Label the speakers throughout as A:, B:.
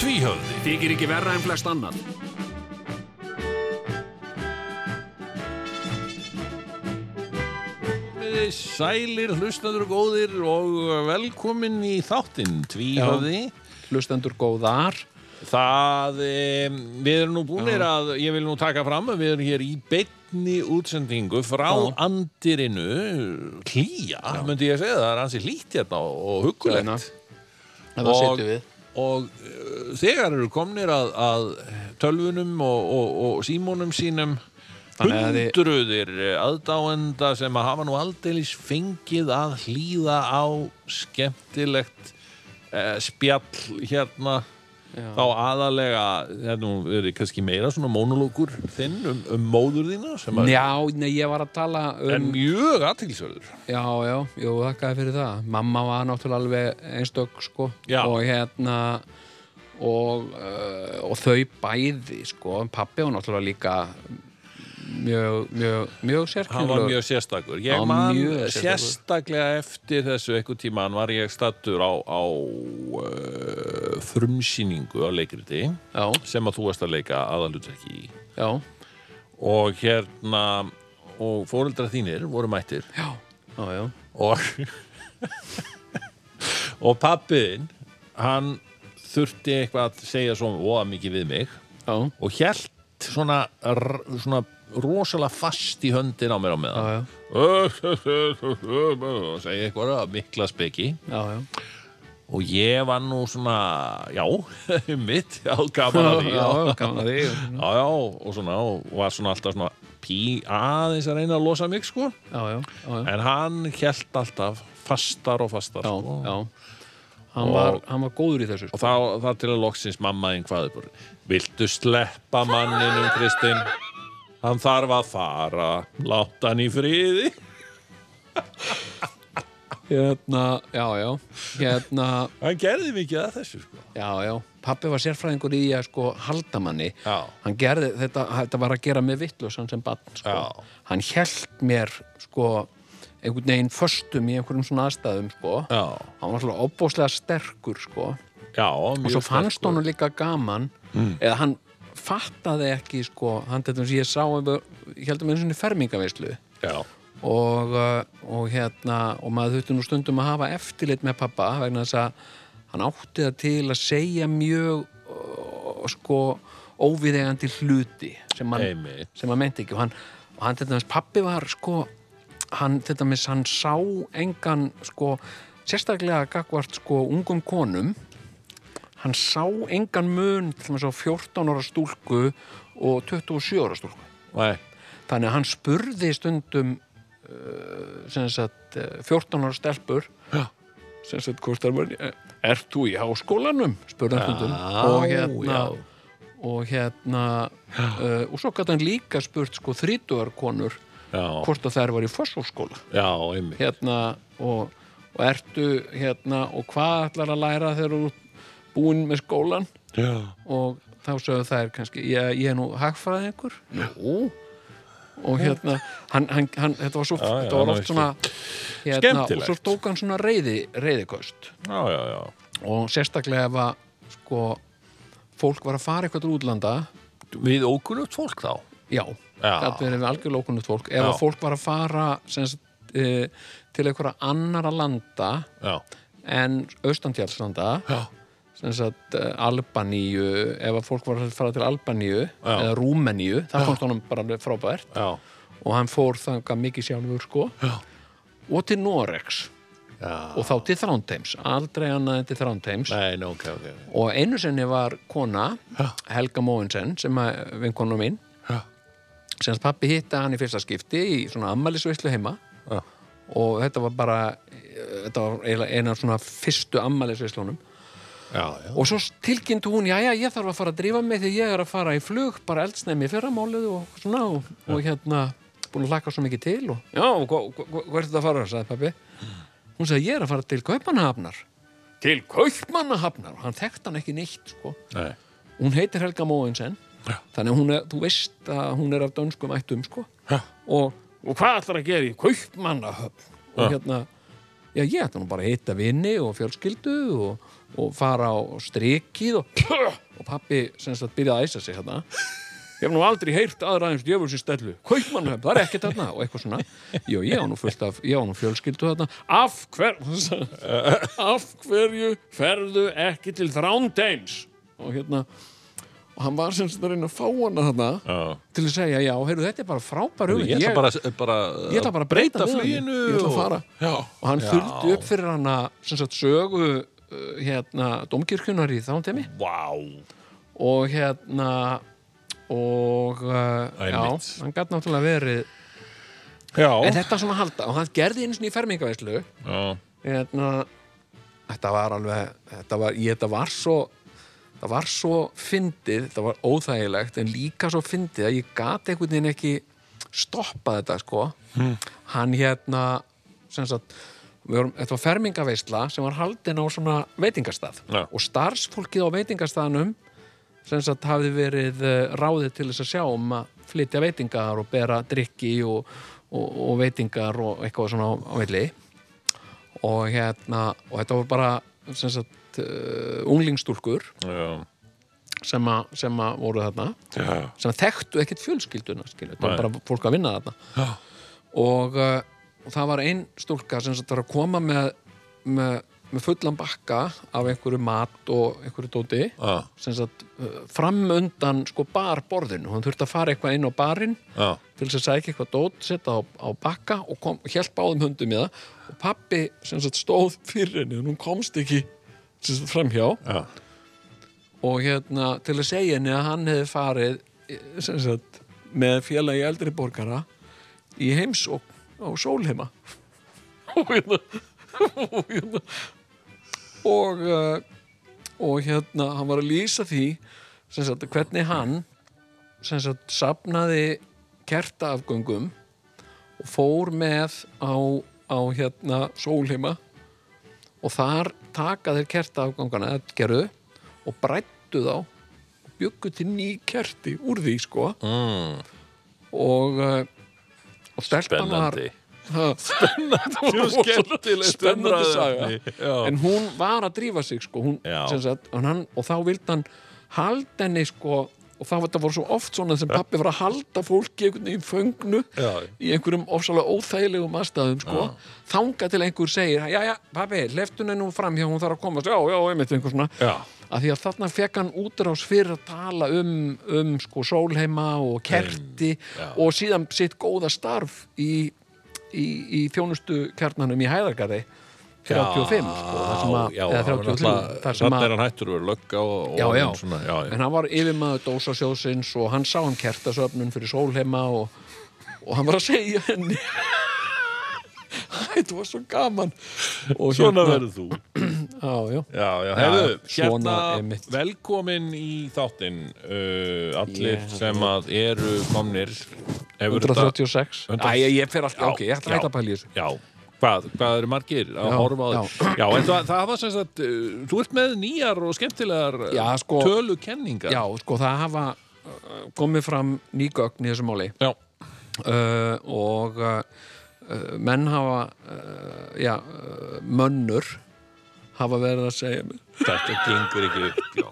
A: tvíhöfði
B: Þykir ekki verra en flest annan.
A: Komiði Sælir, hlustadur og góðir og velkomin í þáttinn tvíhöfði
B: Hlustendur góðar.
A: Það, e, við erum nú búinir að, ég vil nú taka fram að við erum hér í beinni útsendingu frá andirinu hlýja, myndi ég að segja það er ansi hlýtt hérna og- og
C: Hérna.
A: huggulegt
C: Það var setjum við.
A: og eh, þegar eru komnir að, að tölvunum og, og, og símónum sínum
C: Þannig að þið-
A: hundruðir aðdáenda sem að hafa nú aldeilis fengið að hlýða á skemmtilegt eh, spjall hérna þá aðalega þetta nú verið kannski meira svona mónulókur þinn um, um móður þína sem að
C: Já, nei, ég var að tala
A: en
C: um...
A: mjög aðtilsverður
C: Já, já, jú, þakkaði fyrir það. Mamma var náttúrulega alveg einstök, sko.
A: Já.
C: Og hérna... Og, uh, og þau bæði, sko. En Pabbi var náttúrulega líka mjög, mjög, mjög
A: hann var
C: sérkjörlega.
A: mjög sérstakur ég
C: Hann var
A: man
C: mjög sérstakur.
A: sérstaklega eftir þessu einhvern tíma hann var ég stattur á, á uh, frumsýningu á leikriti
C: Já,
A: sem að þú varst að leika aðalutverki í
C: já,
A: og hérna og fóreldra þínir voru mættir
C: já, já, já.
A: og og pappiðin hann þurfti eitthvað að segja svona óa mikið við mig
C: Já,
A: og hjælt svona, r- svona rosalega fast í höndin á mér á meðan
C: já,
A: og segi eitthvað að mikla speki
C: já, já.
A: og ég var nú svona já, mitt, já, gaman að því já,
C: já, gaman að því.
A: já, já, og svona og var svona alltaf svona pí aðeins að reyna að losa mig sko,
C: Já, já, já, já.
A: en hann held alltaf fastar og fastar
C: Já,
A: sko.
C: já. Hann
A: Og-
C: var, hann var góður í þessu,
A: og
C: sko.
A: þá, þá til að loksins mammaðin hvaði bara, viltu sleppa manninum Kristinn hann þarf að fara láta hann í friði
C: Hérna, já, já. Hérna,
A: hann gerði mikið að þessu sko
C: Já, já, pappi var sérfræðingur í að sko halda manni
A: Já.
C: hann gerði, þetta, þetta var að gera mig vittlösan sem barn, sko
A: Já.
C: hann held mér, sko einhvern veginn föstum í einhverjum svona aðstæðum, sko
A: Já.
C: hann var svona opbóðslega sterkur, sko
A: Já,
C: og svo fannst honum líka gaman
A: Mm.
C: eða hann fattaði ekki, sko hann þetta sem ég sá, ég heldum einu svona fermingaveislu
A: Já,
C: og, uh, og hérna og maður þurfti nú stundum að hafa eftirlit með pappa vegna þess að hann átti það til að segja mjög uh, sko óviðegandi hluti sem hann,
A: Einmitt.
C: sem hann meinti ekki og hann, og hann þetta með pappi var sko hann þetta með hann sá engan sko sérstaklega gagvart sko ungum konum hann sá engan mun til þess að 14 ára stúlku og 27 ára stúlku
A: nei,
C: Þannig að hann spurði stundum uh, sem sagt eh, 14 ára stelpur
A: Já.
C: sem sagt hvort það var Ert þú í háskólanum? spurði hann stundum
A: Já,
C: og hérna
A: já.
C: og hérna uh, og svo gæti hann líka spurt sko 30 konur
A: já,
C: hvort að þær var í fósfólskóla
A: já, einmitt
C: hérna og, og ertu hérna og hvað ætlar að læra þegar þú ert búinn með skólan
A: Já,
C: og þá sögðu þær kannski ég, ég er nú hagfræðingur Nú. og hérna hann, hann, hann, þetta var, svo,
A: Já, já,
C: þetta var
A: hann
C: oft
A: vissi.
C: svona hérna, og
A: Skemmtilegt.
C: svo tók hann svona reyði, reyðikost
A: já, já, já.
C: og sérstaklega ef að sko, fólk var að fara eitthvað til útlanda
A: Við ókunnugt fólk þá
C: já,
A: Já.
C: þetta verið algjörlega ókunnult fólk ef
A: Já.
C: að fólk var að fara sem sagt, e, til einhverja annara landa
A: Já,
C: en austantjálslanda
A: já,
C: sem sagt eh, Albaníu ef að fólk var að fara til Albaníu
A: Já.
C: eða Rúmeníu, það komst honum bara alveg frábært
A: já,
C: og hann fór þangað mikið sjálfur sko Já. og til Norex
A: já.
C: og þá til Þrándheims, aldrei annað en til Þrándheims
A: Nei, nei, ok, ok
C: og einu sinni var kona Helga Móinsen sem að vinkonu mín
A: Já.
C: sem að pappi hitta hann í fyrsta skipti í svona ammælisveislu heima
A: Já.
C: og þetta var bara eh, þetta var eiginlega eina af svona fyrstu ammælisveislunum
A: Já, já,
C: og svo tilkynntu hún, já, já, ég þarf að fara að drífa mig því ég er að fara í flug, bara eldsnæmi í fyrramálið og svona og, og hérna, búin að hlaka svo mikið til og, já, og hva- hva- hva- hvert er þetta að fara, sagði pappi hún sagði, ég er að fara til Kaupmannahafnar til Kaupmannahafnar og hann þekkt hann ekki neitt, sko
A: nei
C: hún heitir Helga Móinsen
A: Já.
C: þannig að hún er, þú veist að hún er af dönskum ættum sko
A: Já.
C: og, og hvað ætlar að gera í kaupmannahöfn og
A: Já.
C: hérna já ég ætla nú bara að hitta vini og fjölskyldu og, og fara á strikið og og pappi sem sagt byrjaði að æsa sig hérna ég hef nú aldrei heyrt aðra aðeins djöfulsins stellu kaupmannhöfn, það er ekkert þarna og eitthvað svona jú, ég á nú fullt af, ég á nú fjölskyldu þarna af hver af hverju ferðu ekki til þrándeims og hérna og hann var sem sagt að reyna að fá hana þarna
A: Já.
C: til að segja, já, heyrðu, þetta er bara frábær hugmynd
A: Ég ætla bara, bara,
C: ég ætla bara að breyta, við hann.
A: fluginu
C: ég ætla að
A: og-
C: fara
A: Já.
C: og hann þurfti upp fyrir hana sem sagt sögu uh, hérna, domkirkjunar í þándemi
A: Vá.
C: og hérna og uh,
A: Æ,
C: já,
A: mitt.
C: hann gæti náttúrulega verið
A: Já.
C: en þetta svona halda og hann gerði eins og í fermingaveislu
A: Já.
C: hérna, þetta var alveg þetta var, ég, þetta var svo það var svo fyndið þetta var óþægilegt en líka svo fyndið að ég gat einhvern veginn ekki stoppað þetta sko hann hérna sem sagt við vorum, þetta var fermingaveisla sem var haldin á svona veitingastað
A: Já.
C: og starfsfólkið á veitingastaðnum sem sagt hafði verið eh, ráðið til þess að sjá um að flytja veitingar og bera drikki og, og, og veitingar og eitthvað svona á, á milli og hérna og þetta voru bara sem sagt uh, unglingstúlkur
A: Já.
C: sem að, sem að voru þarna
A: Já.
C: sem að þekktu ekkert fjölskylduna skilur, þetta var
A: Nei.
C: bara fólk að vinna þarna og, uh, og það var ein stúlka sem sagt var að koma með, með, með fullan bakka af einhverju mat og einhverju dóti
A: Já.
C: sem sagt uh, fram undan sko barborðinu, hún þurfti að fara eitthvað inn á barinn
A: Já.
C: til þess að sækja eitthvað dót, setja á, á bakka og, kom, og hjálpa á þeim höndum í það og pappi sem sagt stóð fyrir henni en hún komst ekki sem sagt, framhjá
A: Já.
C: og hérna til að segja henni að hann hefði farið eh, sem sagt með félagi eldri borgara í heimsókn á sólheima og hérna og hérna og, eh, og hérna hann var að lýsa því sem sagt hvernig hann sem sagt sapnaði kertaafgöngum og fór með á, á hérna sólheima og þar taka þeir kertaafgangana þetta gerðu og brættu þá og byggu til ný kerti úr því sko
A: Mm.
C: og, uh, og stelpan var
A: Spennandi.
C: Ha,
A: Mjög skemmtilegt
C: spennandi saga
A: umræðuefni, já.
C: en hún var að drífa sig sko, hún,
A: Já.
C: sem sagt, en hann, og þá vildi hann halda henni sko, og þá þetta voru svo oft svona sem pappi var að halda fólki einhvern veginn í föngnu
A: Já.
C: í einhverjum ofsalega óþægilegum aðstæðum sko, þanga til einhver segir já, já, pappi, leftun er nú fram hjá hún þarf að komast, já, já, einmitt einhver svona
A: Já.
C: að því að þarna fekk hann útrás fyrir að tala um, um sko sólheima og kerti
A: já.
C: og síðan sitt góða starf í, í, í þjónustu kjarnanum í Hæðargarði 35 sko, þar sem að,
A: já,
C: eða
A: hann var
C: 33
A: náttúrulega-
C: þar sem
A: þarna
C: að
A: er hann hættur að vera lögga og, og
C: já, já.
A: orðinn svona, já, já.
C: en hann var yfirmaður dósasjóðsins og hann sá um kertasöfnun fyrir sólheima og, og hann var að segja henni Þetta var svo gaman og
A: Svona
C: hérna-
A: verður þú
C: Já, já
A: Já, já, hefðu,
C: svona
A: hérna
C: einmitt.
A: velkomin í þáttinn uh, allir
C: Ég-
A: sem að eru komnir hefur þetta-
C: 136 Æ, ég, ég fer alltaf,
A: Já,
C: ok, ég ætla
A: já.
C: að hætta að pæla í þessu
A: Já, hvað, hvað eru margir að
C: Já,
A: horfa á því? Já, en það, það var sem sagt uh, þú ert með nýjar og skemmtilegar uh,
C: Já, sko-
A: tölukenningar
C: Já, sko, það hafa uh, komið fram ný gögn í þessu máli
A: já,
C: uh, og uh, uh, menn hafa uh, já, uh, mönnur hafa verið að segja mér
A: þetta gengur ekki upp Já,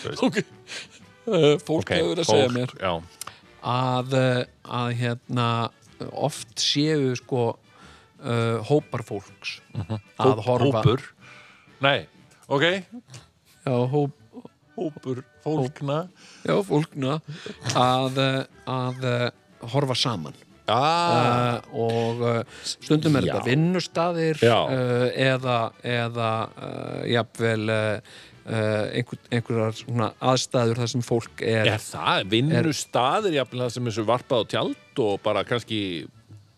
A: þú veist.
C: Ok, uh, fólk
A: Ok,
C: hefur verið að
A: fólk,
C: segja mér
A: Já,
C: að, uh, að hérna oft séu sko uh, hópar fólks að horfa
A: Mhm. hópur Nei, ok
C: Já, hóp,
A: Hópur fólkna
C: já, fólkna að, uh, að uh, horfa saman
A: Já,
C: uh, og uh, stundum er
A: Já.
C: þetta vinnustadir
A: Já.
C: uh, eða, eða uh, jafnvel uh, uh, einhver, einhverjar svona aðstæður þar sem fólk er
A: Eh, er það, vinnustaðir jafnilega sem þessu varpað á tjald og bara kannski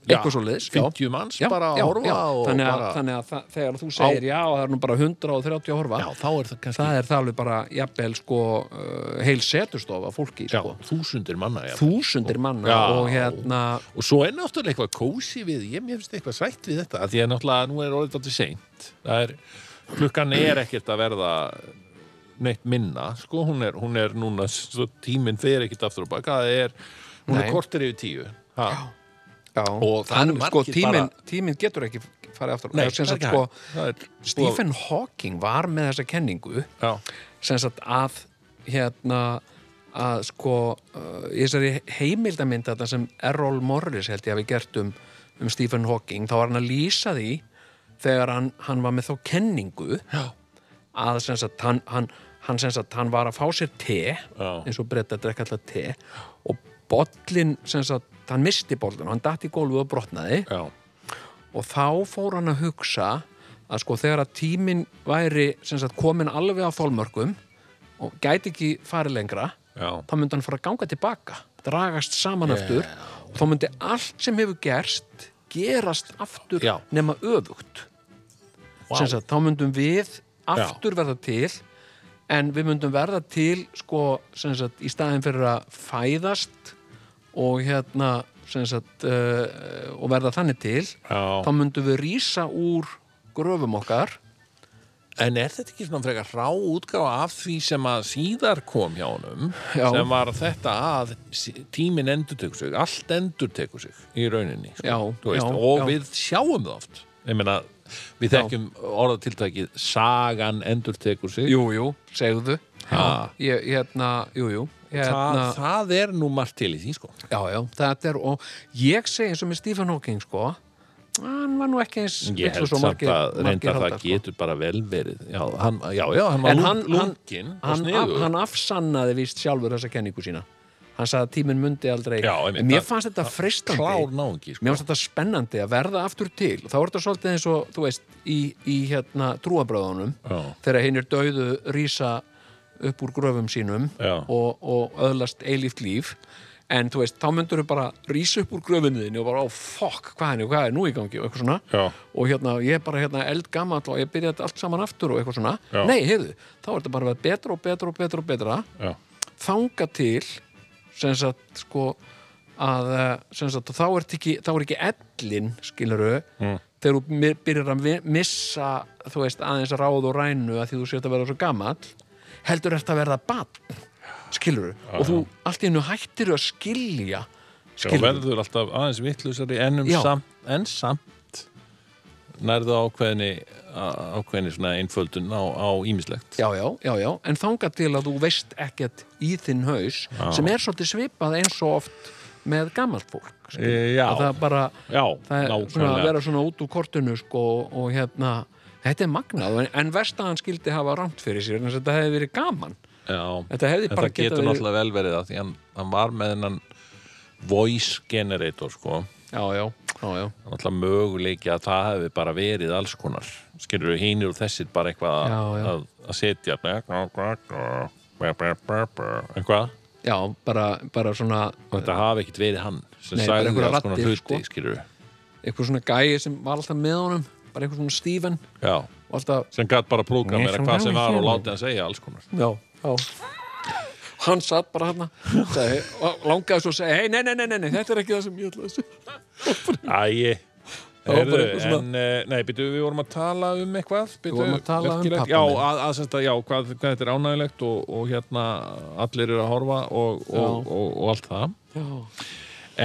C: Eitthvað svoleiðis, já.
A: 50 manns bara að horfa og
C: þannig, að,
A: bara,
C: þannig að það, þegar þú segir já, það er nú bara 130 að horfa
A: Já, þá er það kannski
C: það er það alveg bara jafnvel sko, uh, heil setustofa fólki
A: já,
C: sko.
A: þúsundir manna jafnvel.
C: þúsundir manna
A: Já.
C: og hérna
A: Og svo er náttúrulega eitthvað kósi við, ég mér finnst eitthvað svætt við þetta, af því að náttúrulega nú er orðið þetta seint. Það er, klukkan er ekkert að verða neitt minna, sko, hún er, hún er núna, svo tíminn fer ekkert aftur og baka, það er, hún
C: Nei.
A: er kortir yfir tíu. Ha,
C: já,
A: Og það
C: hann,
A: eru
C: sko,
A: margir
C: tíminn,
A: bara-
C: tíminn getur ekki farið aftur
A: Nei,
C: Eða sem
A: það er
C: sagt,
A: ekki
C: sko,
A: hægt. Það er-
C: Stephen Hawking var með þessa kenningu
A: Já,
C: sem sagt að hérna að sko uh, í þessari heimildamynd þarna sem Errol Morris held ég hafi gert um, um Stephen Hawking þá var hann að lýsa því þegar hann, hann var með þá kenningu Já. að sem sagt hann, hann, hann sem sagt hann var að fá sér te
A: Já.
C: eins og breytta að drekka alltaf te og bollin sem sagt hann misti bollin og hann datt í gólfu og brotnaði
A: já,
C: og þá fór hann að hugsa að sko þegar að tíminn væri sem sagt komin alveg á þólmörkum og gæti ekki farið lengra
A: já,
C: þá myndi hann fara að ganga tilbaka dragast saman aftur og þá myndi allt sem hefur gerst gerast aftur
A: Já.
C: nema öfugt
A: Vá.
C: sem sagt þá myndum við aftur verða til en við myndum verða til sko sem sagt í staðin fyrir að fæðast og hérna sem sagt uh, og verða þannig til
A: Já.
C: þá myndum við rýsa úr gröfum okkar
A: En er þetta ekki svona frekar rá útgáfa af því sem að síðar kom hjá honum
C: Já.
A: sem var þetta að sí- tíminn endurtekur sig, allt endurtekur sig í rauninni sko,
C: Já,
A: þú veist,
C: já,
A: og
C: já.
A: við sjáum það oft ég meina, við
C: Já.
A: þekkjum orðatiltækið sagan endurtekur sig
C: jú, jú, segðu
A: Ha.
C: ég, hérna, jú, jú
A: það,
C: hérna,
A: það er nú margt til í því sko
C: Já, já, þetta er og ég segi eins og með Stephen Hawking sko hann var nú ekki eins
A: ég
C: vitlaus
A: held
C: og
A: samt að reynda það
C: halda, sko.
A: getur bara vel verið sko. já, hann, já, já, hann var
C: En
A: lún-
C: hann- hann-
A: lunginn og
C: hann, af,
A: sniðugur.
C: hann afsannaði víst sjálfur þessa kenningu sína hann sagði að tíminn mundi aldrei
A: Já, einmitt,
C: en mér
A: það-
C: fannst þetta freistandi
A: klár náungi sko.
C: mér fannst þetta spennandi að verða aftur til þá er þetta svolítið eins og, þú veist, í, í hérna trúabröðunum
A: Já.
C: þegar hinn er döðu rísa upp úr gröfum sínum
A: Já.
C: og, og öðlast eilíft líf en þú veist, þá myndur þau bara rísa upp úr gröfinu þinni og bara, ó, fokk, hvað er, hvað er nú í gangi og eitthvað svona
A: Já.
C: og hérna, ég er bara hérna eldgamall og ég byrja þetta allt saman aftur og eitthvað svona
A: Já.
C: nei, heyrðu, þá er þetta bara að vera betra og betra og betra og betra
A: já,
C: þanga til sem sagt sko að eh, sem sagt þá er ekki, þá er ekki ellin skiluru mm. þegar þú mi- byrjar að vi- missa þú veist aðeins ráð og rænu að því þú sért að verða svo gamall heldur eftir að verða bann skiluru og þú allt í hennu hættir að skilja
A: og
C: skiluru
A: verður alltaf aðeins vittlusari ennum
C: Já.
A: samt, en samt nærðu ákveðinni á- ákveðinni svona einföldun á, á ímislegt
C: Já, já, já, já, en þanga til að þú veist ekkert í þinn haus sem er svolítið svipað eins og oft með gamalt fólk skilurðu.
A: E, já.
C: að það bara
A: já
C: það er svona að
A: nákvæmlega
C: vera svona út úr kortinu sko, og, og hérna þetta er magnað, en, en verst að hann skildi hafa rámt fyrir sér, en þetta hefði verið gaman
A: já.
C: þetta hefði
A: en
C: bara
A: það getur
C: getað verið
A: náttúrulega vel verið það því hann, hann var með hennan voice generator sko
C: já, já, já, já,
A: Það er náttúrulega möguleiki að það hefði bara verið alls konar skilur við hinir og þessir bara eitthvað
C: Já, já.
A: Að, að setja eitthvað
C: já bara, bara svona
A: og þetta hafi ekkit verið hann sem
C: Nei, bara
A: sagði
C: einhverjar
A: alls konar
C: raddir,
A: hluti
C: sko.
A: skilur við
C: eitthvað svona gæi sem var alltaf með honum bara eitthvað svona Steven
A: já,
C: og alltaf,
A: sem gætt bara
C: Nei,
A: prógramera
C: sem
A: hvað sem var
C: gaman
A: og
C: hjá
A: látið að segja alls konar
C: já, já hann satt bara hérna sagði, og langaði svo að segja, hei, nei, nei, nei, nei, nei þetta er ekki það sem ég ætlaði að segja
A: Æi
C: var bara
A: Heyrðu,
C: eitthvað
A: en, eh, nei, byrju, við vorum að tala um eitthvað byrju,
C: vorum að tala um
A: merkilegt.
C: pabba
A: Já,
C: minn.
A: að, að, sem sagt að, já hvað, hvað þetta er ánægilegt og, og hérna allir eru að horfa og, og, og, og, allt það
C: já.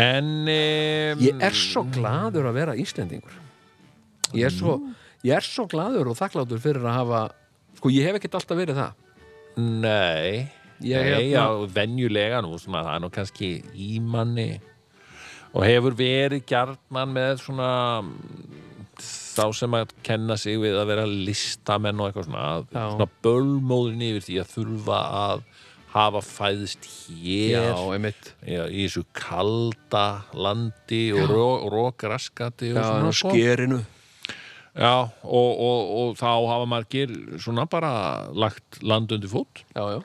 A: En um,
C: ég er svo gladur að vera Íslendingur ég er svo, ég er svo gladur og þakklátur fyrir að hafa sko ég hef ekkert alltaf verið það
A: Nei,
C: Ég
A: nei
C: hérna-
A: já, venjulega nú, svona, það er nú kannski í manni og hefur verið gjarnan með svona mm, þá sem að kenna sig við að vera listamenn og eitthvað svona, að-
C: Já.
A: svona bölmóðin yfir því að þurfa að hafa fæðist hér
C: einmitt
A: Já, í þessu kalda landi og rókraskati og
C: Já,
A: svona sko.
C: og skerinu
A: Já, og, og, og þá hafa margir svona bara lagt land undir fót
C: já, já.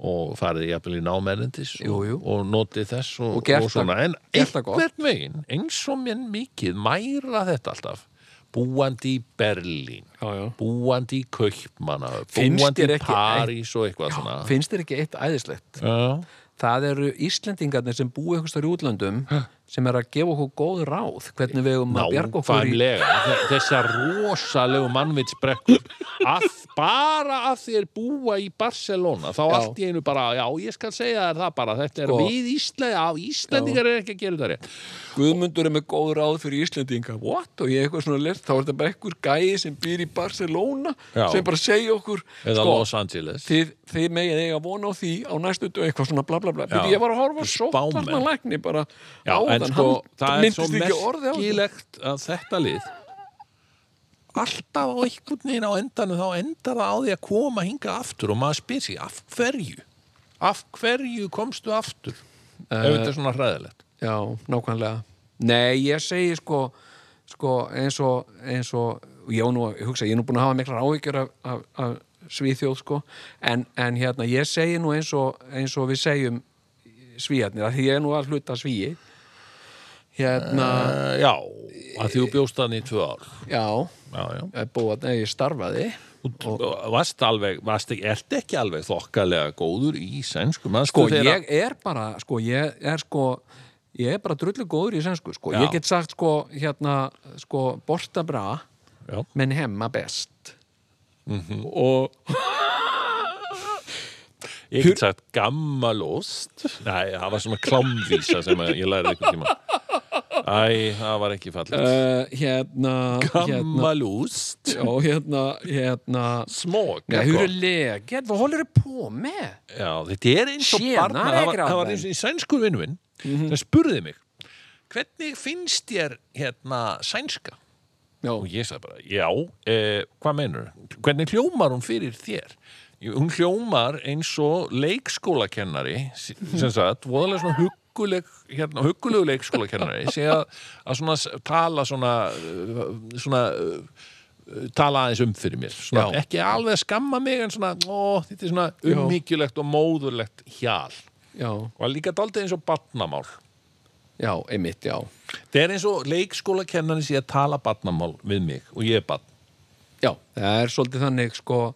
A: og farið jafnvel í námerendis og,
C: Jú, jú.
A: og notið þess og,
C: Og gert
A: og svona, en
C: gert það gott.
A: einhvern veginn eins og mér mikið mæra þetta alltaf búandi í Berlín
C: Já, já.
A: búandi í Kaupmanna
C: Finnst
A: búandi
C: þér
A: í
C: ekki-
A: París og eitthvað svona
C: finnst þér ekki eitt æðislegt
A: Já,
C: það eru Íslendingarnir sem búi eitthvað stóri útlöndum sem er að gefa okkur góð ráð hvernig við um að bjarga okkur í
A: nákvæmlega Þe- þessar rosalegu mannvitsbrekkur að bara að þér búa í Barcelona þá
C: Já.
A: allt í einu bara, já, ég skal segja þér það bara þetta er
C: Sko.
A: við Íslandi, á Íslandingar er ekki að gera þetta rétt
C: Guðmundur er með góð ráð fyrir Íslendinga What? Og ég eitthvað svona lert Þá er þetta bara einhver gæi sem býr í Barcelona
A: Já.
C: sem bara segja okkur
A: eða
C: sko,
A: Los Angeles
C: þið, þið megin eiga vona á því á næstu dög eitthvað svona bla bla bla
A: Já.
C: Bíddu, Ég var að horfa
A: Spámenn.
C: sótvarna lækni bara
A: já,
C: áðan
A: en sko,
C: Hann
A: það er svo
C: myndist ekki orði á þetta
A: merkilegt að þetta lið alltaf á einhvern veginn á endanum þá endar það á því að koma hinga aftur og maður spyr sér, af hverju? af hverju komstu aftur? ef
C: Eh,
A: þetta er svona hræðilegt
C: Já, nákvæmlega Nei, ég segi sko, sko eins og, eins og ég, á nú, að- ég hugsa, ég er nú búin að hafa miklar áhyggjur af, af, af svíþjóð sko en, en hérna, ég segi nú eins og, eins og við segjum svíjarnir, af því ég er nú að hluta svíi hérna,
A: uh, já, að því þú bjóst þannig í tvö ár
C: já
A: já, já
C: ég búið að ég starfaði
A: og varst alveg, varst ekki, ert ekki alveg þokkalega góður í sænsku maður
C: sko,
A: þeirra-
C: ég er bara sko, ég er sko ég er bara drullu góður í sænsku sko.
A: Já.
C: ég get sagt sko, hérna sko, borta bra,
A: Já.
C: menn hemma best og
A: ég get sagt gammalost nei, það var svona klámvísa sem að ég lærði einhvern tíma æ, það var ekki fallið
C: uh, hérna hérna,
A: gammalost
C: já, hérna, hérna
A: smók
C: Ja, hur är läget? Vad håller du på med?
A: já, þetta er eins og
C: Tjenare,
A: barna það var, það
C: grabben.
A: var eins og í sænskur vinnvinn
C: Mhm.
A: sem spurði mig hvernig finnst þér hérna sænska
C: Já,
A: og ég sagði bara, já, eh, hvað meinur hvernig hljómar hún fyrir þér Jú, hún hljómar eins og leikskólakennari s- sem sagt, voðalega svona hugguleg hérna, huggulegu leikskólakennari sé að, að svona s- tala svona eh, svona eh, tala aðeins um fyrir mér svona,
C: Já.
A: ekki alveg að skamma mig en svona, ó, þetta er svona
C: Já.
A: umhyggjulegt og móðurlegt hjal
C: ja,
A: og líka daldið eins og batnamál
C: ja, emitt, ja.
A: það er eins og leikskólakennari sé að tala batnamál við mig og ég er batn
C: Já, það er svolítið þannig sko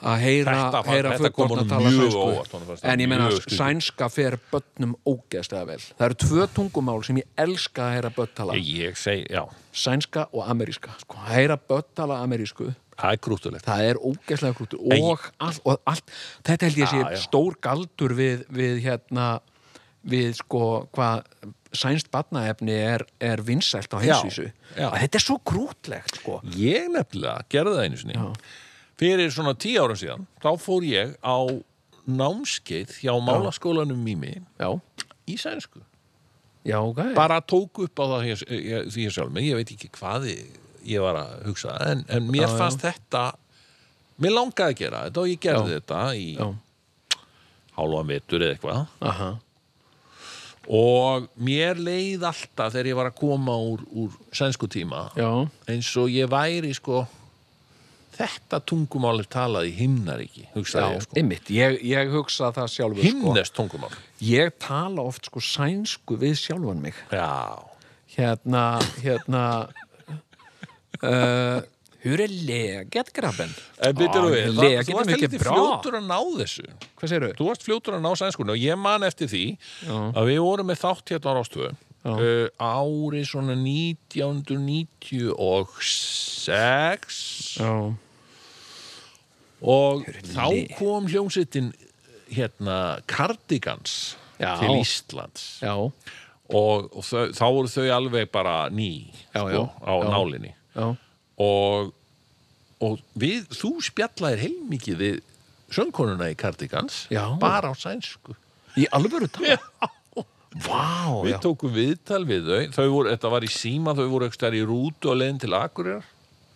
C: að heyra,
A: Þetta var-
C: heyra
A: þetta
C: fullorðna
A: kom honum
C: tala
A: mjög
C: sænsku.
A: óvart, honum fannst það
C: en ég meina
A: mjög skrítið.
C: sænska fer börnum ógeðslega vel það eru tvö tungumál sem ég elska að heyra börn tala, um,
A: ég segi, já,
C: sænska og ameríska sko, að heyra börn tala amerísku
A: það er krúttulegt
C: það er ógeðslega grútur
A: En ég-
C: og, all, og allt, þetta held ég
A: Já,
C: sé
A: já.
C: stór galdur við, við hérna við sko hvað sænst batnaefni er, er vinsælt á
A: Já,
C: heimsvísu
A: já.
C: Að þetta er svo grútlegt sko
A: Ég nefnilega gerði það einu sinni Fyrir svona tíu ára síðan Þá fór ég á námskeið hjá málaskólanum Mimi
C: já,
A: í sænsku
C: já, ok
A: Bara tók upp á það ég- ég- því ég sjálf mig Ég veit ekki hvað ég- ég var að hugsa En, en mér
C: Já, já.
A: fannst þetta Mér langaði að gera þetta og ég gerði
C: Já.
A: þetta í
C: já,
A: hálfan vetur eða eitthvað
C: aha
A: og mér leið alltaf þegar ég var að koma úr, úr sænsku tíma
C: Já,
A: eins og ég væri sko þetta tungumál er talað í himnaríki
C: já,
A: hugsaði ég sko
C: einmitt, ég, ég hugsa það sjálfur sko.
A: himnest tungumál
C: Ég tala oft sko sænsku við sjálfan mig
A: já,
C: Hérna, hérna uh, Hur er leget, grabben?
A: en byrjar
C: Ah,
A: við
C: leget
A: þú
C: er
A: varst
C: mikið
A: heldur
C: bra.
A: fljótur að ná þessu
C: Hvað segirðu?
A: þú varst fljótur að ná sænskunni og ég man eftir því
C: Já.
A: að við vorum með þátt hérna á Rástvö
C: Já.
A: Uh, árið svona 1996
C: Já,
A: og
C: Hurli.
A: þá kom hljómsveitin hérna Cardigans
C: Já.
A: til Íslands
C: já,
A: og, og þau, þá voru þau alveg bara ný
C: Já,
A: sko,
C: já,
A: á
C: já.
A: nálinni
C: já
A: og, og við, þú spjallaðir heilmikið við söngkonuna í Cardigans
C: Já.
A: bara á sænsku
C: Í alvöru tala? Vá,
A: við
C: já
A: tókum viðtal við þau, þau voru, þetta var í síma þau voru ekki stær í rútu og leiðin til Akureyrar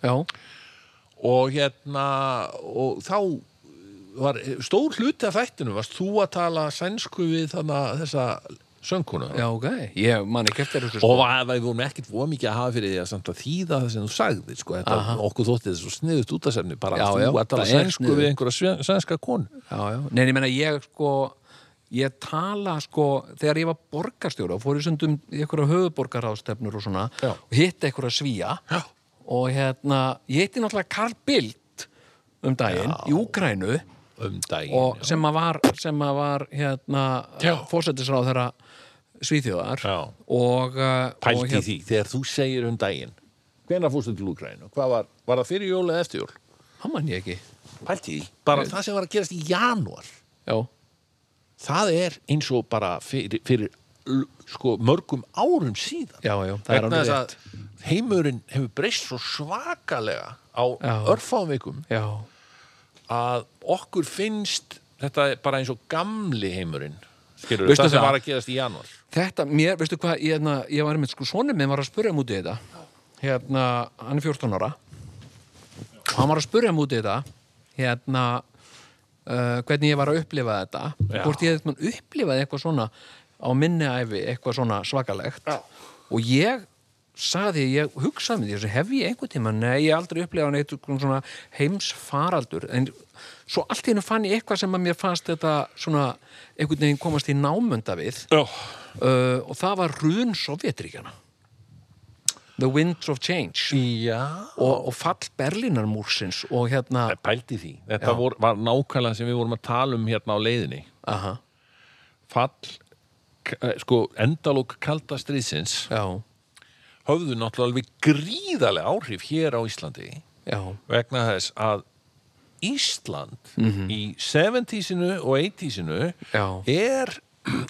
C: Já,
A: og hérna og þá var stór hluti af þættinu varst þú að tala sænsku við þarna þessa söngkonu
C: já, ok Ég man ekki eftir þessu
A: og
C: sko
A: var, við vorum ekkert voða mikið að hafa fyrir því að samt að þýða það sem þú sagði sko, þetta,
C: Aha.
A: okkur þótti þetta svo sniðut út að semni bara
C: Já,
A: þú
C: já,
A: að tala
C: það er
A: sænsku
C: sniðugt.
A: við einhverja sve- sænska konu
C: Já, já, nein, ég meina ég sko Ég tala sko, þegar ég var borgarstjóra og fór í sundum í einhverja höfuborgarráðstefnur og svona
A: Já.
C: og hitti einhverja svíja já. og hérna, ég hitti náttúrulega Karl Bildt um daginn í Úgrænu
A: um daginn
C: og
A: já.
C: sem að var, sem að var hérna,
A: Já.
C: fórsættisráð þeirra svíþjóðar
A: Já.
C: og, uh,
A: pælt
C: og
A: í því, þegar þú segir um daginn hvenær fórstu til Úgrænu, hvað var var það fyrir jól eða eftir jól?
C: hann man ég ekki
A: Pælti, því, bara það sem var að gerast í janúar
C: já,
A: það er eins og bara fyrir, fyrir l- sko, mörgum árum síðan
C: já, já, það er
A: Vegna
C: alveg
A: þess
C: rétt
A: að heimurinn hefur breyst svo svakalega á
C: Já.
A: örfáum vikum
C: já,
A: að okkur finnst þetta er bara eins og gamli heimurinn skilur
C: Veistu
A: það sem
C: það?
A: var að gerast í janúar
C: þetta, mér, veistu hvað ég, hérna, ég var einmitt, sko, sonum minn var að spurja mútið þetta hérna, hann er 14 ára og hann var að spurja mútið þetta hérna uh, hvernig ég var að upplifa þetta hvort ég eitthvað upplifaði eitthvað svona á minni æfi, eitthvað svona svakalegt já. og ég saði, ég hugsaði með þessu, hef ég einhvern tíma nei, ég hef aldrei upplifað neitt svona heimsfaraldur en svo allt í hennu fann ég eitthvað sem að mér fannst þetta svona einhvern veginn komast í námönda við
A: Já.
C: uh, og það var run Sovjetríkjana The Winds of Change
A: Já
C: og, og fall Berlínarmúrsins og hérna
A: Pælti því, þetta vor, var nákvæmlega sem við vorum að tala um hérna á leiðinni
C: aha,
A: Fall, k- eh, sko, endalók kalda stríðsins
C: já,
A: höfðu náttúrulega alveg gríðarlega áhrif hér á Íslandi
C: já
A: vegna þess að Ísland í 70-sinu og 80-sinu
C: Mhm. Já.
A: er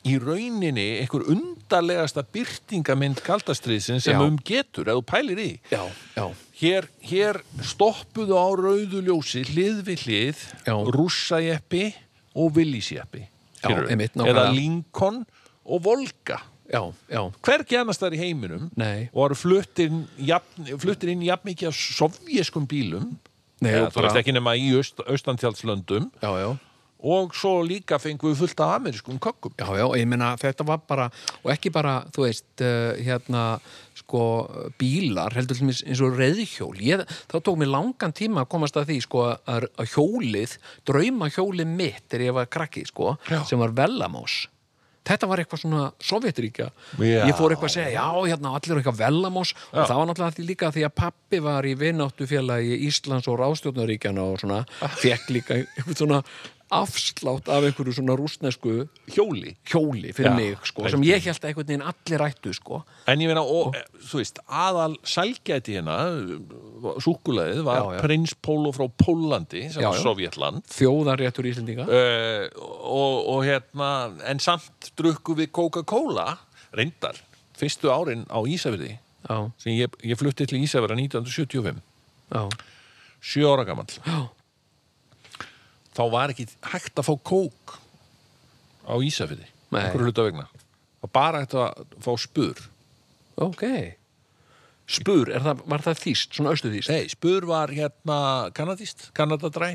A: í rauninni einhver undarlegasta byrtingamind kaldastriðsin sem
C: Já.
A: um getur ef þú pælir í
C: já, já,
A: hér, hér stoppuðu á rauðu ljósi hlið við hlið
C: Já.
A: rússajeppi og villísjeppi
C: Já,
A: skilurðu?
C: einmitt, nákvæmlega.
A: eða Lincoln og Volga
C: já, já,
A: hvergi annars þar í heiminum
C: Nei.
A: og eru fluttir, inn jafn, fluttir inn jafn mikið af sovjeskum bílum
C: Nei,
A: eða,
C: og
A: þú
C: bara-
A: veist ekki nema í aust, austantjálslöndum
C: já, já.
A: og svo líka fengum við fullt af amerískum kökkum
C: Já, já, ég meina þetta var bara og ekki bara, þú veist uh, hérna, sko, uh, bílar heldur til mér eins og reyðhjól ég, þá tók mér langan tíma að komast að því sko, að, að hjólið, drauma hjólið mitt þegar ég var krakki, sko
A: Já.
C: sem var Velamós þetta var eitthvað svona Sovjetríkja
A: Já.
C: ég fór eitthvað að segja, já, hérna, allir eru eitthvað Velamós
A: Já.
C: og það var náttúrulega því líka því að pappi var í vináttufélagi Íslands og Rástjórnaríkjana og svona, fekk líka eitthvað svona afslátt af einhverju svona rústnesku
A: hjóli
C: hjóli fyrir
A: Já,
C: mig sko,
A: einmitt.
C: sem ég held að einhvern veginn allir ættu sko.
A: en ég meina, og, eh, þú veist, aðal sælgæti hérna súkulaðið var
C: Já, já.
A: prins Pólo frá Pólandi sem
C: Já,
A: var
C: já.
A: Sovjetland
C: þjóðarréttur Íslendinga
A: uh, og, og hérna en samt drukku við Coca-Cola reyndar, fyrstu árin á Ísafirði
C: já,
A: sem ég, ég flutti til Ísafjara 1975
C: já,
A: sjö ára gamall
C: já,
A: þá var ekki hægt að fá kók á Ísafjörði
C: Nei.
A: einhverju hluta vegna það var bara hægt að fá spur
C: ok spur, er það, var það þýst, svona austu þýst
A: nei, spur var hérna kanadist, kanadadræ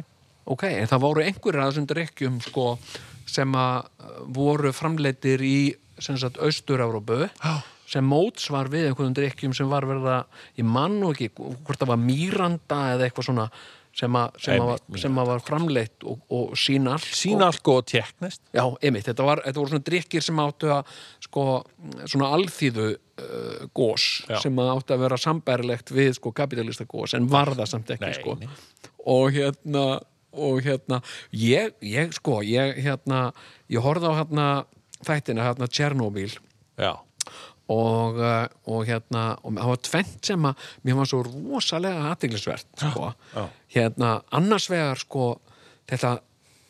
C: ok, en það voru einhverjir að þessum drikkjum sko, sem að uh, voru framleittir í sem sagt austur-Európu
A: Já.
C: sem mótsvar við einhverjum drikkjum sem var verða, ég mann og ekki hvort það var mýranda eða eitthvað svona sem að, sem að,
A: Einmitt,
C: sem að, sem að var framleitt og, og sko. sínall
A: sínalko og tjekknest
C: Já, einmitt, þetta, var, þetta voru svona drikkir sem áttu að sko, svona alþýðu uh, gós
A: Já.
C: sem að áttu að vera sambærilegt við sko, kapitalista gós en var það samt ekki
A: Nei,
C: sko.
A: nei.
C: og hérna og hérna, ég, ég sko ég hérna, ég horfði á hérna þættina, hérna Tjernobyl
A: já,
C: og, uh, og hérna og það var tvennt sem að mér var svo rosalega aðteglisvert sko.
A: já.
C: hérna annars vegar sko þetta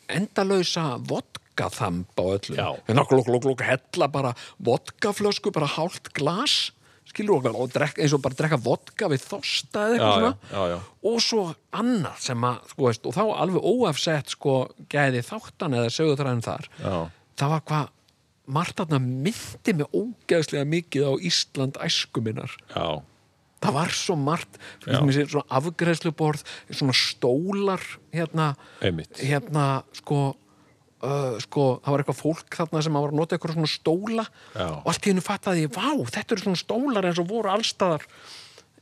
C: endalausa vodkaþamb á öllu
A: Já.
C: hérna glók, glók, glók, hella bara vodkaflösku, bara hálft glas skilur okkur og drekka, eins og bara drekka vodka við þosta eða eitthvað
A: Já, já, já,
C: svona
A: já.
C: og svo annað sem að sko, veist, og þá alveg óafsett sko gæði þáttan eða sögutræðin þar
A: Já.
C: það var hvað Martarna myndi mig ógeðslega mikið á Ísland æskuminnar
A: já,
C: það var svo margt fyrir mér sér, svona afgreðsluborð svona stólar hérna,
A: Einmitt.
C: hérna sko, uh, sko það var eitthvað fólk þarna sem var að nota eitthvað svona stóla
A: Já.
C: og allt í hennu fattaði ég, vá, þetta eru svona stólar eins og voru allstaðar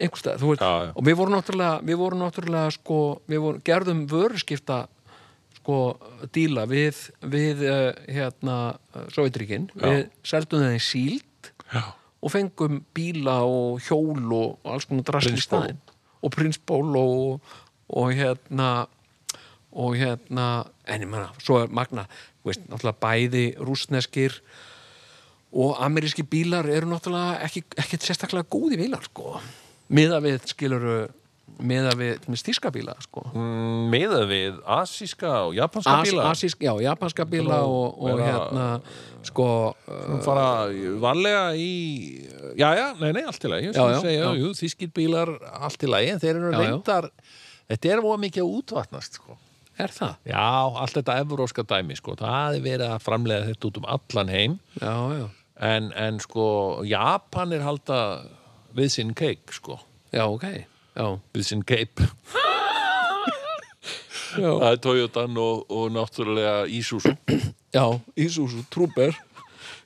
C: einhverstað, þú veit,
A: Já, já.
C: og við vorum náttúrulega við vorum náttúrulega, sko, við vorum gerðum vöruskipta sko, díla við, við uh, hérna, Sovjetríkin við seldum þeim síld
A: já.
C: og fengum bíla og hjól og alls konar drast í
A: Prins Bóló.
C: staðinn og prins Bóló og, og hérna og hérna en ég meina, svo er magna þú veist, náttúrulega bæði rúsneskir og ameríski bílar eru náttúrulega ekki, ekki sérstaklega góði bílar sko miða við skiluru meða við til dæmis, þýska bíla sko.
A: Mm, miðað við asíska og japanska
C: As,
A: bíla
C: asísk, já, japanska bíla og, og
A: vera-
C: hérna sko,
A: Nú fara varlega í já, já, nei, nei, allt í lagi
C: Já, já,
A: segja,
C: já.
A: jú, þýskir bílar, allt í lagi en þeir eru
C: Já, já.
A: reyndar þetta er voða mikið að útvatnast sko.
C: uh, er það?
A: já, allt þetta evróska dæmi sko. það er verið að framlega þetta út um allan heim
C: Já, já,
A: en, en sko, Japanir halda við sinn keik sko.
C: já, ok já,
A: við sinn keip það er Toyotan og, og náttúrulega Isuzu
C: já Ísúsu, trúber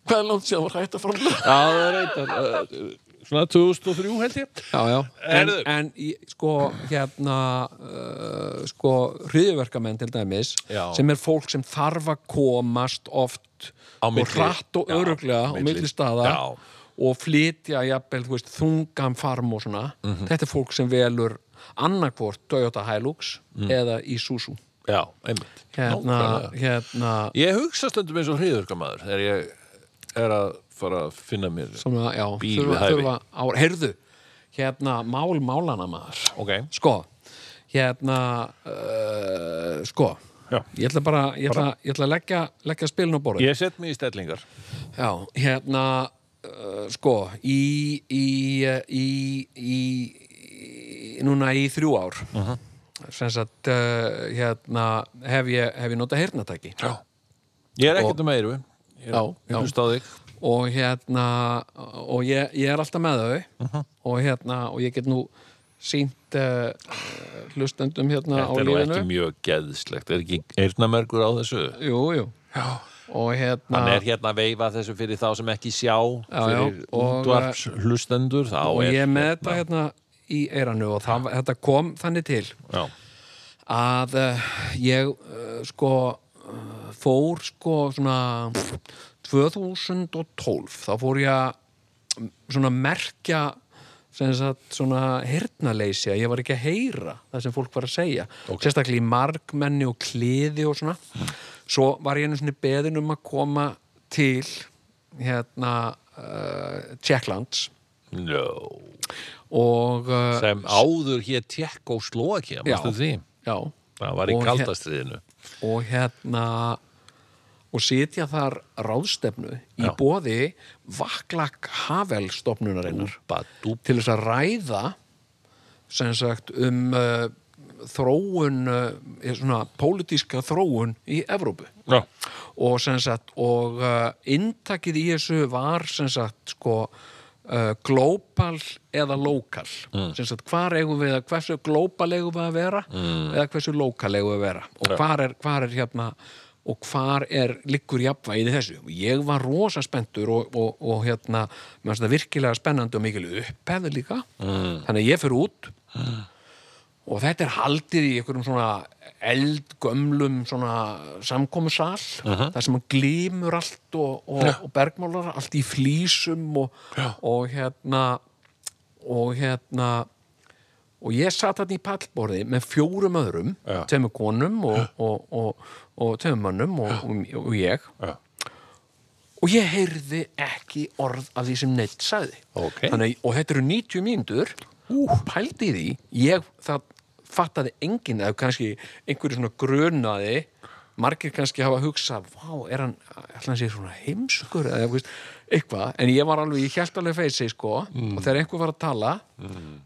C: hvað er langt sér að var hægt að framlega?
A: já, það er reyndar uh, svona 2003 held ég
C: Já, já, en,
A: Heyrðu.
C: en í- sko, hérna uh, sko, hriðverkamenn til dæmis
A: Já.
C: sem er fólk sem þarf að komast oft
A: Á
C: og
A: milli.
C: hratt og
A: Já,
C: öruglega á
A: milli.
C: milli staða
A: Já.
C: og flytja jafnvel, þú veist, þungan farm og svona,
A: Mhm.
C: þetta er fólk sem velur annarkvort Toyota Hilux eða Isuzu
A: já, einmitt
C: hérna,
A: Mhm. Nákvæmlega.
C: hérna
A: Ég hugsa stundum eins og hriðurkamaður þegar ég er að fara að finna mér
C: svona, já,
A: Bíl við
C: þurfa,
A: hæfi.
C: þurfa á, heyrðu, hérna mál málana maður
A: Ok,
C: sko hérna uh, sko
A: Já.
C: ég ætla bara, ég ætla, ég ætla að leggja, leggja spilin á borðið
A: ég set mig í stellingar
C: já, hérna uh, sko í, í, eh, í, í, í núna í þrjú ár sem sagt uh, hérna hef ég, hef ég notað heyrnatæki já,
A: Ég er ekkert um eiru Ég
C: já,
A: ég hlusta á þig
C: og hérna og ég, ég er alltaf með þau
A: Mhm.
C: og hérna, og ég get nú sínt uh, hlustendum hérna á
A: Þetta er nú
C: lífinu
A: ekki mjög geðslegt Er ekki eyrnamergur á þessu?
C: Jú, jú já. og hérna
A: Hann er hérna að veifa þessu fyrir þá sem ekki sjá
C: Já, já,
A: fyrir
C: og- eh,
A: útvarps hlustendur þá
C: og
A: er
C: ég er með þetta hérna í eiranu og það, þetta kom þannig til
A: Já,
C: að uh, ég uh, sko uh, fór sko svona 2012 þá fór ég að mm, svona merkja sem sagt svona hirnaleysi að ég var ekki að heyra það sem fólk var að segja sérstaklega í margmenni og kliði og svona svo var ég einu svona beðin um að koma til hérna uh, Tjekklands
A: no
C: og uh,
A: Sem áður hér Tjekkóslóakia,
C: Já.
A: mástu því
C: já,
A: Það var í
C: Og hér-
A: kaldastriðinu
C: og hérna og sitja þar ráðstefnu í
A: Já.
C: bóði Vaklak Havel stofnunarinnar til þess að ræða sem sagt um uh, þróun uh, svona pólitíska þróun í Evrópu
A: Já,
C: og sem sagt og uh, inntakið í þessu var sem sagt sko uh, global eða lokal sem sagt hvar eigum við að hversu global eigum við að vera eða hversu lokal eigum við að vera og hvar er, hvar er hérna og hvar er liggur jafnvægið í þessu og ég var rosa spenntur og, og, og hérna, mér finnst það virkilega spennandi og mikil upphefð líka mm. þannig að ég fyrir út og þetta er haldið í einhverjum svona eldgömlum svona samkomusal þar sem hann glímur allt og, og, og bergmálar allt í flísum og, og hérna og hérna og ég satt hann í pallborði með fjórum öðrum
A: Já.
C: tveimur konum og, og, og, og tveimur mönnum og, og, og ég
A: Já.
C: og ég heyrði ekki orð af því sem neitt sagði
A: Ókei.
C: Þannig, að- og þetta eru 90 mínútur uh. pældi í því ég það fattaði enginn eða kannski einhverju svona grunaði margir kannski hafa hugsað vá, er hann, ætla hann sér svona heimskur eða þú veist, eitthvað, en ég var alveg ég hjælt alveg feysi, sko og þegar einhver var að tala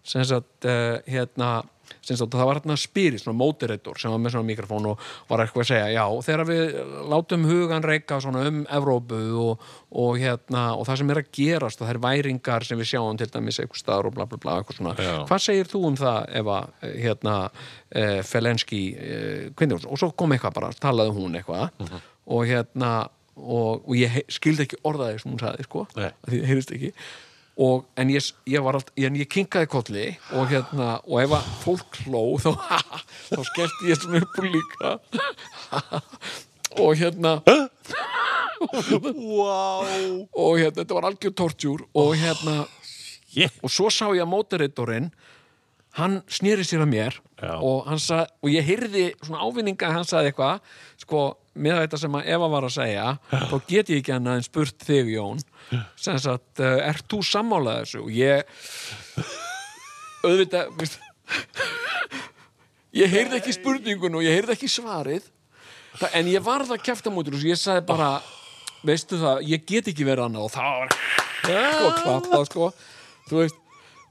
C: sem sagt, uh, hérna sem sagt, það var hérna spyrir, svona moderator sem var með svona mikrofón og var eitthvað að segja já, og þegar við látum hugan reyka svona um Evrópu og, og hérna, og það sem er að gerast og það er væringar sem við sjáum til dæmis einhver staðar og bla bla bla, eitthvað svona
A: Já.
C: hvað segir þú um það ef að eh, hérna, uh, Felenski uh, kvindur, og svo kom eitthvað bara, talaði hún eitthvað og hérna og, og ég he- skildi ekki orðaði sem hún sagði, sko,
A: Nei.
C: Af því það heyrist ekki og, en ég, ég var allt, en ég kinkaði kolli og hérna, og ef að fólk hló þá, þá skellti ég svona upp úr líka og hérna
A: Wow
C: og hérna, þetta var algjör tortjúr og hérna, og svo sá ég að mótaritorinn hann snýri sér að mér
A: Já.
C: og, hann sað, og ég heyrði svona ávinninga að hann saði eitthvað sko, með þetta sem að Eva var að segja þá get ég ekki hann aðeins spurt þig Jón eh, sem sagt, uh, ert þú sammálaði þessu og ég auðvitað, veist Ég heyrði ekki spurningun og ég heyrði ekki svarið Þa, en ég varð að kæfta mútur og ég sagði bara veistu það, ég get ekki verið annað og þá var sko klappa sko. þú veist,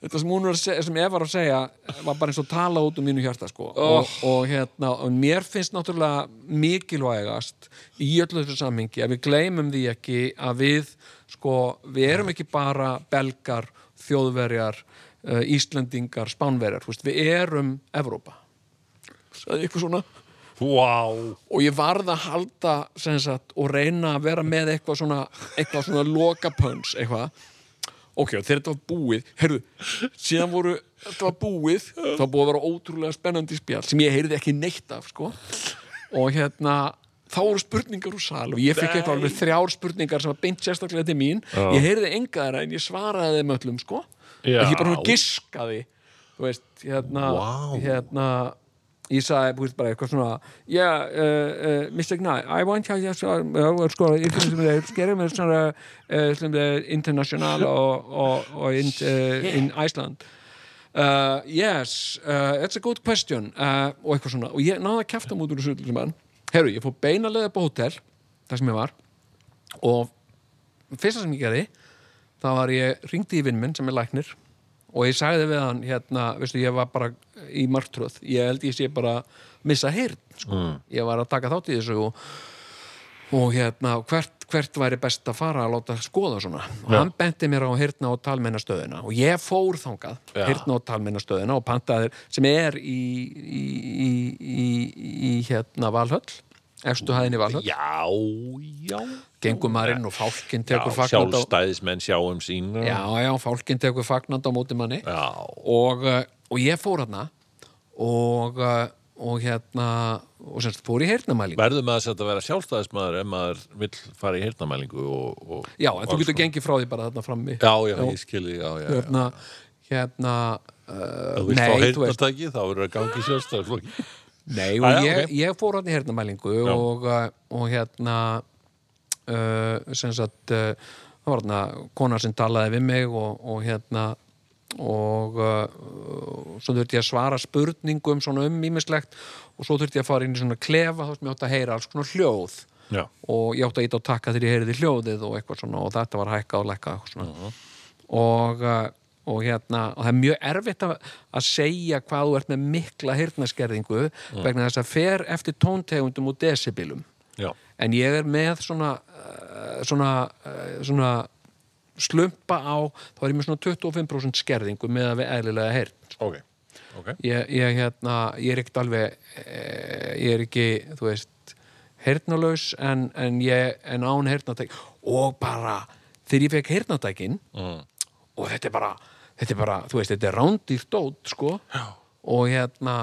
C: þetta sem hún var að segja sem ég var að segja, var bara eins og tala út um mínu hjarta sko og, og hérna, og mér finnst náttúrulega mikilvægast í öllu þessu samhengi að við gleymum því ekki að við, sko, við erum ekki bara belgar, þjóðverjar uh, Íslendingar, Spánverjar þú veist, við erum Evrópa sagði ykkur svona
A: Vá.
C: og ég varð að halda sem sagt, og reyna að vera með eitthvað svona eitthvað svona lokapöns eitthvað ok, og þegar þetta var búið herðu, síðan voru þetta var búið, það var búið að vera ótrúlega spennandi spjall sem ég heyrði ekki neitt af sko. og hérna þá voru spurningar úr sal og ég fikk eitthvað alveg þrjár spurningar sem var beint sérstaklega til mín ég heyrði enga þeirra en ég svaraði þeim öllum sko.
A: Já.
C: ég bara svona giskaði þú veist, hérna,
A: Vá.
C: hérna ég sagði búið bara eitthvað svona yeah, uh, uh, Mr. Gnai, I want you to uh, sko, skerum er svona uh, sem er international og, og, og in, uh, in Iceland uh, yes uh, it's a good question uh, og eitthvað svona, og ég náði að kæfta mútur úr þessu mann, herru, ég fór beina leið upp á hótel, þar sem ég var og fyrsta sem ég gerði þá var ég ringdi í vinn minn sem er læknir og ég sagði við hann hérna, veistu, ég var bara í martröð ég held ég sé bara að missa heyrn sko.
A: Mm.
C: ég var að taka þátt í þessu og, og hérna, hvert, hvert væri best að fara að láta skoða svona og hann benti mér á heyrna og talmennastöðina og ég fór þangað,
A: Já.
C: heyrna og talmennastöðina og pantaðir sem er í, í, í, í, í hérna Valhöll efstu hæðinni Valhöll,
A: Já, já.
C: gengur maður inn og fálkinn
A: Já,
C: tekur fagnandi á,
A: sjálfstæðismenn sjáum sína.
C: já, já, fálkinn tekur fagnandi á móti manni
A: Já.
C: og, uh, og ég fór hérna og, uh, og hérna og semst fór í heyrnamælingu
A: Verður maður þess að þetta vera sjálfstæðismæður ef maður vill fara í heyrnamælingu og... og
C: já, en þú
A: og
C: getur
A: svona.
C: gengið frá því bara þarna frammi
A: Já, já, ég skilji, já, já. já.
C: hérna, hérna
A: Ef
C: uh,
A: þú vilt fá
C: nei, þú veist
A: heyrnatæki, þá verður það gangi sjálfstæðisflokki.
C: nei,
A: Ah, já,
C: og ég,
A: ok.
C: ég fór hérna í heyrnamælingu og, uh, og hérna uh, sem sagt uh, það var hérna kona sem talaði við mig og, og hérna og uh, svo þurfti ég að svara spurningum svona um ímislegt og svo þurfti ég að fara inn í svona klefa þá sem ég átti að heyra alls konar hljóð
A: Já.
C: og ég átti að íta á takka þegar ég heyriði hljóðið og eitthvað svona og þetta var hækka og lækka eitthvað svona. og, uh, og hérna og það er mjög erfitt að, að segja hvað þú ert með mikla hirtnaskerðingu vegna þess að fer eftir tóntegundum og desibilum
A: Já.
C: en ég er með svona uh, svona, uh, svona slumpa á, þá er ég með svona 25% skerðingu með að við eðlilega heyrt
A: Ok. Ok.
C: ég, ég, hérna, ég er ekkert alveg e, ég er ekki, þú veist heyrnalaus en, en, ég, en án heyrnatæk og bara þegar ég fekk heyrnatækin mm. og þetta er bara þetta er bara, þú veist, þetta er rándýrt dót sko Já. og hérna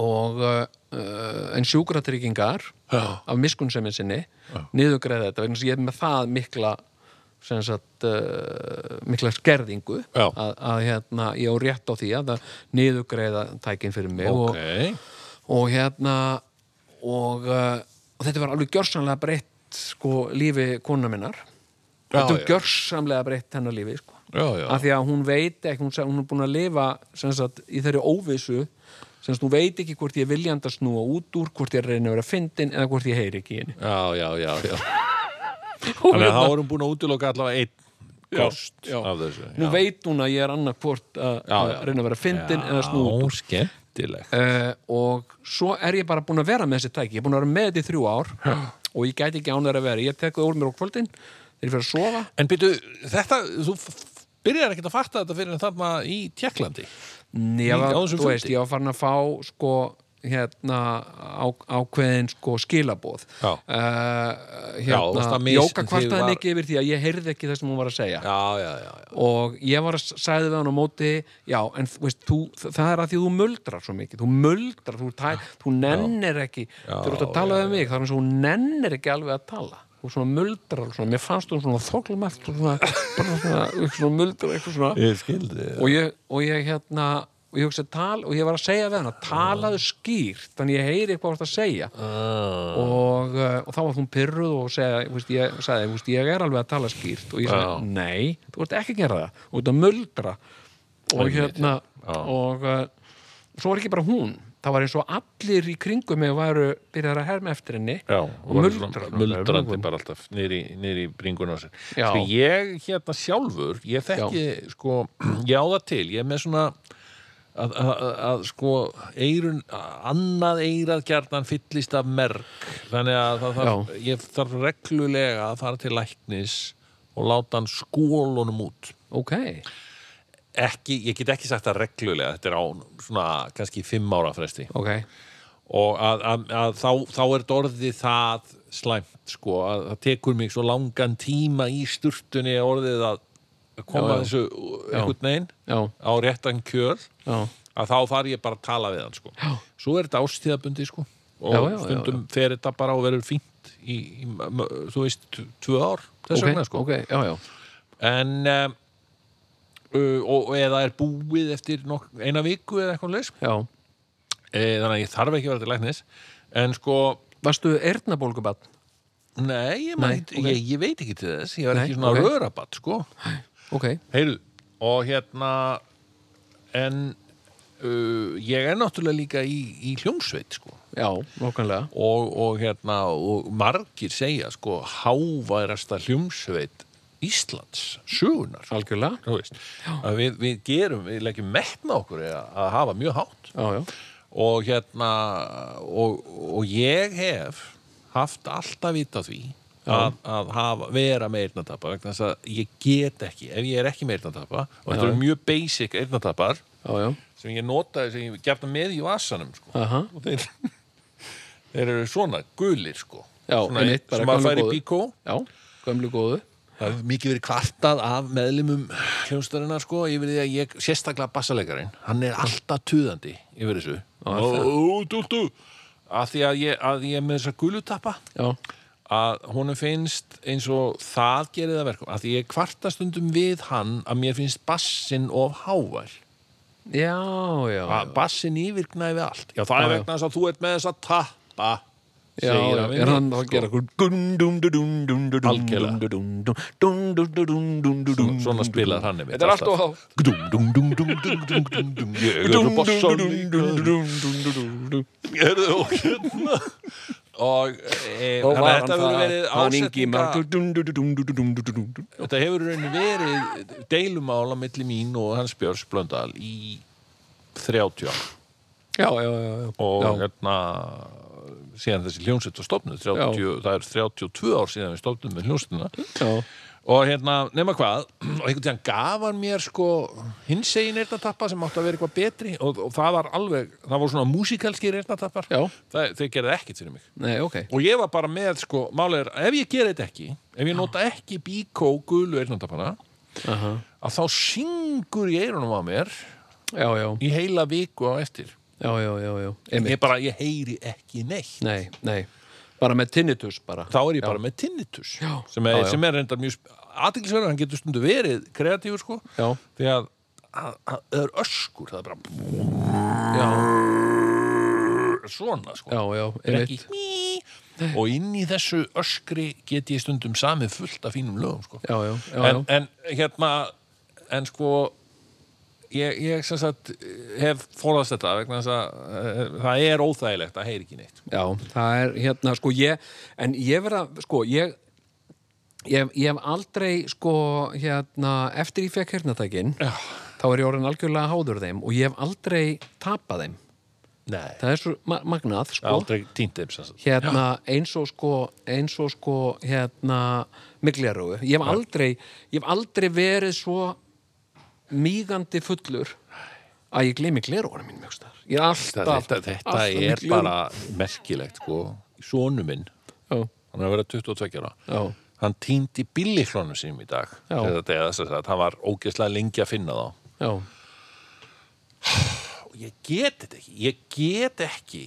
C: og uh, en sjúkratryggingar
A: Já.
C: af miskunnsemin sinni niðurgreða þetta vegna sem ég er með það mikla sem sagt uh, mikla skerðingu
A: Já.
C: að, að hérna, ég á rétt á því að það niðurgreða tækin fyrir mig
A: Ok.
C: og, og hérna og, uh, og þetta var alveg gjörsamlega breytt sko lífi kona minnar
A: Já,
C: þetta var
A: já.
C: gjörsamlega breytt hennar lífi sko
A: Já, já.
C: af því að hún veit ekki, hún, sa- hún er búin að lifa sem sagt, í þeirri óvissu sem sagt, hún veit ekki hvort ég er viljandi að snúa út úr hvort ég er reyna að vera fyndin eða hvort ég heyri ekki í henni
A: Já, já, já, já. Þannig að þá erum búin að útiloka allavega einn kost
C: hérna- já.
A: af þessu.
C: nú veit hún að ég er annað hvort að að
A: já.
C: reyna að vera fyndin eða snúa út úr.
A: Já, skemmtilegt.
C: uh, og svo er ég bara búin að vera með þessi tæki ég er búin að vera með þetta í þrjú ár og ég gæti ekki án þeirra að vera, ég tek það úr mér á kvöldin þegar ég fyrir að sofa
A: En byrju, þetta, þú f- byrjar ekkert að fatta þetta fyrir en þarna í Tjekklandi.
C: Nei, ég
A: Í-
C: var,
A: á þessum
C: þú veist,
A: fundi?
C: ég var farin að fá sko, hérna á, ákveðin sko skilabóð
A: Já.
C: Eh,
A: Já, þú varst
C: hérna,
A: að mis-
C: Jóka
A: þig
C: kvartaði
A: var-
C: mikið yfir því að ég heyrði ekki það sem hún var að segja
A: Já, já, já, já.
C: og ég var að s- sagði við hann á móti já, en þú veist, þú, það er að því að þú muldrar svo mikið, þú muldrar þú, tæ, þú nennir ekki þú ert að tala við mig, það er eins og hún nennir ekki alveg að tala, þú svona muldrar og svona, mér fannst hún svona þoklumælt og svona, bara svona, svona muldrar eitthvað svona
A: Ég skildi.
C: og ég, og ég hérna og ég hugsaði tal og ég var að segja við hana talaðu
A: Ah.
C: skýrt, þannig ég heyri eitthvað hvort að segja og, uh, og þá var hún pyrruð og segja, þú veist, ég, sagði, þú veist, ég er alveg að tala skýrt og ég sagði, nei, þú ert ekki að gera það þú ert að muldra og hérna og uh, svo var ekki bara hún það var eins og allir í kringum mig væru byrjar að herma eftir henni
A: Já,
C: og
A: var
C: muldraði
A: svona
C: svona
A: muldrandi
C: augum.
A: bara alltaf niður í, niður í bringun á sér
C: Já.
A: sko ég hérna sjálfur ég þekki, sko, ég á það til ég er með svona að, að, að, að sko, eirun annað eirað gjarnan fyllist af merk, þannig að það þarf, ég þarf reglulega að fara til læknis og láta hann skólunum út
C: ok,
A: ekki, ég get ekki sagt það reglulega þetta er á svona kannski fimm ára fresti
C: ok
A: og að, að, að þá, þá er þetta orðið það slæmt sko, að það tekur mig svo langan tíma í sturtunni orðið að að koma
C: Já, já.
A: þessu einhvern veginn
C: já,
A: á réttan kjöl
C: já,
A: að þá þarf ég bara að tala við hann sko.
C: Já.
A: svo er þetta ástíðabundi sko, og
C: Já, já, já,
A: stundum fer þetta bara og verður fínt í, í, m- þú veist, t- tvö ár þess
C: ok,
A: vegna sko
C: ok, já, já
A: en um, uh, og eða er búið eftir nok, eina viku eða eitthvað leis
C: já,
A: e, þannig að ég þarf ekki að vera til læknis en sko,
C: varstu eyrnabólgubann
A: Nei, ég,
C: Nei,
A: Nei
C: ok.
A: ég, ég veit ekki til þess Ég var
C: Nei,
A: ekki svona
C: ok.
A: okay. rörabatt, sko
C: ok,
A: Heyrðu, og hérna En uh, Ég er náttúrulega líka í, í hljómsveit, sko
C: já, nokkanlega
A: og, og hérna, og margir segja, sko, háværasta hljómsveit Íslands sögunar, sko.
C: algjörlega,
A: þú veist að við, við gerum, við leggjum metna okkur að, að hafa mjög hátt
C: já, já
A: og hérna og, og ég hef haft alltaf vita því að, að hafa, vera með eyrnatappa vegna þess að ég get ekki ef ég er ekki með eyrnatappa og þetta
C: Já.
A: eru mjög basic eyrnatappar
C: já, já,
A: sem ég notaði sem ég gerði með í vasanum sko.
C: Aha.
A: og þeir, þeir eru svona gulir sko.
C: Já,
A: svona,
C: einmitt, bara
A: sem að
C: gömlu
A: færi
C: góðu.
A: bíkó
C: já, gömlu góðu
A: Það hefur mikið verið kvartað af meðlimum hljómsdarinnar sko yfir því að ég, sérstaklega bassalegarinn, hann er alltaf tuðandi yfir þessu. Ó, dúldu! Að því að ég, að ég er með þessa gulutappa,
C: já,
A: að honum finnst eins og það gerir það verkum. Að því ég kvarta stundum við hann að mér finnst bassinn of hávær.
C: já, já, já.
A: Að bassinn yfirgnæfi allt. Já, það
C: Já,
A: er
C: já.
A: vegna þess að þú ert með þessa tappa.
C: Já,
A: segir
C: já,
A: við
C: er
A: mig,
C: hann sko. þá að gera okkur
A: Algjörlega.
C: Algjörlega
A: Svona- svona spilar hann einmitt
C: Þetta er allt
A: alltaf.
C: og hátt
A: Dum, dum, dum, dum, dum, dum, dum, dum. Ég er bassalegari. Gerðu og hérna Og, e,
C: Og
A: þannig að
C: var hann
A: þetta hefur
C: það
A: verið
C: Hann ingi
A: ásetninga
C: margur
A: Þetta hefur raunin verið deilumála milli mín og hans Björns Blöndal í 30 ár
C: Já, já, já, já
A: og
C: Já.
A: hérna síðan þessi hljónsett og stofnu 30, það er 32 ár síðan við stofnum með hljónsettina
C: Já,
A: og hérna, nema hvað og einhvern tíðan gaf hann mér sko hins egin eyrnatappa sem átti að vera eitthvað betri og, og það var alveg, það voru svona músikalskir eyrnatappar,
C: Já.
A: Það- þeir gerði ekkert fyrir mig
C: nei, ok
A: og ég var bara með sko, málið er, að ef ég gera þetta ekki ef ég nota ekki bíkó gulu eyrnandapana
C: Aha.
A: að þá syngur ég eyrunum á mér
C: Já, já,
A: í heila viku á eftir
C: já, já, já, já
A: ég
C: Einmitt.
A: bara, ég heyri ekki neitt
C: Nei, nei Bara með tinnitus bara
A: þá er ég bara með tinnitus
C: Já.
A: sem er,
C: Já, já.
A: sem er reyndar mjög aðtilsverður, hann getur stundu verið kreatífur sko,
C: Já,
A: því að að- að- það er öskur, það er bara
C: já,
A: svona sko
C: já, já,
A: Er
C: einmitt
A: ekki, og inn í þessu öskri get ég stundum samið fullt af fínum lögum sko.
C: Já, já, já, já,
A: en, en hérna en sko ég, ég sem sagt hef forðast þetta vegna þess að eh, það er óþægilegt að heyra ekki neitt sko.
C: Já, það er hérna, sko, ég en ég verða, sko, ég ég, ég hef aldrei, sko hérna, eftir ég fekk hernatækin
A: Já.
C: þá er ég orðin algjörlega háður þeim og ég hef aldrei tapað þeim
A: Nei,
C: það er svo ma magnað, sko
A: aldrei týnt þeim sem sagt.
C: hérna, eins og sko eins og sko, hérna migljarúi, ég hef aldrei ég hef aldrei verið svo mígandi fullur að ég gleymi glerúanum mínum einhvers staðar. ég er alltaf
A: þetta, þetta, þetta
C: alltaf með
A: er
C: gleraugun.
A: bara merkilegt sko, sonu minn
C: já,
A: hann er að vera 22 ára
C: já,
A: hann týndi billiklónum sínum í dag
C: Já.
A: eða, eða, sem sagt, hann var ógeðslega lengi að finna þá
C: já
A: og ég get þetta ekki ég get ekki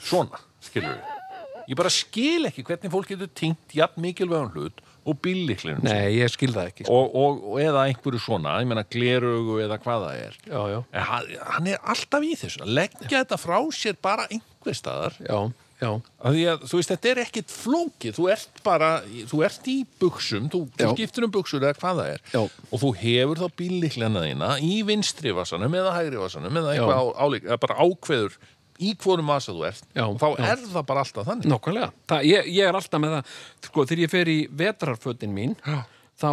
A: svona, skilur við ég bara skil ekki hvernig fólk getur týnt jafn mikilvægum hlut og bílliklinum og,
C: Nei, ég skil það ekki. sko.
A: og, og eða einhverju svona, ég meina glerugu eða hvað það er
C: Já, já.
A: en hann, hann er alltaf í þessu að leggja þetta frá sér bara einhver staðar
C: Já, já,
A: Af Því að, þú veist, þetta er ekkit flókið, þú ert bara, þú ert í buksum, þú, þú
C: Já.
A: skiptir um buksur eða hvað það er
C: Já.
A: og þú hefur þá bílliklana þína í vinstri vasanum eða hægri vasanum eða
C: Já.
A: eitthvað á- álík, eða bara ákveður í hvorum vasa þú ert
C: Já,
A: og þá
C: já.
A: er það bara alltaf þannig.
C: Nákvæmlega. Það, ég, ég er alltaf með það, sko, þegar ég fer í vetrarfötin mín,
A: Já.
C: þá,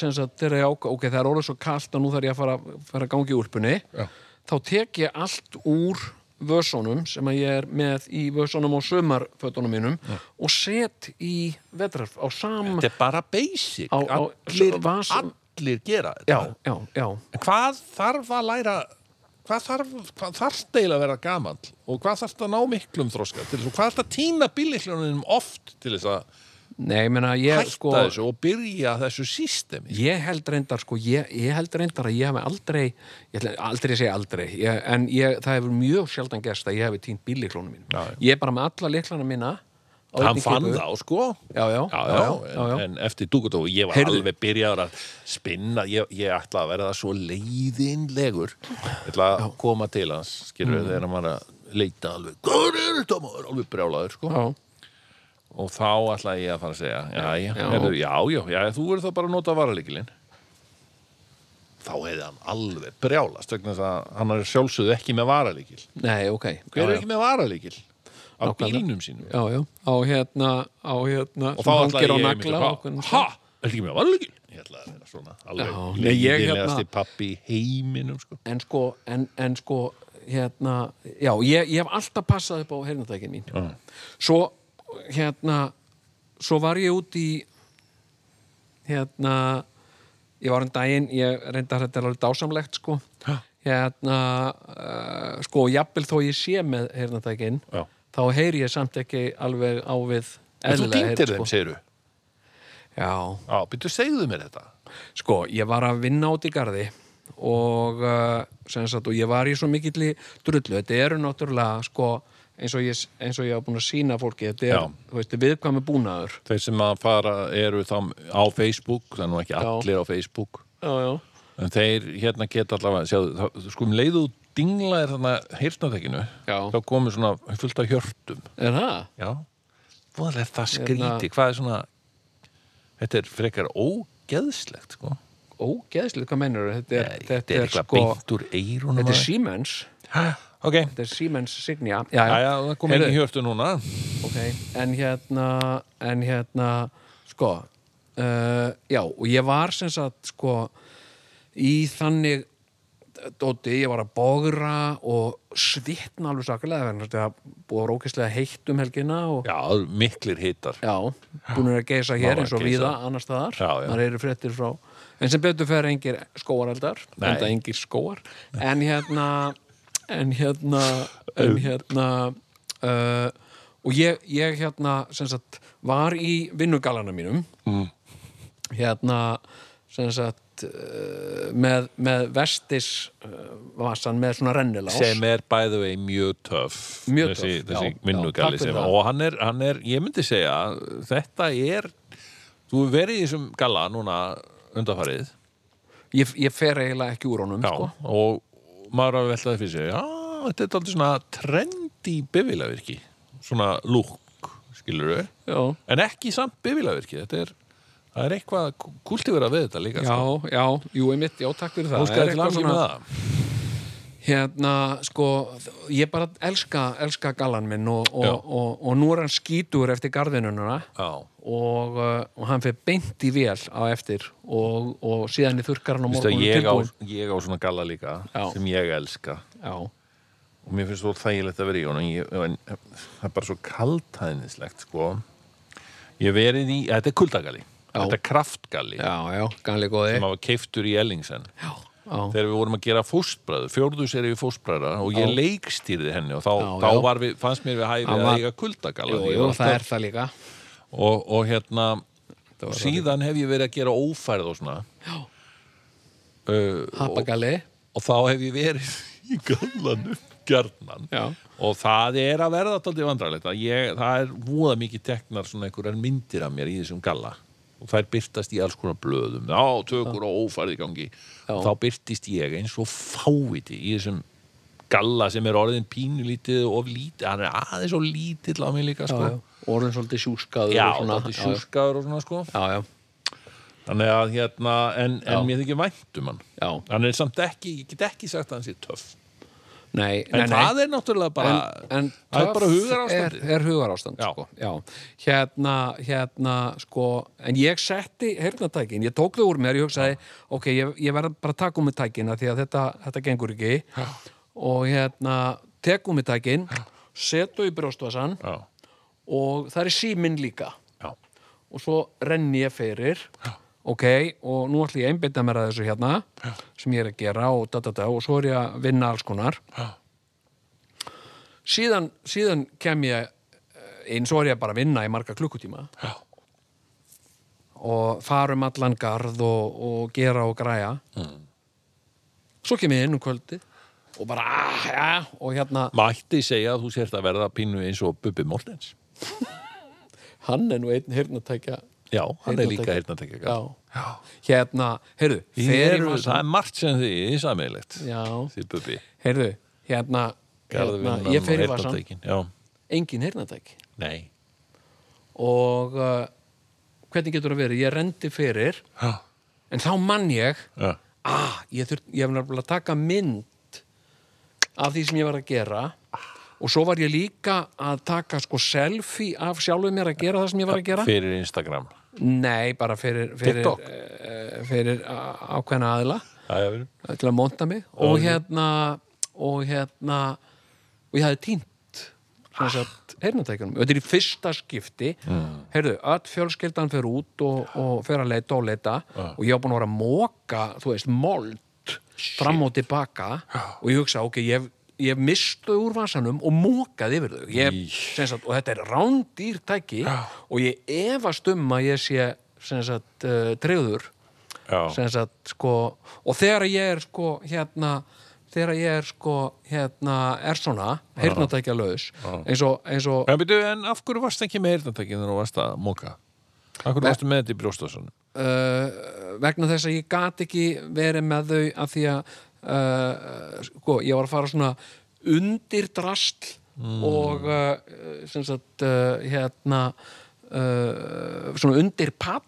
C: sem sagt, þegar ég ákvað, ok, það er orðið svo kalt og nú þarf ég að fara, fara að gangi í úlpunni,
A: Já.
C: þá tek ég allt úr vössónum sem að ég er með í vössónum og sömarfötunum mínum og set í vetrarf á sam...
A: Þetta er bara basic,
C: Á- á-
A: allir,
C: vasum-
A: allir gera þetta.
C: Já, já, já.
A: En hvað þarf að læra hvað þarf, hvað þarf deila að vera gamall og hvað þarf að ná miklum þroska til þess og hvað þarf að týna bílliklunum oft til þess að
C: Nei, ég meina, ég,
A: hætta
C: sko...
A: þessu og byrja þessu sístemi
C: Ég held reyndar, sko, ég, ég held reyndar að ég hef aldrei, ég ætla aldrei að segja aldrei, ég, en ég, það hefur mjög sjaldan gerst að ég hefði týnt bílliklónum mínum.
A: Já, já.
C: Ég er bara með alla liklana mína. á
A: hann
C: einni
A: fann
C: kipu.
A: þá sko
C: Já, já,
A: Já, já, en,
C: já, já.
A: en eftir dúkut og ég var
C: Heyrðu.
A: alveg byrjaður að spinna ég, ég ætla að vera það svo leiðinlegur ég ætla að koma til hans skilur mm. þegar maður er að leita alveg, hvað er þetta maður, alveg brjálaður sko.
C: Já,
A: og þá ætla ég að fara að segja já, já,
C: Já.
A: heyrðu, já, já, já, þú verður þá bara að nota varalíkilinn þá hefði hann alveg brjálast vegna þess að hann er sjálfsögðu ekki með varalíkil
C: nei, ok.
A: hver er
C: já,
A: ekki með varalíkil? á
C: Nákvæmlega.
A: bílnum sínum
C: Já, já, á hérna, á hérna,
A: og þá ætla ég
C: hangir á
A: einmitt
C: nagla.
A: að
C: og
A: fá-
C: hvernig-
A: ha, er ekki með varalíkil? ég ætla að vera svona
C: Já,
A: alveg
C: nei, ég
A: leiðilegasti
C: hérna-
A: pappi í heiminum sko.
C: En sko, en, en sko, hérna, já, ég, ég hef alltaf passað upp á hernatækin mín.
A: Já.
C: Svo, hérna, svo var ég út í, hérna, ég var um daginn, ég reyndi að þetta er alveg dásamlegt, sko.
A: Ha.
C: Hérna, uh, sko, jafnvel þó ég sé með hernatækin,
A: Já.
C: þá heyri ég samt ekki alveg á við
A: en þú
C: eðlilega
A: týndir
C: heyrn,
A: þeim, segirðu
C: Já,
A: já, byrju, segðu mér þetta
C: Sko, ég var að vinna út í garði og, uh, sem sagt, og ég var í svo mikill drullu. Þetta eru náttúrulega, sko, eins og ég, eins og ég hef búin að sína fólki, þetta er,
A: Já.
C: þú veist, viðkvæmi búnaður.
A: þeir sem að fara eru þá á Facebook, það er nú ekki allir á Facebook
C: Já, já.
A: En þeir hérna geta allavega, sjáðu, þá, sko, skum leiðu dingla er þarna heyrnatekinu,
C: Já.
A: þá komið svona fullt af hjörtum.
C: Er það?
A: Já. Voðalega er það skríti,
C: Hérna-
A: hvað er svona, þetta er frekar ógeðslegt, sko.
C: Ógeðslið, hvað mennur þetta? Er,
A: Nei,
C: þetta er,
A: eitthvað
C: sko,
A: beint úr eirunum.
C: þetta er Siemens,
A: síðan. Ok,
C: þetta er Siemens Signia. Já, já,
A: aðja, það komið
C: Heyrðu,
A: ekki hjörtu núna.
C: ok, en hérna en hérna, sko uh, já, og ég var sem sagt, sko í þannig dóti, ég var að bogra og svitna alveg sakalega þannig að það búið rókislega heitt um helgina og
A: Já, það eru miklir hittar.
C: já, búinir að geisa hér
A: var
C: eins og
A: að geisa.
C: víða annars staðar,
A: Já, já.
C: þar eru fréttir frá en sem betur fer engir skóareldar
A: Nei.
C: enda engir skóar en hérna en hérna, en hérna uh, og ég, ég hérna sem sagt, var í vinnugalana mínum
A: Mm.
C: hérna sem sagt uh, með, með vestis uh, vasan með svona rennilás
A: sem er bæðu vegi mjög töff
C: Mjög
A: þessi,
C: töff, já,
A: þessi
C: já,
A: vinnugalli
C: takk fyrir
A: sem,
C: það.
A: og hann er, hann er, ég myndi segja þetta er þú hefur verið í þessum galla núna undanfarið
C: ég, ég fer eiginlega ekki úr honum sko.
A: og maður er að velta það fyrir sig já, þetta er alltaf svona trendy bifilavirki, svona lúk skilur við,
C: já
A: en ekki samt bifilavirki, þetta er það er eitthvað kultivera við þetta líka sko.
C: Já, já, jú, einmitt, já, takk fyrir það
A: Þú
C: Það
A: skal
C: er
A: til
C: eitthvað
A: aðeins með það
C: Hérna, sko, ég bara elska, elska gallan minn og, og,
A: Já.
C: og, og, nú er hann skítur eftir garðinununa
A: Já,
C: og, uh, og hann fyrir beint í vél á eftir og, og síðan í þurkar hann á
A: Veistu að
C: morgunum
A: ég á,
C: tilbúin
A: ég á svona galla líka
C: Já.
A: sem ég elska
C: Já,
A: og mér finnst þú þægilegt að vera í honum ég, en það er bara svo kaltæðnislegt sko ég hef verið í, þetta er kuldagalli þetta er kraftgalli
C: já, já, ganlega góði
A: sem hafa keiftur í Ellingsen
C: Já, já,
A: þegar við vorum að gera fóstbræður, fjórðu seri við fóstbræðra og ég leikstýrði henni og þá,
C: Já,
A: þá
C: já.
A: var við, fannst mér við hæfi
C: Hann
A: að
C: var-
A: eiga kuldagalla
C: jú,
A: því ég
C: jú,
A: var
C: það
A: alltaf-
C: er það líka
A: og, og hérna
C: var
A: síðan hef ég verið að gera ófærð og svona uh, og,
C: Hapagalli
A: og þá hef ég verið í gallanum gjarnan
C: Já.
A: og það er að verða tóldið vandrarlegt að ég, það er voða mikið teknar svona einhverjar myndir af mér í þessum galla og þær byrtast í alls konar blöðum á tökur og ófærði gangi
C: Já.
A: og þá byrtist ég eins og fáviti í þessum galla sem er orðin pínulítið og of lítið, hann er aðeins og lítill á mig líka
C: já,
A: sko.
C: já. orðin svolítið sjúskaður
A: Já,
C: og svona,
A: þátti sjúskaður og svona sko
C: já, já, já,
A: Þannig að hérna, en,
C: Já.
A: en mér þykir vænt um hann
C: já.
A: Hann er samt ekki, ég get ekki sagt að hann sé töff
C: Nei,
A: En
C: nei, nei.
A: það er náttúrulega bara
C: en, en
A: það er bara
C: töff
A: hugarástandið.
C: er, er hugarástand
A: Já.
C: Sko. Já. hérna, hérna sko, en ég setti heyrnatækin, ég tók þau úr mér ég hugsaði, ok, ég, ég verð bara að taka um með tækin af því að þetta, þetta gengur ekki Já. og hérna, tek um með tækin setu í brjóstvasan
A: Já,
C: og það er síminn líka
A: já,
C: og svo renni ég fyrir ok, og nú ætlum ég að einbytta mér að þessu hérna sem ég er að gera og da da da og svo er ég að vinna alls konar
A: Já.
C: síðan, síðan kem ég eh, inn, svo er ég bara að vinna í marga klukkutíma
A: já,
C: og fara um allan garð og, og gera og græja
A: Mm.
C: svo kem ég inn um kvöldi og bara, ah, ja, og hérna
A: Mætti segja að þú sért að verða pínu eins og Bubbi Mortens
C: hann er nú einn hirnatækja
A: Já, hann er
C: Heyrnartæki.
A: líka heyrnartækja
C: já, hérna, heyrðu fer í
A: Þeir,
C: vasann.
A: það er margt sem þið er sammeilegt
C: Já.
A: Þið Bubbi,
C: Heyrðu, hérna, hérna
A: Garðvinnan
C: ég fer í
A: og
C: vasan,
A: heyrnartækin Já,
C: engin heyrnatæk
A: nei
C: og uh, hvernig getur það verið? Ég rendi fyrir
A: Já,
C: en þá mann ég
A: já,
C: ah, ég, þurft, ég hef nefnilega að taka mynd af því sem ég var að gera og svo var ég líka að taka sko selfie af sjálfum mér að gera það sem ég var að gera
A: fyrir Instagram
C: Nei, bara fyrir fyrir,
B: TikTok?
C: uh, fyrir á- ákveðna aðila
A: Það er verið
C: til að monta mig og hérna og hérna og ég hafði týnt sem sagt heyrnatækjunum og þetta er í fyrsta skipti heyrðu, öll fjölskyldan fer út og, og fer að leita og leita og ég var búin að vera að móka, þú veist, mold fram og tilbaka og ég hugsa, ok, ég hef- ég hef mist þau úr vasanum og mókaði yfir þau ég,
A: Í.
C: sem sagt, og þetta er rándýr tæki og ég efast um að ég sé sem sagt, uh, treyður
A: Já,
C: sem sagt sko og þegar ég er sko hérna þegar ég er sko hérna er svona, heyrnatækja laus eins og, eins og uh,
A: en, byrju, en af hverju varst ekki með heyrnartækin þegar þú varst að móka? Af hverju varstu með þetta í brjóstasunum?
C: uh, vegna þess að ég gat ekki verið með þau af því að uh, sko, ég var að fara svona undir drastl og uh, sem sagt uh, hérna uh, svona undir pall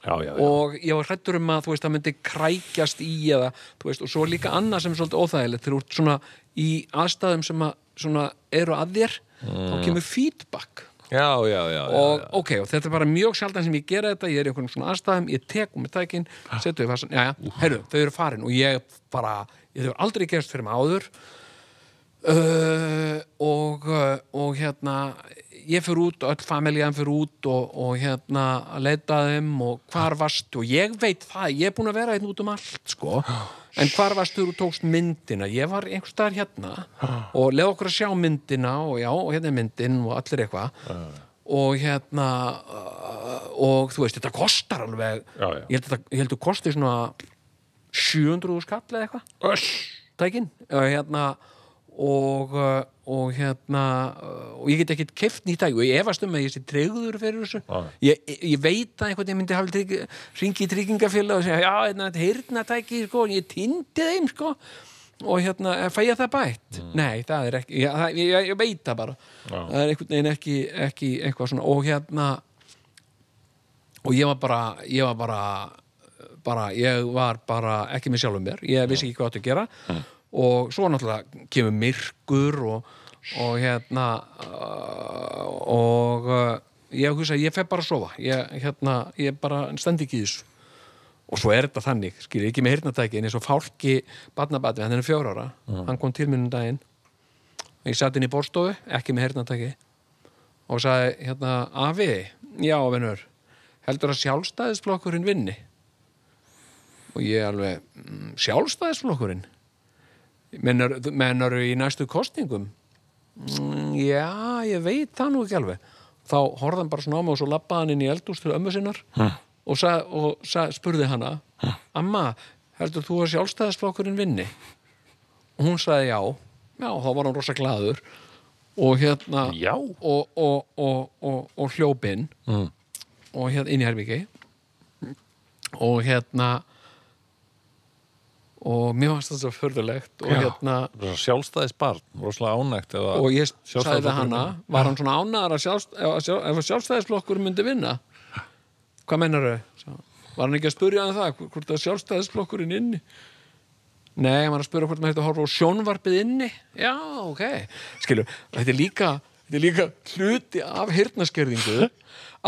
A: Já, já, já
C: og ég var hrættur um að þú veist, það myndi krækjast í eða, þú veist, og svo er líka annað sem er svolítið óþægilegt, þegar þú ert svona í aðstæðum sem að, svona, eru að þér þá kemur feedback
A: Já, já, Mm. já,
C: og
A: já, já.
C: ok, og þetta er bara mjög sjaldan sem ég gera þetta, ég er í einhvern svona aðstæðum ég tek um með tækin, setu við fastan já, já, herru, þau eru farin og ég bara ég þau aldrei gerst fyrir mig áður uh, og uh, og hérna ég fyrir út, öll familjan fyrir út og, og hérna að leita að þeim og hvar varstu, og ég veit það ég er búin að vera einn út um allt sko
A: Ah,
C: en hvar varstu og tókst myndina ég var einhvers staðar hérna
A: Ah.
C: og leið okkur að sjá myndina og já, og hérna er myndin og allir eitthvað
A: Ah.
C: og hérna uh, og þú veist, þetta kostar alveg
A: Já, já.
C: ég held að þetta- ég held að kosti svona 700 skall eða eitthvað tækin og hérna og, uh, og hérna uh, og ég get ekkert keft nýtt tæk og ég efast um að ég sé tregður fyrir þessu
A: Já.
C: ég, ég- ég veit að einhvern veginn myndi hafa trygg, ringi í tryggingafélag og segja já, hérna, þetta heyrna tæki, sko, en ég tindi þeim, sko og hérna, eh, fæ ég það bætt? Nei, það er ekki, ég, það, ég, ég veit það bara
A: Mm. Já.
C: það er einhvern veginn ekki, ekki eitthvað svona, og hérna og ég var bara ég var bara, bara ég var bara ekki með sjálfum mér ég vissi ekki hvað þetta að gera og svo náttúrulega kemur myrkur og, og hérna uh, og uh, ég hugsa ég fer bara að sofa ég, hérna, ég bara stend ekki í þessu og svo er þetta þannig, skil ég ekki með hirnatæki en eins og fálki barnabatni, hann er fjóra ára hann kom til minn um daginn ég satt inn í borstofu, ekki með hirnatæki og sagði hérna afi, já vinur heldur að sjálfstæðisflokkurinn vinni og ég alveg "Mm, sjálfstæðisflokkurinn mennar, mennar í næstu kostningum "Mm, já, ég veit það nú ekki alveg þá horfði hann bara svona á mig og svo labbaði hann inn í eldús til ömmu sinnar og, sag, og sag, spurði hana amma, heldur þú að sjálfstæðisflokkurinn vinni? og hún sagði já já, þá var hann rosa glaður og hérna
A: Já.
C: og, og, og, og, og hljópinn mm. og hérna inn í Herbyggi og hérna og mér fannst það svo förðulegt og
A: Já.
C: hérna
A: Sjálfstæðis barn, rosalega ánægt eða,
C: og ég sagði við
A: Sjálfstæðisflokkurinn
C: hana
A: vinnur.
C: var hann svona ánæðar að sjálfst, ef, að sjálf, ef að sjálfstæðisflokkur myndi vinna hvað mennar þau? var hann ekki að spurja hann það hvort að sjálfstæðisflokkurinn inni nei, hann var að spurja hvort maður hætti að horfa á sjónvarpið inni já, ok, skilju þetta er líka, þetta er líka hluti af hirtnaskerðingu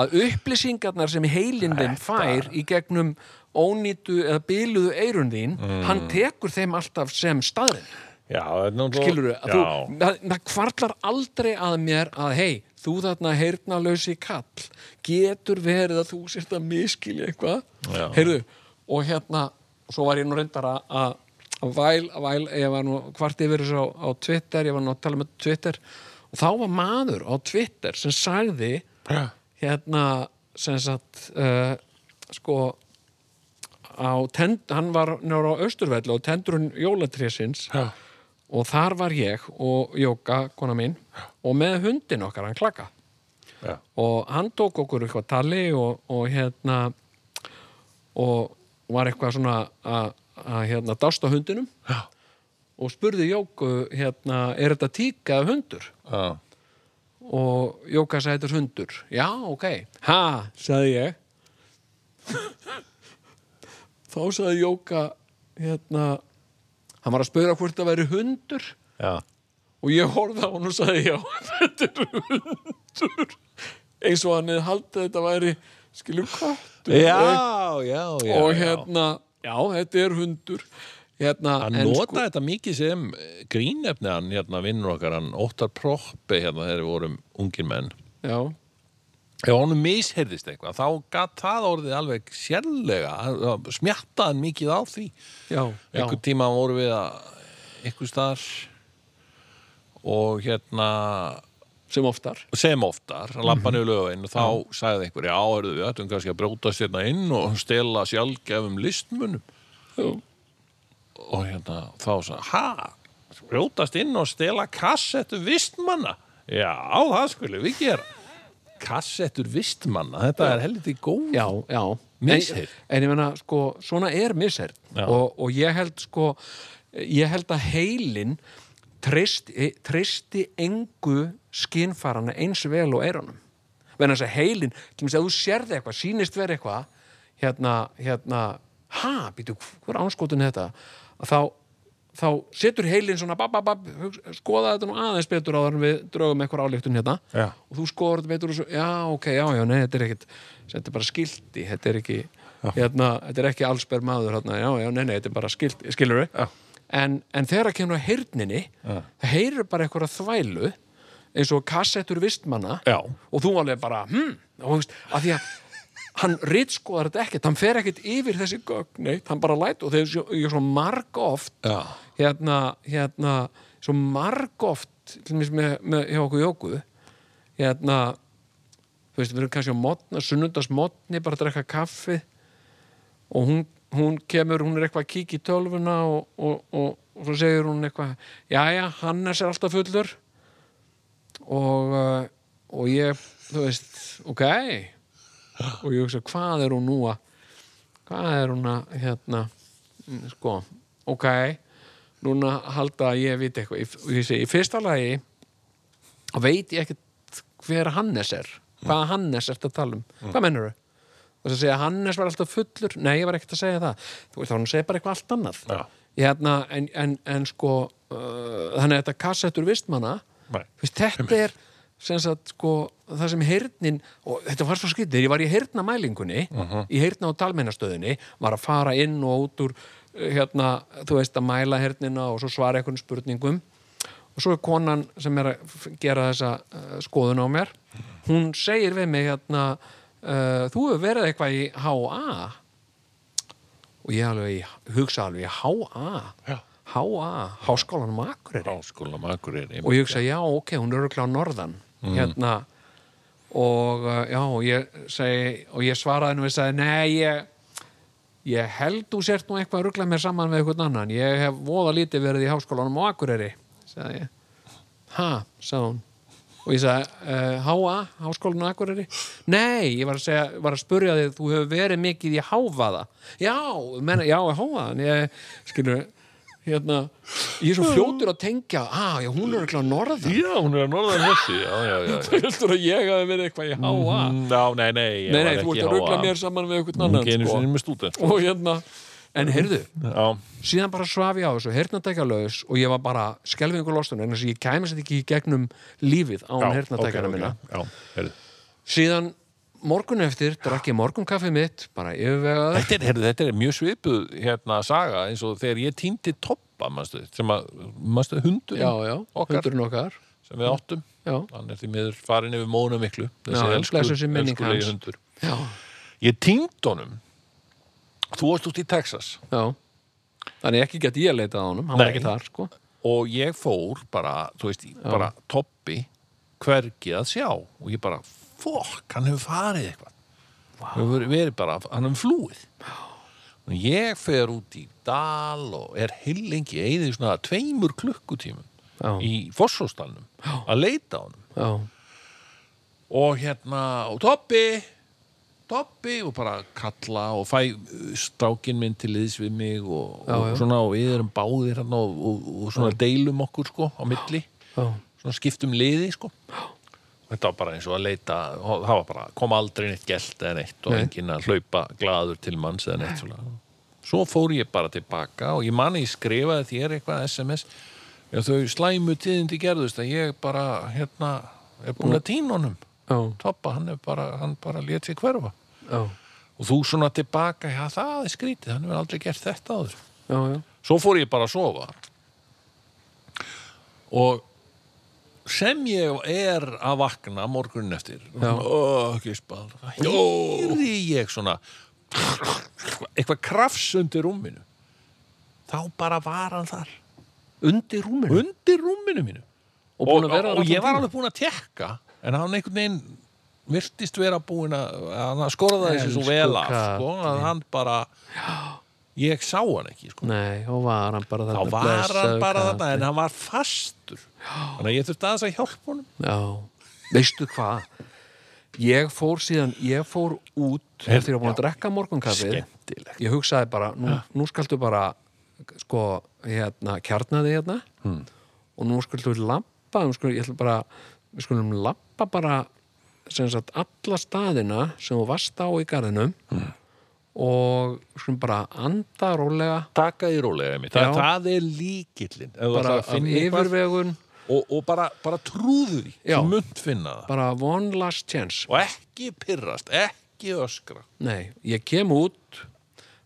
C: að upplýsingarnar sem heilin þinn fær í gegnum ónýtu eða byluðu eirun þín hann tekur þeim alltaf sem staðrinn
A: Já,
C: skilur
A: skilur
C: við, að þú, það, það kvarlar aldrei að mér að hei, þú þarna heyrnalösi kall getur verið að þú sért að miskilja eitthvað,
A: Já.
C: heyrðu og hérna, svo var ég nú reyndar að- að að væl, að væl, ég var nú kvart yfir þessu á, á Twitter, ég var nú að tala með Twitter og þá var maður á Twitter sem sagði
A: Já,
C: hérna, sem sagt uh, sko á tend, hann var nára á Östurvelli og tendurinn jólatrésins
A: já,
C: og þar var ég og Jóka, kona mín og með hundin okkar, hann klakka
A: já.
C: og hann tók okkur eitthvað tali og, og hérna og var eitthvað svona að að, hérna dást á hundinum
A: Já.
C: og spurði Jóku hérna, er þetta tíka eða hundur?
A: já.
C: og Jóka sagði þetta er hundur já, ok, ha, sagði ég þá sagði Jóka hérna hann var að spura hvort það væri hundur
A: já.
C: og ég horfði á hann og sagði já, þetta er hundur eins og hann hefði haldið að þetta væri skiljum kvartur
A: Já, já, já,
C: Eh, og
A: já.
C: hérna, já, þetta er hundur hérna,
A: Hann
C: en
A: nota þetta mikið sem eh, grínefni hann hérna vinnur okkar, hann óttar proppi hérna þegar við vorum ungir menn.
C: sko, já,
A: Ef honum misheyrðist eitthvað, þá gat það orðið alveg sérlega, Hann- þá smjattaði hann mikið á því.
C: já, já,
A: Ekkur tíma vorum við að ykkur staðar og hérna
C: sem oftar
A: sem oftar, hann lappa
C: Mhm.
A: niður lögavinn og þá sagði einhver, já, hörðu við ættum kannski að brótast hérna inn og stela sjálfgefum listmunum
C: já,
A: og hérna þá sagði, ha, brjótast inn og stela kassettu vistmanna já, það skulum við gera kassettur vistmanna þetta er heldur góð
C: já, já.
A: Misheyrn.
C: en, en ég menna, sko, svona er misherð
A: Já.
C: og, og ég held sko ég held að heilin treysti, treysti engu skinnfarana eins vel og eiranum vegna þess að heilin, til þess að þú sérði eitthvað sýnist verið eitthvað hérna, hérna, ha, býtu hver ánskotin þetta Að þá, þá setur heilin svona bab, bab, bab, hugsa- skoða þetta nú aðeins betur áður en við draugum eitthvað ályktun hérna
A: Já.
C: og þú skoður þetta betur og svo, já, ok, já, já, nei, þetta er ekkit þetta er bara skilti, þetta er ekki hérna, þetta er ekki allsber maður hérna, já, já, nei, nei, þetta er bara skilti, skilur við en, en þegar að kemur að heyrninni það heyrir bara eitthvað þvælu eins og kassettur vistmanna
A: Já.
C: og þú alveg bara, hm, og þú veist, að því að hann ritskoðar þetta ekkert, hann fer ekkert yfir þessi gögn, neitt, hann bara læt og þegar ég- ég svo marg oft
A: Já.
C: hérna, hérna svo marg oft til mér með, með hjá okkur jóku hérna þú veist, við erum kannski á mótna, sunnundas mótni bara að drekka kaffi og hún, hún kemur, hún er eitthvað að kíkja í tölvuna og, og, og, og svo segir hún eitthvað, jæja, Hannes er alltaf fullur og, uh, og ég þú veist, ok og ég hugsa, hvað er hún nú að hvað er hún að hérna, mm, sko ok, núna halda að ég veit eitthvað, Ég- og ég segi, í fyrsta lagi þá veit ég ekkert hver Hannes er, hvaða Hannes ertu að tala um, hvað mennur þau? og þess að segja Hannes var alltaf fullur, nei ég var ekkert að segja það þú veist, þá hann segir bara eitthvað allt annað
A: Já.
C: hérna, en, en, en sko uh, þannig að þetta kassettur vistmanna
A: Nei.
C: Þú veist, þetta er sem sagt, sko, það sem heyrnin og þetta var svo skrítið, þegar ég var í heyrna mælingunni
A: Uh-huh.
C: í heyrna og talmennastöðinni var að fara inn og út úr uh, hérna, þú veist, að mæla heyrnina og svo svara einhvern spurningum og svo er konan sem er að f- gera þessa uh, skoðun á mér hún segir við mig hérna uh, þú hefur verið eitthvað í H.A. og ég alveg í, hugsa alveg í H.A.
A: Já.
C: H.A. Háskólanum á Akureyri
A: háskóla makur er
C: og ég hugsa, já, ok, hún er örgulega á norðan hérna og uh, já, og ég segi og ég svaraði henni og ég sagði, nei ég, ég held þú sért nú eitthvað að ruggla mér saman við einhvern annan ég hef voða lítið verið í háskólanum á Akureyri sagði ég ha, sagði hún og ég sagði, uh, Háa, Háskólinu Akureyri nei, ég var að, segja, var að spurja þig þú hefur verið mikið í Hávaða já, menna, já, Hávaðan ég, skilur, hérna ég er svo fljótur að tengja ah, já, hún er ekki á norða
A: Já, hún er að norðan hessi, já, já, já. já.
C: heldur að ég hafi verið eitthvað í Háa
A: Mm, Já, nei, nei, ég
C: nei,
A: var
C: nei, þú
A: ekki
C: ert að ruggla
A: háa.
C: mér saman við einhvern
A: Hún
C: annan
A: genið
C: sko.
A: sinni með stúdent.
C: og hérna, en heyrðu
A: Já,
C: síðan bara svaf ég á þessu, heyrnatækjalaus og ég var bara skelfingu lostun en þess að ég kæmis þetta ekki í gegnum lífið án
A: já,
C: heyrnatækjana
A: ok, ok,
C: hérna minna
A: Já, heyrðu.
C: síðan morgun eftir drakk ég morgunkaffið mitt, bara yfirvegaður
A: Þetta er, heyrðu, þetta er mjög svipuð hérna saga eins og þegar ég týndi toppa, manstu, sem að, manstu, hundur
C: já, já,
A: Okkar.
C: hundurinn okkar
A: sem við áttum.
C: já,
A: Hann er því miður farin yfir móna miklu, þessi
C: Já,
A: elsku,
C: blessuð sé minning
A: elskulegi
C: hans.
A: hundur.
C: já,
A: Ég týnd honum. Þú varst út í Texas
C: já þannig ekki gæti ég að leitað á honum, hann
A: Nei.
C: var ekki þar sko.
A: og ég fór bara, þú veist, ég bara toppi hvergi að sjá og ég bara, fokk, hann hefur farið eitthvað. Wow. Hefur verið bara, hann hefur flúið. Og ég fer út í dal og er heilengi eðið svona tveimur klukkutímum
C: já,
A: í Fossóstalnum að leita á honum.
C: já,
A: og hérna og Toppi Toppi og bara kalla og fæ strákin minn til liðs við mig og,
C: Já, já.
A: og svona og við erum báðir hérna og, og, og svona deilum okkur sko á milli,
C: já,
A: svona skiptum liði sko þetta var bara eins og að leita það var bara, kom aldrei neitt gælt eða neitt og
C: Nei.
A: enginn að hlaupa glaður til manns eða neitt svona svo fór ég bara tilbaka og ég manni ég skrifaði þér eitthvað SMS já þau slæmu tíðindi gerðust að ég bara hérna er búin að týna honum
C: já,
A: Toppa, hann er bara, hann bara lét sig hverfa
C: já,
A: og þú svona tilbaka, já það er skrítið hann hefur aldrei gert þetta áður
C: já, já.
A: svo fór ég bara að sofa og sem ég er að vakna morgunin eftir
C: Já.
A: og gíspað hýrði ég svona eitthvað krafs undir rúminu þá bara var hann þar
C: undir rúminu
A: undir rúminu mínu
C: og búin að vera um
A: og,
C: þar
A: og ég var
C: allan tímann.
A: alveg búin að tekka en hann einhvern veginn virtist vera búin að hann skorða þessi svo
C: Elsku
A: vel af
C: kallinn.
A: sko, að hann bara ég sá hann ekki sko.
C: Nei, þá var hann bara þarna
A: þá var hann
C: blessaður
A: bara
C: kall.
A: þarna en hann var fastur þannig að ég þurfti aðeins að hjálpa honum
C: Já, veistu hvað? Ég fór síðan, ég fór út
A: Heyrðu,
C: eftir að búin að
A: já.
C: drekka morgunkaffið
A: skemmtilegt
C: Ég hugsaði bara, nú, nú skaltu bara sko, hérna, kjarnaði hérna
A: Hmm.
C: og nú skaltu við labba um, skulum, ég ætla bara, við skulum labba bara sem sagt alla staðina sem þú varst á í garðinum
A: Hmm.
C: og skulum bara anda rólega
A: taka í rólega mig, Þa,
C: Já.
A: það er líkillin
C: bara af yfirvegun,
A: og, og bara, bara trúðu því
C: Já.
A: þú munt finna það
C: bara one last chance
A: og ekki pirrast, ekki öskra
C: Nei, ég kem út,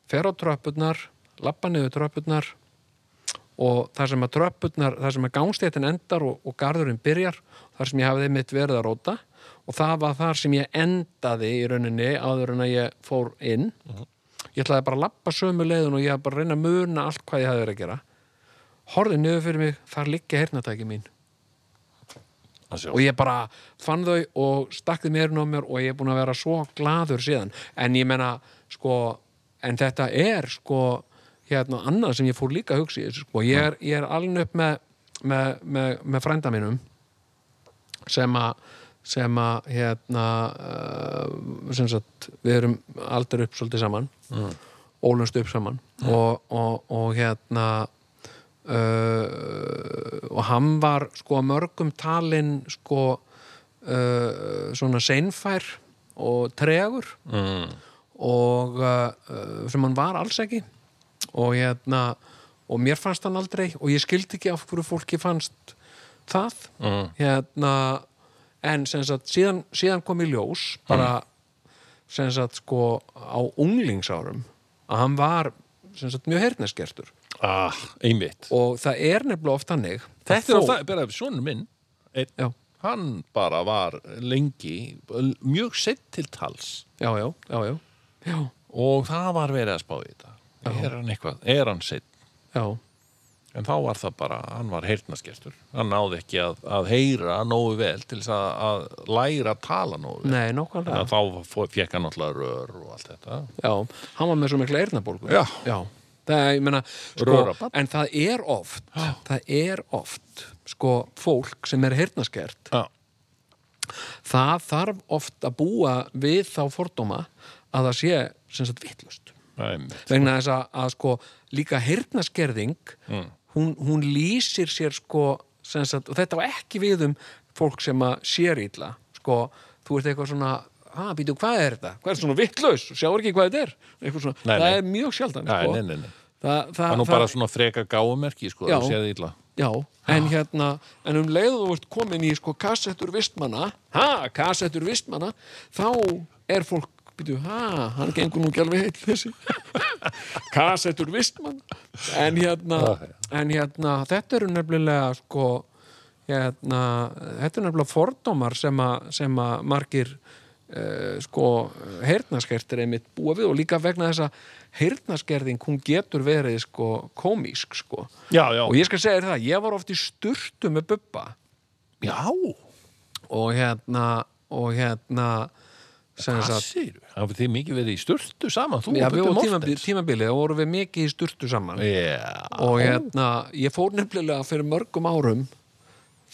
C: fer á tröppurnar, lappa niður tröppurnar og þar sem að tröppurnar, þar sem að gangstétin endar og, og garðurinn byrjar, þar sem ég hafði mitt verið að róta og það var þar sem ég endaði í rauninni áður en að ég fór inn. Ég ætlaði bara að lappa sömu leiðun og ég hafði bara að reyna að muna allt hvað ég hafði verið að gera. Horfið niður fyrir mig, þar liggja heyrnatæki mín og ég bara fann þau og stakk þið meirinn á mér og ég er búin að vera svo gladur síðan en ég menna sko en þetta er sko hérna annað sem ég fór líka að hugsa í þessu, sko. ég, er, ég er alveg upp með með, með, með frænda mínum sem að sem að hérna uh, sem sagt við erum aldrei upp svolítið saman mm. ólumst upp saman og, og, og hérna uh, og hann var sko að mörgum talin sko uh, svona seinfær og tregur
A: mm.
C: og uh, uh, sem hann var alls ekki og hérna og mér fannst hann aldrei og ég skildi ekki af hverju fólki fannst það
A: Mm.
C: hérna en sem sagt síðan, síðan kom í ljós bara
A: Mm.
C: sem sagt sko á unglingsárum að hann var sem sagt mjög heyrnaskertur
A: ah, einmitt
C: og það er nefnilega oft hannig að
A: Þetta er
C: þó-
A: alltaf, bara svonur minn einn,
C: Já.
A: hann bara var lengi, mjög sett til tals
C: já, já, já, já, já,
A: og það var verið að spá í þetta er hann eitthvað, er hann sett
C: já.
A: en þá var það bara, hann var heyrnaskertur hann náði ekki að, að heyra nógu vel til þess að, að læra að tala nógu vel
C: nei,
A: Þannig
C: nákvæmlega
A: að þá fó- fékk hann alltaf rör og allt þetta
C: já, hann var með svo mikla eyrnabólgu
A: Já.
C: já. Það, er, ég meina, sko,
A: Rörabarn.
C: en það er oft það er oft sko, fólk sem er heyrnaskert
A: Já,
C: það þarf oft að búa við þá fordóma að það sé sem sagt vittlust
A: Einmitt.
C: vegna þess að, að sko líka hirtnaskerðing
A: Mm.
C: hún, hún lýsir sér sko sem sagt, og þetta á ekki við um fólk sem að sér illa sko, þú ert eitthvað svona að býtu, hvað er þetta? Hvað er svona vittlaus? Sjáur ekki hvað þetta er? Eitthvað Svona,
A: Nei,
C: það
A: nei.
C: er mjög sjaldan
A: Nei,
C: sko.
A: nei, nei, nei.
C: Það, það,
A: Það er nú
C: það-
A: bara svona freka gáumerki, sko,
C: Já.
A: þú séð illa.
C: Já, en hérna, en um leið og þú ert komin í sko kassettur vistmanna, ha, kassettur vistmanna, þá er fólk, býtu, ha, hann gengur nú ekki alveg heill þessi, kassettur vistmanna, en hérna, en hérna, þetta eru nefnilega sko, hérna, þetta eru nefnilega fordómar sem að, sem að margir uh, sko heyrnaskertir einmitt búa við og líka vegna þess að heyrnaskerðing, hún getur verið sko komísk sko.
A: Já, já.
C: Og ég skal segja þér það, ég var oft í sturtu með Bubba
A: Já,
C: og hérna, og hérna, sem
A: hvað
C: sagt,
A: segir við? Það þið mikið verið í sturtu saman, þú og
C: já, við
A: Bubbi
C: vorum tímabilið,
A: Mortens.
C: tímabilið og vorum við mikið í sturtu saman.
A: Já,
C: Og hérna, ég fór nefnilega fyrir mörgum árum,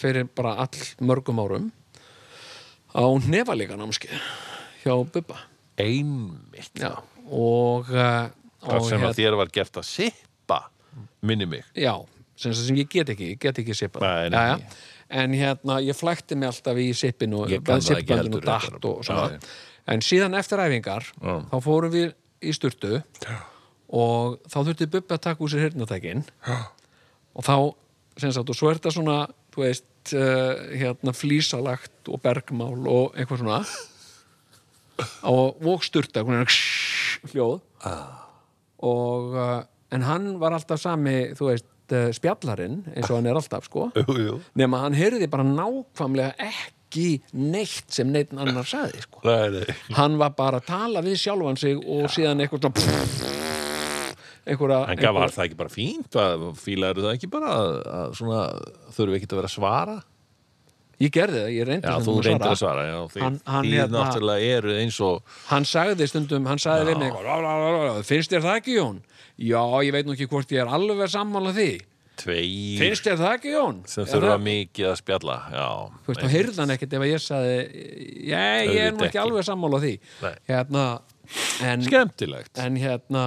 C: fyrir bara all mörgum árum, á nefaleika námskeið hjá Bubba.
A: einmitt.
C: Já, og... eh,
A: Það
C: og
A: sem
C: hérna-
A: að þér var gert að sippa, minni mig.
C: Já, sem, sem ég get ekki, ég get ekki sippað.
A: Nei, nei,
C: Jæja.
A: nei.
C: En hérna, ég flækti mig alltaf í sippinu,
A: Ég kann það ekki
C: sippbandinu og
A: heldur,
C: datt
A: reyndar.
C: og svona.
A: Já,
C: En síðan eftir æfingar, þá fórum við í sturtu og þá þurfti Bubbi að taka úr sér hirnatækin og þá, sem sagt, og svo er þetta svona, þú veist, uh, hérna, flísalagt og bergmál og eitthvað svona og, og sturta, hún er hljóð
A: Ah.
C: og uh, en hann var alltaf sami, þú veist, uh, spjallarinn eins og hann er alltaf, sko
A: Jú, jú.
C: nema hann heyrði bara nákvæmlega ekki neitt sem neitt annar sagði, sko
A: Nei, nei.
C: hann var bara að tala við sjálfan sig og síðan eitthvað svona einhverja,
A: En gaf var það ekki bara fínt? Að- Fílaðu það ekki bara að, að svona, þurfi ekki að vera að svara?
C: ég gerði það, ég reyndi
A: Já, þú
C: stundum
A: reyndir að svara, já. Því,
C: Hann- hann
A: því
C: hérna-
A: náttúrulega eru eins og...
C: hann sagði stundum, hann sagði við mig "Rá, rá, rá, rá, finnst þér það ekki Jón? já, ég veit nú ekki hvort ég er alveg sammála því
A: Tveir
C: finnst þér það ekki Jón?
A: sem
C: Er
A: þurfa
C: það-
A: mikið að spjalla já,
C: þú veist, þá heyrði hann ekkert ef að ég sagði ég, ég er nú
A: Auðvitað
C: ekki
A: ekki.
C: alveg sammála því
A: Nei.
C: hérna en,
A: skemmtilegt en,
C: en hérna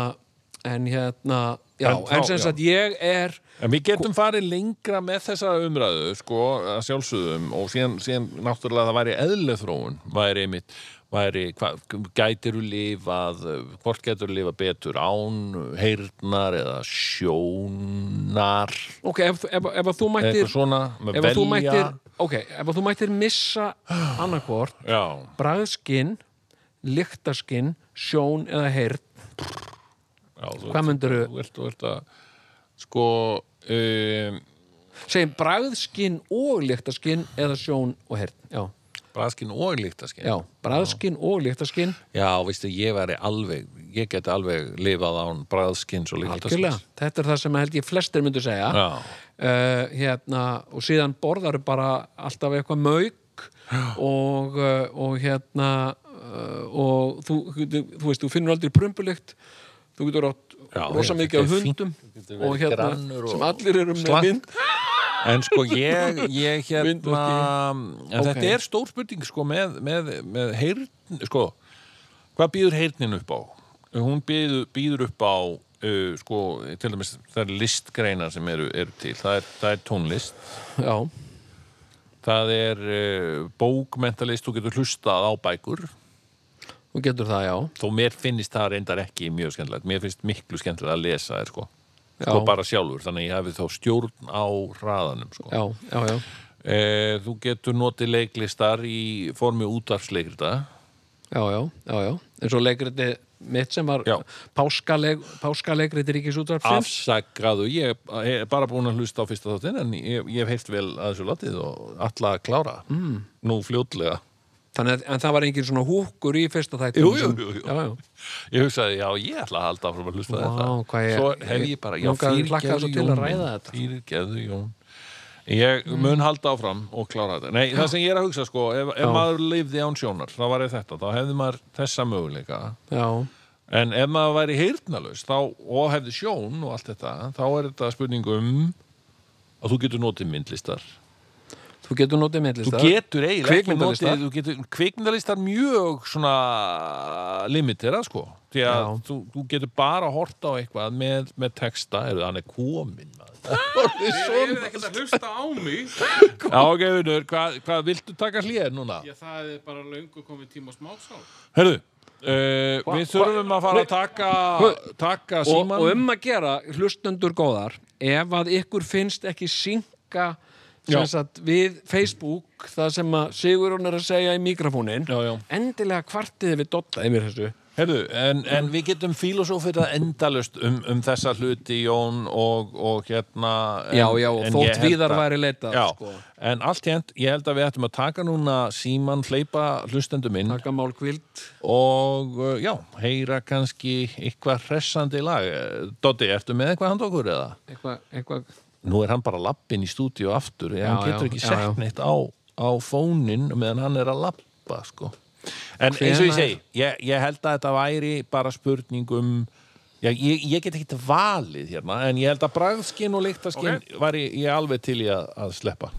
C: en hérna, já,
A: En
C: en,
A: þá-
C: sem
A: já.
C: sagt ég er
A: við
C: sko-
A: getum farið lengra með þessa umræðu sko, að sjálfsögum og síðan, síðan náttúrulega það væri eðlefróun væri einmitt væri, hva, gætiru lifað hvort gætiru lifað betur án heyrnar eða sjónar
C: ok, ef, ef, ef að þú mættir
A: eitthvað svona, með
C: ef að þú
A: velja
C: mættir, ok, ef að þú mættir missa annarkvort,
A: já,
C: bragðskinn lyktaskinn, sjón eða heyrn,
A: já, þú,
C: hvað myndirðu-
A: þú ert, þú ert að sko um,
C: segjum bragðskinn og lyktaskinn eða sjón og heyrn, já,
A: braskin og líktaskinn
C: já bragðskinn og lyktaskinn,
A: Já, veistu, ég væri alveg, ég geti alveg lifað án bræðskins og
C: algjörlega
A: líktaskins.
C: þetta er það sem held ég flestir myndu segja
A: Já.
C: Eh, hérna, og síðan borðar bara alltaf eitthvað mauk og, eh, og hérna eh, og þú, þú, þú veist, þú finnur aldrei prumpulykt þú getur átt
A: Já,
C: rosa
A: já,
C: mikið af
A: þetta er fínt.
C: hundum
A: Getur verið
C: og hérna,
A: grannur og
C: sem allir eru með
A: slank.
C: mynd
A: En sko, ég, ég
C: Vindorki.
A: hérna, en
C: Ok.
A: þetta er stór spurning, sko, með, með, með heyrn, sko, hvað býður heyrnin upp á? Hún býður, býður upp á, uh, sko, til dæmis, það er listgreinar sem eru, eru til, það er, það er tónlist.
C: já,
A: Það er uh, bókmentalist, þú getur hlustað á bækur,
C: þú getur það, já
A: þó mér finnist það reyndar ekki mjög skemmtilegt mér finnst miklu skemmtilegt að lesa þér sko
C: Já.
A: sko bara sjálfur, þannig að ég hefði þá stjórn á hraðanum sko
C: já, já, já,
A: e, þú getur notið leiklistar í formi útvarfsleikrita
C: já, já, já, já. eins og leikriti mitt sem var
A: Já.
C: páskaleg, páskaleikriti ríkisútvarpsins
A: afsakaðu, ég er bara búin að hlusta á fyrsta þáttinn en ég, ég hef heyrt vel að þessu latið og alla að klára mm. nú fljótlega
C: þannig að en það var engin svona húkur í fyrsta þætti
A: Jú, jú, jú, jú.
C: Já, já.
A: ég hugsaði, já, ég ætla að halda áfram að hlusta á
C: Vá,
A: þetta
C: hvað ég-
A: svo hef ég bara, já,
C: Langar- hlakkaði svo
A: fyrirgeðu
C: til að
A: Jón
C: ræða
A: minn,
C: þetta. Mm.
A: fyrirgeðu Jón ég mun halda áfram og klára þetta nei, það sem ég er að hugsa, sko, ef, ef maður lifði án sjónar, þá var ég þetta, þá hefði maður þessa möguleika,
C: já.
A: en ef maður væri heyrnalaus, þá, og hefði sjón og allt þetta, þá er þetta spurning um að þú getur notið myndlistar
C: Þú getur notið
A: Þú
C: myndlistar
A: getur eiginlega ekki
C: Kvikmyndalista.
A: notið- þú getur- Kvikmyndalista er mjög svona limitera sko því að
C: Já.
A: þú, þú getur bara að horta á eitthvað með, með texta eða hann er komin maður.
D: Þið eruð ekkert að hlusta á mig
A: Já ok, vinnur, hvað, hvað viltu taka hlýðir núna?
D: Já, það er bara löngu komið tíma smásál
A: Herðu, uh, við þurfum að fara að taka, taka
C: og,
A: síman
C: og um að gera hlustendur góðar ef að ykkur finnst ekki synka sem
A: Já.
C: sagt, við Facebook það sem að Sigurjón er að segja í mikrofónin
A: Já, já.
C: endilega kvartiði við dotta yfir þessu
A: Herðu, en, en við getum fílósófið að endalust um, um þessa hluti Jón og, og hérna en,
C: já, já,
A: en
C: og
A: ég
C: þótt
A: held
C: viðar
A: að-
C: væri leitað
A: Já,
C: sko.
A: en allt hérnt, ég held að við ættum að taka núna síman hleypa hlustendum inn
C: taka mál kvild
A: og uh, já, heyra kannski eitthvað hressandi lag Eh, Doddi, ertu með eitthvað handa okkur eða?
C: eitthvað, eitthvað
A: Nú er hann bara lappin í stúdíu aftur já,
C: Já,
A: hann getur
C: já,
A: ekki
C: já,
A: sett
C: já.
A: neitt á, á fónin meðan hann er að lappa sko. en eins og ég
C: Hvenær-
A: segi ég, ég held að þetta væri bara spurning um já, ég, ég get ekki valið hérna, en ég held að bragðskinn og lyktaskinn væri ég alveg til í að, að sleppa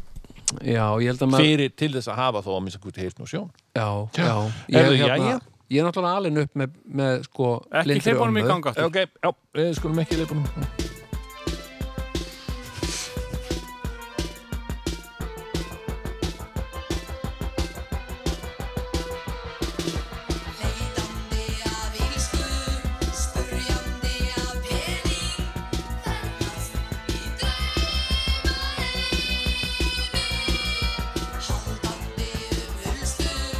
C: já, ég held að maður
A: fyrir til þess að hafa þó að minnst að hvort heyrn og sjón
C: já, já, ég,
A: Heyrðu,
C: hérna,
A: jæja.
C: ég er náttúrulega alinn upp með, með sko
D: Ekki
C: blindri
D: hleypa honum í
C: ömmu.
D: ganga aftur
A: ok, já, við skulum ekki leifunum
E: Leitandi af ílsku, spurjandi af pening, ferðast í draumaheimi. Haldandi um hulstur,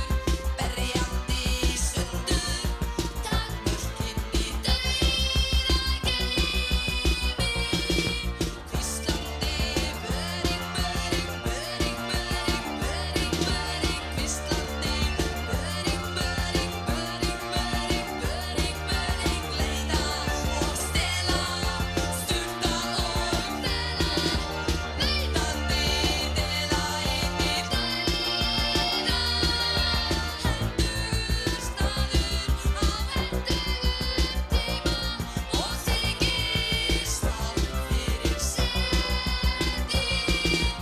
E: berjandi í sundur, takmörkinn í dauðageimi. Hvíslandi böring, böring, böring, böring, böring, böring, hvíslandi böring, böring, böring, böring, böring, böring, leita og stela, sturta og fela, veitandi dela einnig dæna, hendur staður á endugum tíma og þykir stað fyrir seti.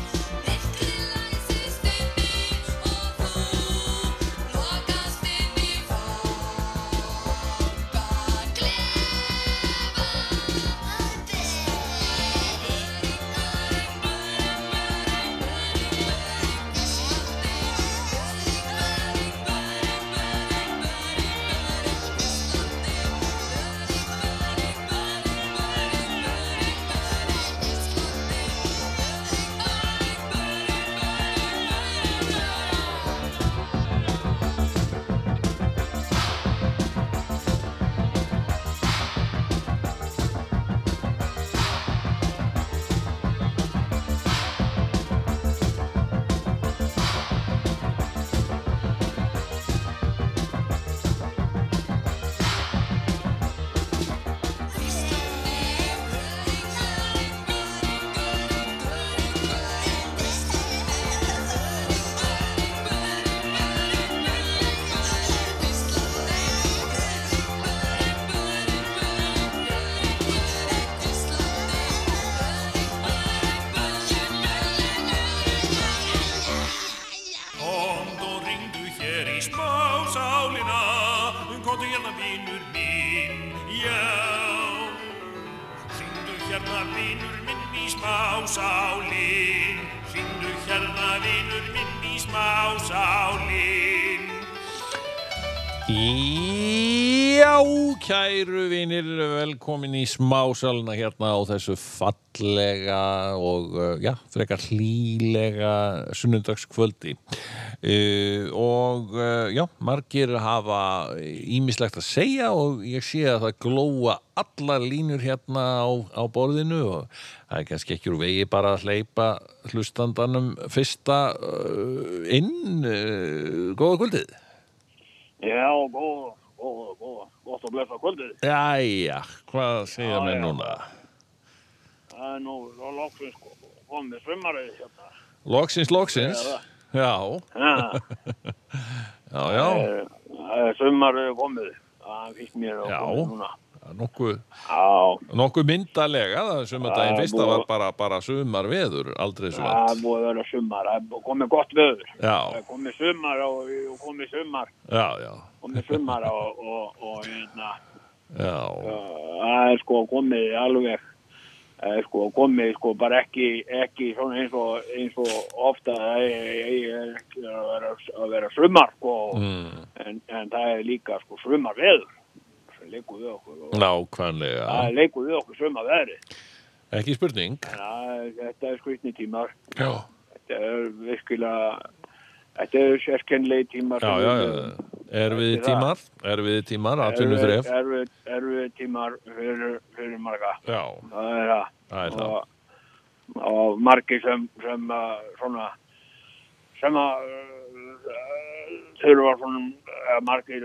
E: Myrkri læsist inni og þú lokast inni fangaklefa.
F: Komd og ringdu hér í smásálina Komdu hérna vinur minn, já Ringdu hérna vinur minn í smásálin Ringdu hérna vinur minn í smásálin
A: Já, kæru vinir, velkomin í smásalina hérna á þessu fallega og, uh, já, frekar hlýlega sunnundagskvöldi. Uh, og, uh, já, margir hafa ímislegt að segja og ég sé að það glóa allar línur hérna á, á borðinu og það er kannski ekki úr vegi bara að hleypa hlustandanum fyrsta uh, inn. Uh, góða kvöldið.
G: Já, góða, góða, góða, gott að blessa kvöldið.
A: Jæja, hvað segja mér núna?
G: Það er nú lóksins komið sumarið hérna.
A: Loksins, loksins Já,
G: Ha,
A: já, já
G: øh, eh, Það er sumarið komið. Það finnst mér að
A: Já.
G: komið núna.
A: nokkuð
G: Já,
A: nokkuð myndalega það sumardaginn
G: Já,
A: fyrsta
G: búið
A: var
G: að-
A: bara, bara sumar veður aldrei svo
G: það er
A: vant
G: búið að vera sumar, það er komið gott veður. Það
A: já,
G: er komið sumar og og komið sumar,
A: já, já,
G: komið sumar og, og, og hérna,
A: já,
G: það er sko komið alveg, það er sko komið sko bara ekki, ekki svona eins og, eins og ofta það er, er ekki að vera, að vera sumar sko,
A: Mm.
G: en, en það er líka sko sumar veður sem leikur við okkur og
A: nákvæmlega
G: það leikur við okkur sumar veðri.
A: ekki spurning
G: Þetta er skvítni tímar.
A: já,
G: þetta er virkilega þetta er sérkennlegi tímar
A: já, já, já. erfiði
G: Ekki það.
A: tímar erfiði tímar, atvinnu þref
G: erfið tímar fyrir, fyrir marga
A: já,
G: það er það,
A: það er það
G: Og, og margi sem, sem að svona sem að uh, þurfa svona uh, margi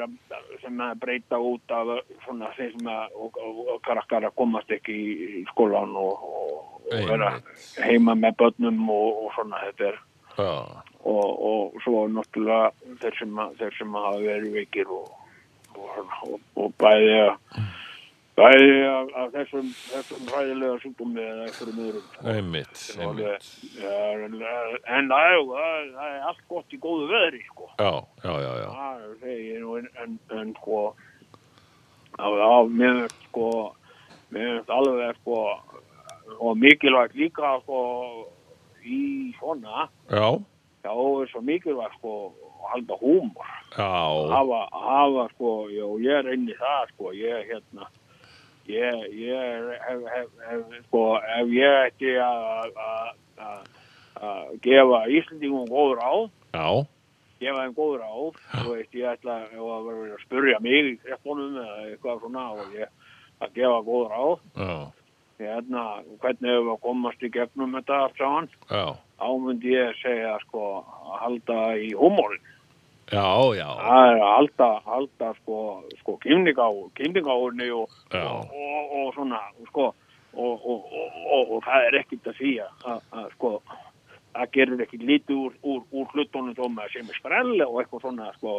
G: sem að breyta út af uh, svona þeim sem að og, og, og krakkar að komast ekki í, í skólan og, og, og vera heima með börnum og, og svona þetta er
A: já,
G: og, og svo náttúrulega þeir sem, að, þeir sem að hafa verið veikir og, og, svona, og, og bæði að bæði að, að þessum, þessum hræðilega sjúkdómi eða einhverjum öðrum sko.
A: einmitt,
G: Sem alveg-
A: einmitt
G: Já, en það er, það það er allt gott í góðu veðri sko.
A: já, já, já, já,
G: það er segi ég nú, en, en, en sko það var mér finnst, sko mér finnst alveg sko og mikilvægt líka sko í svona
A: já,
G: Já, það er svo mikilvægt sko að halda húmor.
A: já,
G: Hafa, hafa sko, já, ég er inn í það sko, ég hérna, ég, ég er- hef, hef, hef, sko, ef ég ætti að- að að- að gefa Íslandingum góð ráð,
A: já,
G: gefa þeim góð ráð, þú veist, ég ætla ef að vera að spurja mig í kreftunum eða eitthvað svona og ég að gefa góð ráð,
A: já,
G: hérna, hvernig hefur að komast í gegnum þetta allt saman,
A: já.
G: ámundi ég segja sko að halda í húmorinn.
A: Já, já,
G: Það er að halda, halda sko, sko kynninga á, kynninga á henni og,
A: Já.
G: og, og, og svona, sko, og, og, og, og, og það er ekkert að því að, að, að sko, það gerir ekkert lítið úr, úr, úr hlutunum þó maður sem er sprell og eitthvað svona, sko,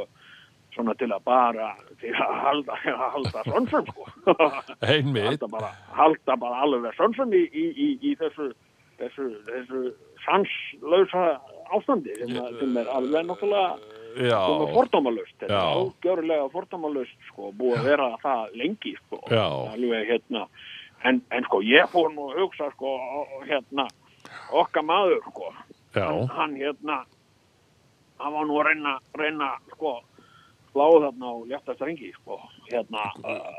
G: svona til að bara, til að halda, að halda svonsum, sko.
A: einmitt,
G: halda bara, halda bara alveg svonsum í, í, í, í þessu, þessu, þessu sanslausa ástandi sem, að- sem er alveg náttúrulega
A: já,
G: sem er fordómalust, þetta
A: Já.
G: er ágjörlega fordómalust, sko, búið að vera það lengi, sko,
A: Já.
G: alveg hérna, en, en sko, ég fór nú að hugsa, sko, á- á- hérna, okkar maður, sko,
A: já,
G: hann, hann hérna, hann var nú að reyna, reyna, sko, sláð þarna á létta strengi, sko, hérna,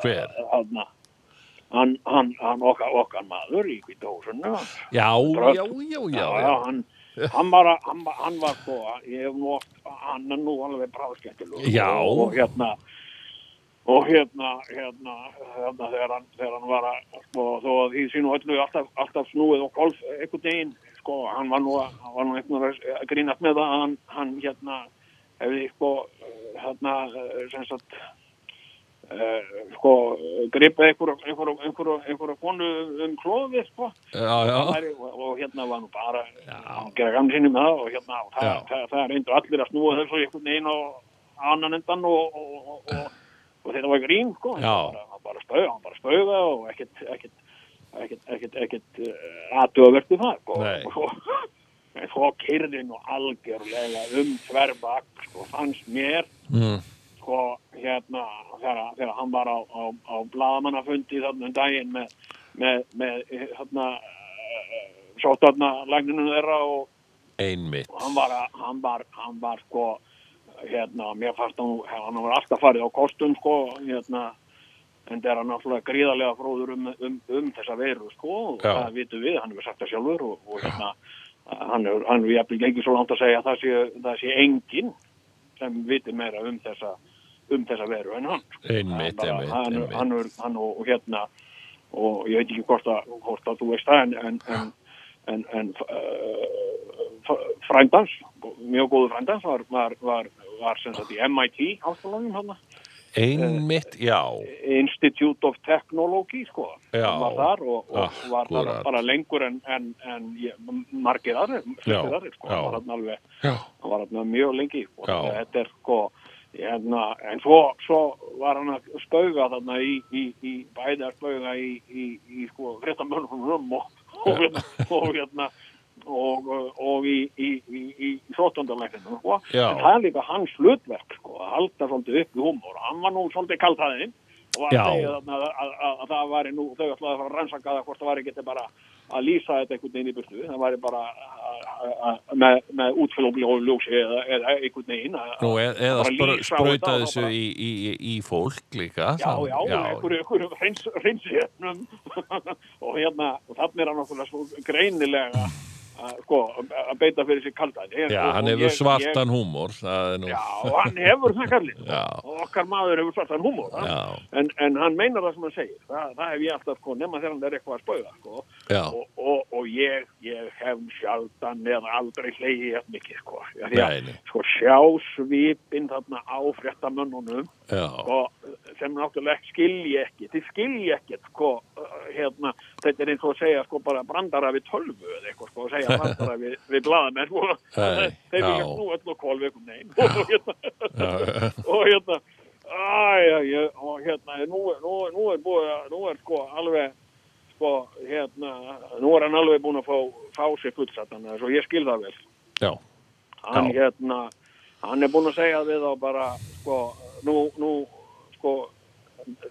A: Hver?
G: uh, Þarna, hann, hann, hann okkar, okkar maður í kvítahúsunum, hann,
A: já,
G: Dröfn.
A: já, já, já,
G: já,
A: já,
G: hann, hann var, að- hann, var- hann var sko, ég hef nú oft, hann er nú alveg bráðskettilegur.
A: Já.
G: Og, og hérna, og hérna, hérna, hérna þegar hann, þegar hann var að, sko, þó að því sínu öllu alltaf, alltaf snúið og golf einhvern veginn, sko, hann var nú, að- hann var nú einhvern veginn að grínast með það að hann, hann hérna, hefði, sko, hérna, eh, sem sagt, Uh, sko, gripa einhverju einhverju einhverju einhverju konu um klófið sko
A: já, já,
G: væri, og, og hérna var nú bara að gera gamli sinni með það og hérna og það,
A: Já.
G: það, það reyndu allir að snúa þessu einhvern veginn og annan endan og, og, og, og, og þetta var grín sko,
A: Já.
G: hann bara, hann bara spauða hann bara spauða og ekkert ekkert, ekkert, ekkert, ekkert aðtöðvertu það sko.
A: Nei.
G: og svo, en svo kyrði nú algjörlega um tverbak sko, fannst mér
A: mm,
G: sko, hérna, þegar, þegar hann var á, á, á bladamannafundi þarna um daginn með, með, með hérna, sóttarna lagninu þeirra og,
A: einmitt,
G: og hann var, að- hann var, hann var sko, hérna, mér fannst hann, hann var alltaf farið á kostum, sko, hérna, en það er hann náttúrulega gríðarlega fróður um, um, um þessa veiru, sko, og
A: Já.
G: það vitum við, hann hefur sagt það sjálfur og, og hérna, hann hefur, hann hefur jafnvel gengið svo langt að segja að það sé, það sé enginn sem vitir meira um þessa, um þessa veru en hann, sko.
A: Einmitt,
G: Hann bara-
A: einmitt,
G: hann,
A: einmitt.
G: hann, hann, hann og, og hérna, og ég veit ekki hvort að, hvort að þú veist það, en, en, en, en, en eh, uh, frændans, mjög góðu frændans var, var, var, var sem sagt í MIT háskólanum hann,
A: einmitt, já,
G: Institute of Technology, sko,
A: Já, Ah,
G: hann var þar og, og var þar
A: akkurat.
G: bara lengur en, en, en ég, margir aðrir,
A: Já,
G: flestir aðrir, sko,
A: já.
G: hann var hann alveg,
A: já,
G: hann var hann mjög lengi, sko,
A: Já.
G: þetta er, sko, hérna, en svo, svo var hann að spauga þarna í, í, í bæði að spauga í, í, í sko, fréttamönnum og, og, og hérna og, og í, í, í, í sóttundarleikinu sko.
A: Já.
G: en það er líka hans hlutverk sko, að halda svolítið upp í húmór hann var nú svolítið kaldhæðin og var
A: Já.
G: að segja þarna að, að, að, að það væri nú þau ætlaði að fara að rannsaka það hvort það væri getið bara að lýsa þetta einhvern veginn í burtu það væri bara að- að- að- með, með útfélófli og ljósi eða, eða einhvern veginn að-
A: Nú, e eða
G: bara
A: spra-
G: lýsa á
A: sprauta
G: þetta og
A: þessu
G: bara-
A: í, í, í- í fólk líka
G: Já,
A: það-
G: já, einhverju, einhverju hreins, hreinsjöfnum og hérna, og þannig er hann okkur svo greinilega að, sko, að beita fyrir sér kaldæði.
A: já hann hefur svartan húmor það er nú
G: Já, og hann hefur það kallið.
A: Já.
G: Og okkar maður hefur svartan húmór. hann-
A: Já.
G: En, en hann meinar það sem hann segir. Þa, það hef ég alltaf, sko, nema þegar hann er eitthvað að spauða, sko.
A: Já.
G: Og, og, og ég, ég hef sjaldan eða aldrei hleyið jafn mikið, sko. Já,
A: Nei, nei.
G: sko, sjá svipin þarna á fréttamönnunum
A: já,
G: sko, sem náttúrulega skilji ekki, þið skilji ekki sko, uh, hérna, þetta er eins og að segja sko, bara brandara við tölvu eða eitthvað sko, að segja brandara við, við blaðamenn sko,
A: Nei,
G: þeir vilja
A: já.
G: nú öll og kólveikum nein og hérna,
A: já.
G: og hérna, æja, ég- og hérna, nú, nú, nú er búið, að- nú er sko alveg sko, hérna, nú er hann alveg búin að fá, fá sér fullsattan, svo ég skil það vel
A: já.
G: hann
A: Já.
G: hérna hann er búinn að segja við þá bara sko, nú, nú sko,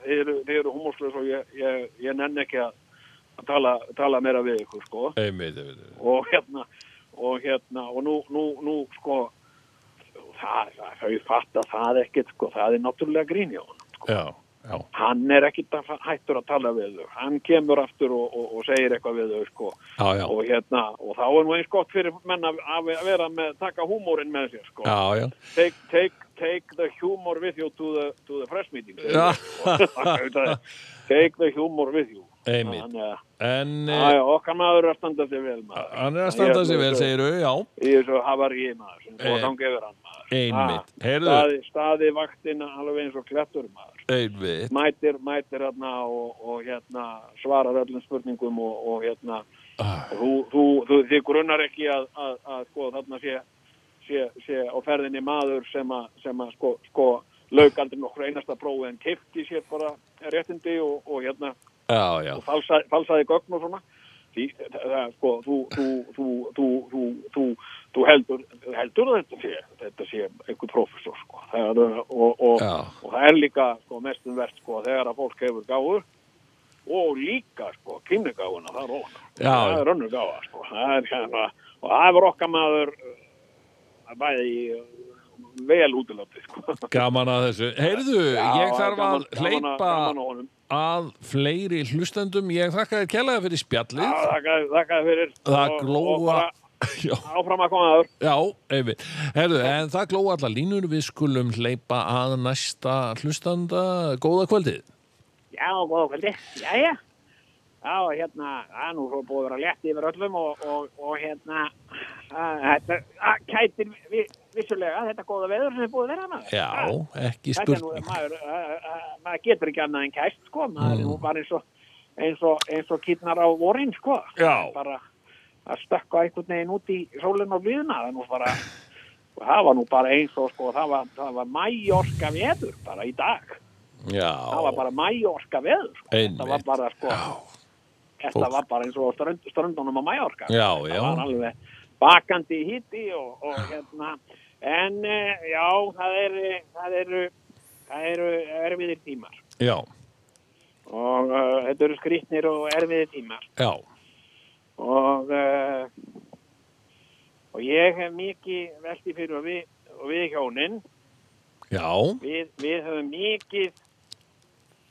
G: þið eru, þið eru húmórslega og ég, ég, ég nenn ekki að að tala, tala meira við ykkur sko
A: Einmitt, einmitt, einmitt.
G: og hérna og hérna og nú, nú, nú sko það, það, þau fatta það ekkert sko, það er náttúrulega grín hjá hann
A: já, já,
G: hann er ekkert að fa- hættur að tala við þau hann kemur aftur og, og, og segir eitthvað við þau sko
A: já, já,
G: og hérna, og þá er nú eins gott fyrir menn að, að vera með, taka húmórin með sér sko
A: já, já.
G: take, take, take the humor with you to the, to the press meeting
A: Já.
G: take the humor with you
A: Einmitt.
G: Þannig að-
A: En
G: Já,
A: eh,
G: já, okkar maður er að standa sig vel maður
A: hann er að standa sig vel, segir þau, já,
G: í þessu havaríi maður sem
A: Eh,
G: fór gangi yfir hann maður
A: einmitt.
G: Ah,
A: Heyrðu.
G: staði, staði vaktina alveg eins og klettur maður
A: einmitt,
G: mætir, mætir hérna og, og hérna svarar öllum spurningum og, og hérna þú, þú, þú, þið grunnar ekki að, að, að sko þarna sé, sé, sé á ferðinni maður sem að, sem að sko, sko lauk aldrei nokkur einasta prófi en kipti sér bara réttindi og, og hérna
A: já, já,
G: og falsaði, falsaði gögn og svona því það, það, sko, þú, þú, þú, þú, þú, þú, þú heldur, heldur að þetta sé, þetta sé einhver prófessor sko. það, er, og, og,
A: Já.
G: og það er líka sko, mestum verst sko, þegar að fólk hefur gáður og líka sko, kynnegáðuna það er óna
A: Já.
G: það er önnur gáða sko. það er, hérna, og það var okkar maður uh, bæði í, uh, vel útilátti sko.
A: gaman að þessu. Heyrðu, ég þarf að
G: gaman- gaman að-
A: hleypa
G: gaman að honum.
A: að fleiri hlustendum. Ég þakka þér kærlega fyrir
G: Já,
A: spjallið.
G: þakka þakka þér fyrir
A: Það
G: Og- og
A: glóa...
G: bara
A: Já,
G: áfram að koma aður
A: já, einmitt. Heyrðu, en það glóa allar línur. Við skulum hleypa að næsta hlustanda. Góða kvöldið.
G: Já, góða kvöldi. Jæja. Já, hérna, það er nú svo búið að vera létt yfir öllum og, og, og hérna, að- þetta að kætir vi, vissulega þetta góða veður sem er búið að vera maður.
A: Já,
G: Að-
A: ekki
G: Þetta er nú,
A: spurning.
G: maður, að- að- maður getur ekki annað en kæst, sko, maður er
A: Mm.
G: nú bara eins og, eins og, eins og kýtnar á vorin, sko.
A: Já.
G: Bara að stökka einhvern veginn út í sólinn og blíðuna, það er nú bara, það var nú bara eins og, sko, það var, það var mæjorka veður bara í dag það var
A: Já,
G: bara mæjorka veður sko. þetta var
A: Einmitt.
G: bara sko þetta
A: Fólk.
G: var bara eins og á strönd, ströndunum á mæjorka
A: Já, já.
G: það var alveg bakandi hitti og, og hérna en eh, já, það eru það eru, það eru erfiðir tímar
A: já,
G: og uh, þetta eru skrýtnir og erfiðir tímar
A: já,
G: og uh, og ég hef mikið velti fyrir og við, og við hjónin
A: já,
G: við, við höfum mikið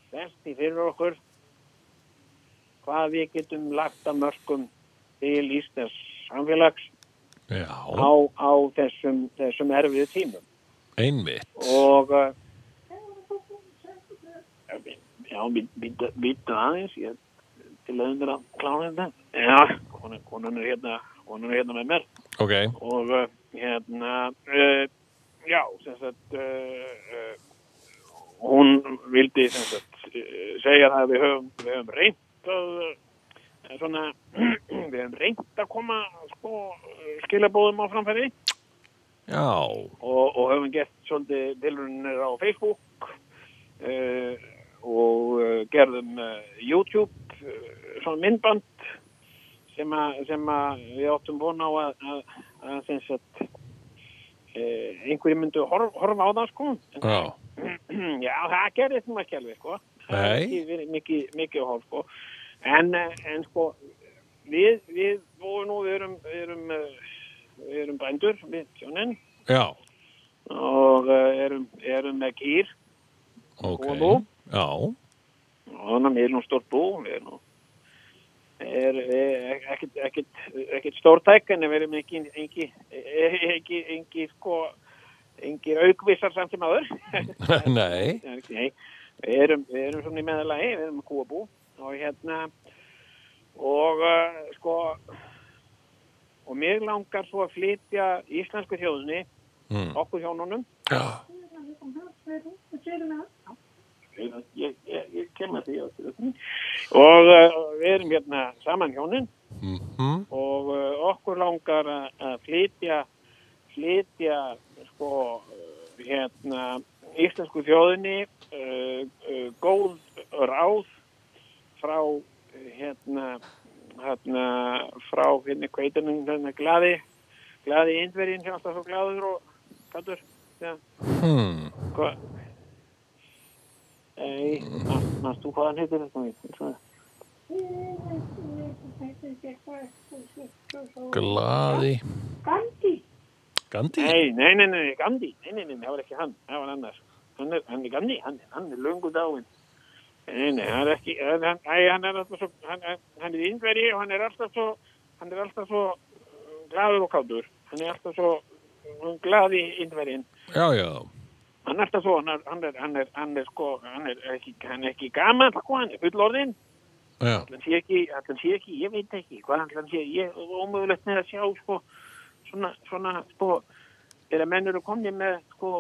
G: velti fyrir okkur hvað við getum lagt að mörgum til Íslands samfélags
A: já,
G: á, á þessum, þessum erfiðu tímum
A: einmitt.
G: og uh, já, býttu aðeins ég til að undir að klána þetta já, konan, konan er hérna konan er hérna með mér
A: Ok,
G: og uh, hérna uh, já, sem sagt uh, uh, hún vildi sem sagt uh, segja það að við höfum, við höfum reynt að uh, svona, við höfum reynt að koma sko, skilabóðum á framfæri
A: Já,
G: og, og höfum gert svolítið tilrunir á Facebook uh, og uh, gerðum uh, YouTube uh, svona myndband sem, a, sem a, við áttum von á að, að, að sem sagt uh, einhverjum myndu horf, horfa á það sko
A: já,
G: já það gerðist nú ekki alveg sko Það hefur
A: Nei.
G: ekki verið mikið, mikið horf sko en, eh, en sko við, við vorum nú við erum, við erum, eh, við erum bændur við sjónin
A: já,
G: og uh, erum, erum með kýr
A: ok.
G: Og nú?
A: Já,
G: og þannig að við erum nú stórt bú við erum nú- er, er ekkert, ekkert, ekkert stórtæk en við erum ekki engi, engi, engi sko engi aukvissar samt sem aður
A: nei,
G: Nei, við erum, við erum svona í meðalagi, við erum kúabú og hérna og uh, sko og mér langar svo að flytja íslensku þjóðinni
A: Mm.
G: okkur hjónunum Já Ég, ég, ég kem að því á eftir. og uh, við erum hérna saman hjónin
A: mhm,
G: og uh, okkur langar að- að flytja flytja sko uh, hérna íslensku þjóðinni uh, uh, góð ráð frá uh, hérna hérna frá hérna kveitunum hérna glaði glaði indverjinn sem alltaf svo glaður og kattur já
A: hmm,
G: Hva? Ei, mannst þú hvað hann heitir þetta mér? Svona.
A: glaði.
H: Gandhi.
A: Gandhi?
G: Nei, nei, nei, nei, Gandhi, nei, nei, nei, það var ekki hann, það var annar. Hann er, hann er Gandhi, hann, hann er löngu dáinn. Nei, nei, hann er ekki, hann, hann, æ, hann er alltaf svo, hann, hann- hann er índveri og hann er alltaf svo, hann er alltaf svo uh, glaður og kátur. Hann er alltaf svo uh, glaði índverinn.
A: Já, já,
G: Hann er alltaf svo, hann er, hann er, hann er, hann er sko, hann er ekki, hann er ekki gaman, sko, hann er fullorðinn.
A: já,
G: Ætli hann sé ekki, ætli hann sé ekki, ég veit ekki hvað ætli hann sé, ég ómögulegt með að sjá sko, svona, svona sko, þegar menn eru komni með sko,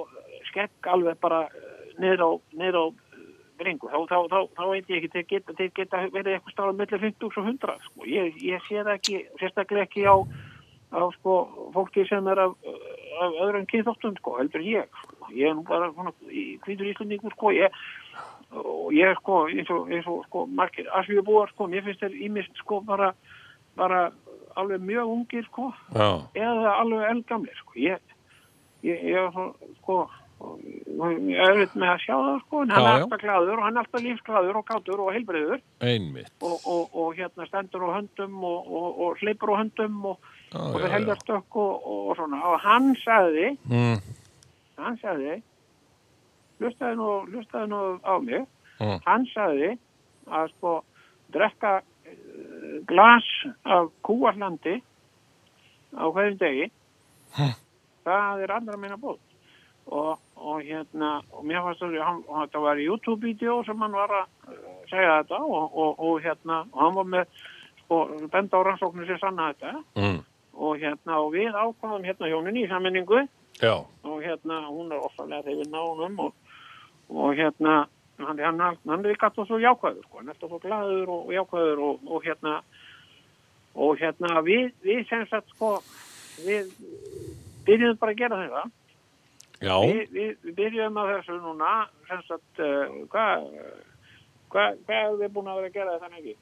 G: skekk alveg bara eh, niður á, niður á eh, bringu, þá, þá, þá, þá veit ég ekki þeir geta, þeir geta verið eitthvað stála millir 50 og 100, sko, ég, ég sé það ekki sérstaklega ekki á, á sko, fólki sem er af, af öðrum kynþóttum, sko, heldur en ég sko. ég er nú bara svona, hvítur íslendingur sko, ég og ég sko, eins og, eins og sko, margir asfjöbúar sko, mér finnst þeir ímist sko bara, bara alveg mjög ungir sko,
A: já,
G: eða alveg eldgamlir sko, ég ég, ég er svo, sko og- og ég er auðvitað með að sjá það sko en hann
A: Já,
G: er
A: já.
G: alltaf glaður og hann er alltaf lífsglaður og kátur og heilbreyður
A: einmitt.
G: og, og, og hérna stendur á höndum og, og, og hleypur á höndum og,
A: Já,
G: og
A: já,
G: við
A: já.
G: helgastökk og, og svona og hann sagði
A: Mm,
G: hann sagði lustaði nú, lustaði nú á mig
A: Mm.
G: hann sagði að sko drekka eh, glas af kúarlandi á hverjum degi það er andra minna bóð og, og hérna og mér fannst að hann, og þetta var YouTube-vídeó sem hann var að eh, segja þetta og, og, og hérna og hann var með sko, benda á rannsóknir sem sanna þetta
A: mm,
G: og hérna og við ákvaðum hérna hjóninni í sammenningu
A: já,
G: og hérna hún er ofsalega þegar nánum og, og hérna hann, hann, hann er ekki alltaf svo jákvæður sko, hann er alltaf svo glaður og, og jákvæður og, og hérna og hérna við, við sem sagt sko við byrjuðum bara að gera þetta
A: já,
G: við, við, við byrjuðum að þessu núna sem sagt uh, hvað hva, hva hefur við búin að vera að gera þetta ekki?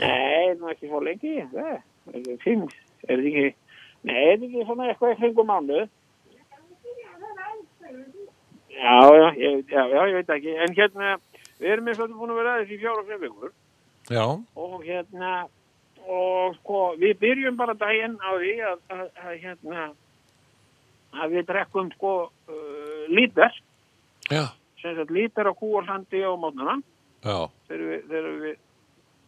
G: Nei, nú ekki svo lengi það er fimm, er þetta ekki nei, er þetta ekki svona eitthvað í kringum mánuð Já, já, ég, já, já, ég veit ekki. En hérna, við erum eins og þetta búin að vera aðeins í fjóra og fimm vikur.
A: já,
G: Og hérna, og sko, við byrjum bara daginn á því að, að, að hérna, að við drekkum sko uh, lítar,
A: já,
G: sem sagt lítar á kúarlandi á mótnana,
A: já,
G: þegar við, þegar við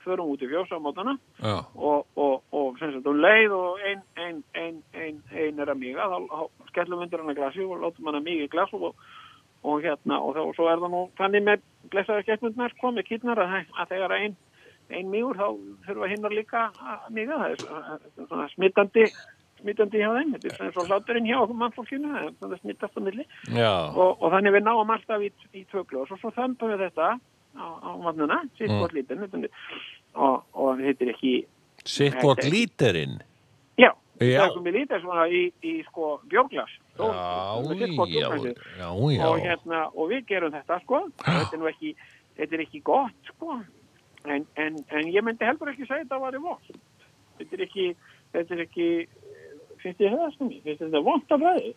G: förum út í fjós á mótnana
A: já,
G: og, og, og sem sagt um leið og ein, ein, ein, ein, ein er að miga þá, þá skellum undir hann að glasi og látum hann að miga í glas og, og hérna og þá, svo er það nú þannig með blessaðu skellmundnar sko með kýrnar að, að þegar ein, ein migur þá þurfa hinnar líka að miga það er svona- þetta er svona smittandi smittandi hjá þeim, þetta er svona svo hláturinn hjá okkur mannfólkinu, það er svona smittast á milli
A: já,
G: og, og þannig við náum alltaf í, í tvöglu og svo, svo þömpum við þetta á, á vatnuna, síðan
A: Mm.
G: hvort lítinn þetta er- og, og þetta er ekki
A: Sitt hvort lítirinn.
G: Já,
A: Já.
G: það er komið lítið svona í, í sko björglas.
A: Já, já, já, já.
G: og hérna, og við gerum þetta sko þetta er nú ekki, þetta er ekki gott sko, en, en, en ég myndi heldur ekki segja þetta var í vond þetta er ekki, þetta er ekki finnst þið það sko, finnst þið þetta vond af ræði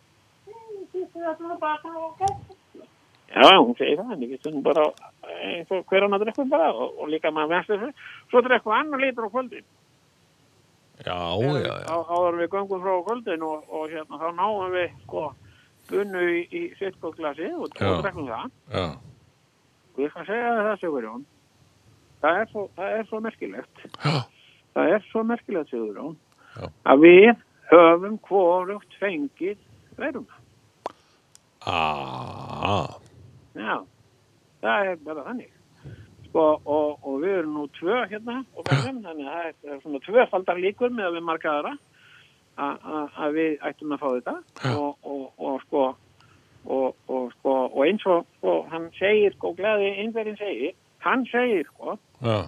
G: Já, hún segir það, en ég stundum bara eins og hver annar drekkur bara og, og líka maður verður þessu, svo drekkur annar lítur á kvöldin
A: Já, já,
G: Þegar-
A: já.
G: á- áður en við göngum frá kvöldin og, og hérna, þá náum við sko bunnu í, í sittkóklasi og,
A: Já.
G: og drekkum það
A: já.
G: og ég skal segja þér það Sigurjón það er svo, það er svo merkilegt
A: Já.
G: það er svo merkilegt Sigurjón
A: Já.
G: að við höfum hvorugt fengið veruna
A: Ah,
G: já, það er bara þannig sko, og, og við erum nú tvö hérna og verðum, þannig að það er- það er svona tvöfaldar líkur með að við marga aðra a- a- að við ættum að fá þetta og, og, og sko og, og, sko, og eins og sko, hann segir, sko, gleði einverjum segir hann segir, sko,
A: já.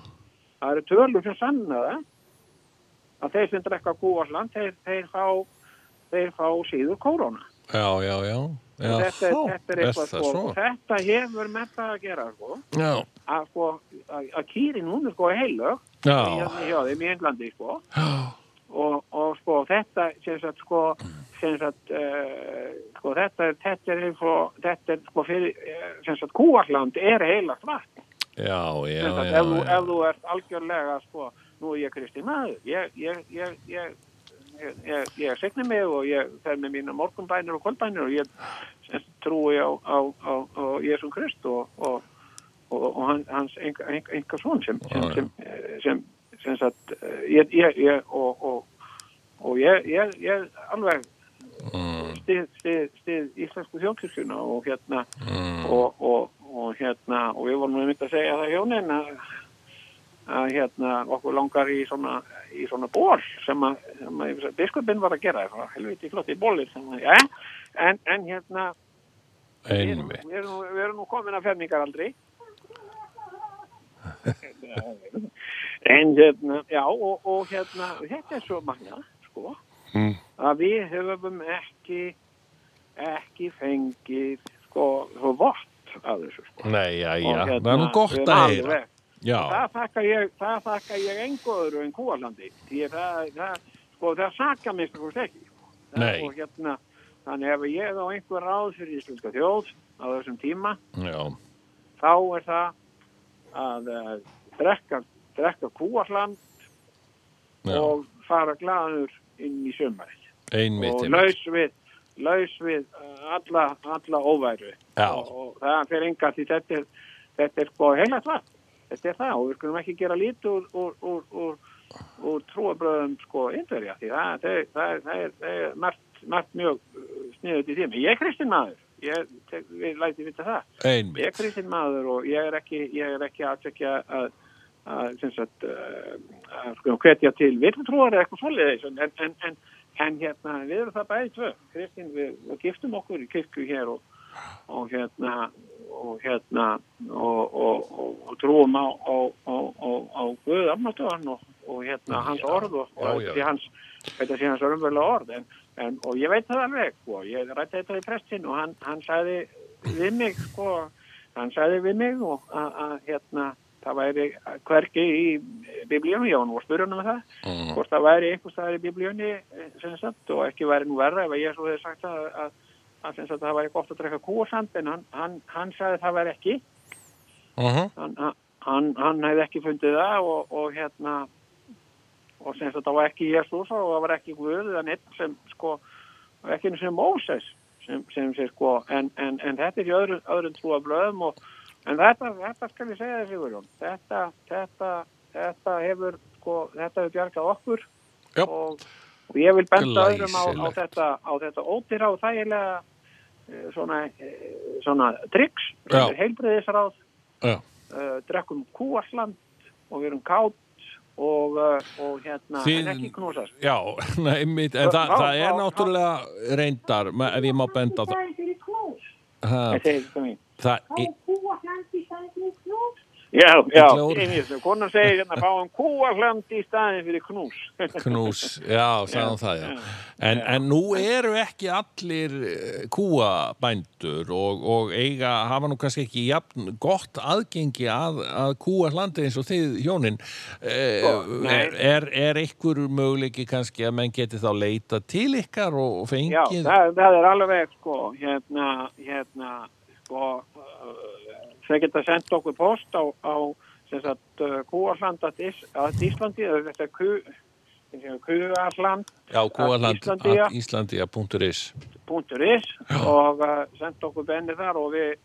G: það eru tölur sem sanna það að þeir sem drekka kúasland þeir, þeir, fá, þeir fá síður kóróna
A: Já, já, já. Já,
G: þetta,
A: þá,
G: þetta er eitthvað sko,
A: svo.
G: og þetta hefur með það að gera sko,
A: Já,
G: að, sko, að, að kýrin hún er sko heilög
A: já,
G: hérna hjá þeim í Englandi sko. og, og sko þetta sem sagt sko sem sagt, uh, sko, þetta, er- þetta er eins og þetta er sko fyrir eh, sem sagt kúasland er heilagt vatn
A: já, já,
G: Sem sagt,
A: já,
G: ef, þú,
A: já.
G: ef þú ert algjörlega sko, nú er ég kristi maður ég, ég, ég, ég Ég, ég, ég segni mig og ég fer með mína morgunbænir og kvöldbænir og ég sem sagt, trúi á, á, á, á Jésum Krist og, og, og, og hans, hans enga, enga, enga son sem sem,
A: Já, já.
G: sem, eh, sem, sem sagt, eh, ég, ég, ég og, og, og ég, ég, ég alveg
A: Mm.
G: stið, stið, stið íslensku þjókirkjuna og hérna
A: Mm.
G: og, og, og hérna og við vorum nú einmitt að segja það hjónin að, að hérna okkur langar í svona, í svona ból sem að, sem að biskupin var að gera það var helviti flotti bólir sem að, ja, en, en hérna við erum,
A: Einmitt.
G: við erum, nú- við erum nú komin að fermingar aldrei en hérna já og, og hérna þetta er svo magna sko
A: Mm.
G: að við höfum ekki ekki fengið sko, svo vott af þessu sko.
A: Nei, já, já.
G: Og hérna,
A: Það er nú
G: við
A: gott
G: erum
A: að heyra.
G: alveg-
A: Já,
G: það þakka ég, það þakka ég engu öðru en kúalandi því að það, það, sko, það saka mér sko ekki sko. Það-
A: Nei.
G: og hérna, þannig ef ég á einhver ráð fyrir íslenska þjóð á þessum tíma
A: já,
G: þá er það að uh, drekka, drekka kúasland
A: já.
G: og fara glaður inn í sömarið
A: Einmitt,
G: og
A: einmitt.
G: laus við, laus við uh, alla, alla óværu
A: Já.
G: og, og það fyrir enga því þetta er, þetta er sko heila það þetta er það og við skulum ekki gera lít úr, úr, úr, úr, úr trúabröðum sko indverja því það, það, er- það, er- það er, það er margt, margt mjög sniðut í þeim ég er kristin maður ég, tek- við læti vita það ég er
A: Einmitt.
G: kristinn maður og ég er ekki, ég er ekki að tekja að, að, sem sagt, eh, að sko, hvetja til virðtrúar eða eitthvað svolítið en, en, en, en hérna, við erum það bæði tvö kristinn, við, við giftum okkur í kirkju hér og, og hérna og hérna og, og, og, og trúum á, á, á, á, á Guð Amnastöðan og, og hérna hans orð og, og
A: já,
G: þetta sé
A: já.
G: hans, þetta sé hans örumverulega orð en, en, og ég veit það alveg og ég rætti þetta við prestinn og hann, hann sagði við mig sko hann sagði við mig og að að, hérna, það væri hverki í biblíunum, já, hann var spurðunum með um það, hvort það væri einhvers staðar í biblíunni eh, sem sagt, og ekki væri nú verra ef að ég svo hefði sagt að, að, að sem sagt, það væri gott að drekka kúasand en hann, hann, hann sagði það væri ekki
A: Mhm.
G: hann, hann, hann hefði ekki fundið það og, og hérna og sem sagt það var ekki Jésús og það var ekki Guð en einn sem sko og ekki einu sem Móses sem, sem sé sko en, en, en þetta er í öðru, öðrum trúa blöðum og, en þetta, þetta skal ég segja þér Sigurjón þetta, þetta, þetta hefur sko, þetta hefur bjargað okkur
A: Já.
G: og, og ég vil benda öðrum á, á
A: Glæsilegt.
G: þetta, á þetta ódýra og þægilega eh, svona, eh, svona triks
A: Já.
G: heilbriðisráð
A: Já.
G: uh, drekkum kúasland og við erum kátt og, uh, og hérna,
A: Þið-
G: en ekki knúsast.
A: Já, nei, mitt, en það,
G: Vá,
A: það er
G: vá,
A: náttúrulega reyndar, me- ef ég má benda á það.
H: Það er fyrir knús.
A: Ha,
G: Þetta er eitthvað mín.
A: Það
H: Þá
A: er,
H: er kúasland í staðin fyrir knús.
G: Já, já,
A: Illa úr.
G: einnig þessu. Konan segir hérna, fáum kúahland í staðin fyrir knús.
A: Knús, já, sagði hann það, já. En, en nú eru ekki allir eh, kúabændur og, og eiga, hafa nú kannski ekki jafn gott aðgengi að, að kúahlandi eins og þið hjónin. Eh,
G: Sko, nei.
A: Er, er einhver möguleiki kannski að menn geti þá leita til ykkar og, og
G: Já,
A: fengið?
G: það, það er alveg, sko, hérna, hérna, sko, uh, þeir geta sendt okkur post á, á sem sagt, uh, kúahland að, Ís, að Íslandi, eða þetta er kú, kúahland.is
A: Já, kúaland
G: Íslandia.
A: at Íslandia.is
G: og uh, senda okkur benni þar og við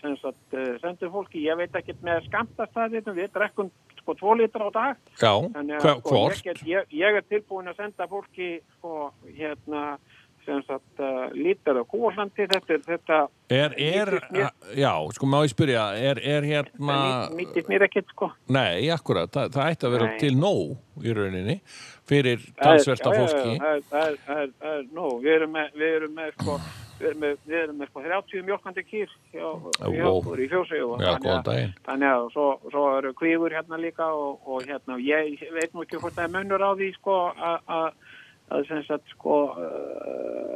G: sem sagt, uh, sendum fólki, ég veit ekki með skamtastæðinu, við drekkum sko 2 litra á dag
A: Já,
G: Þannig
A: hva,
G: að sko, ég,
A: hvort?
G: get, ég, ég er tilbúin að senda fólki sko, hérna, sem sagt, uh, lítar á kúrlandi, þetta er þetta,
A: Er, er,
G: nýtist mér.
A: já, sko má ég spyrja, er, er hérna...
G: það mítist mér ekkert, sko.
A: Nei, akkurat, Þa, það ætti að vera
G: Nei.
A: til nóg í rauninni fyrir
G: Það er-
A: talsverta
G: já, já,
A: fólki.
G: já, það er- Það er- það er- það er nóg, við erum með, við erum með, sko, við erum með, við erum með, sko, 30 mjölkandi kýr hjá, hjá
A: vó.
G: okkur í fjósi og
A: Já,
G: þannig
A: góðan
G: að,
A: daginn.
G: þannig að svo, svo eru kvífur hérna líka og, og hérna, ég veit nú ekki hvort það er munur á því, sko, að- að að sem sagt sko uh,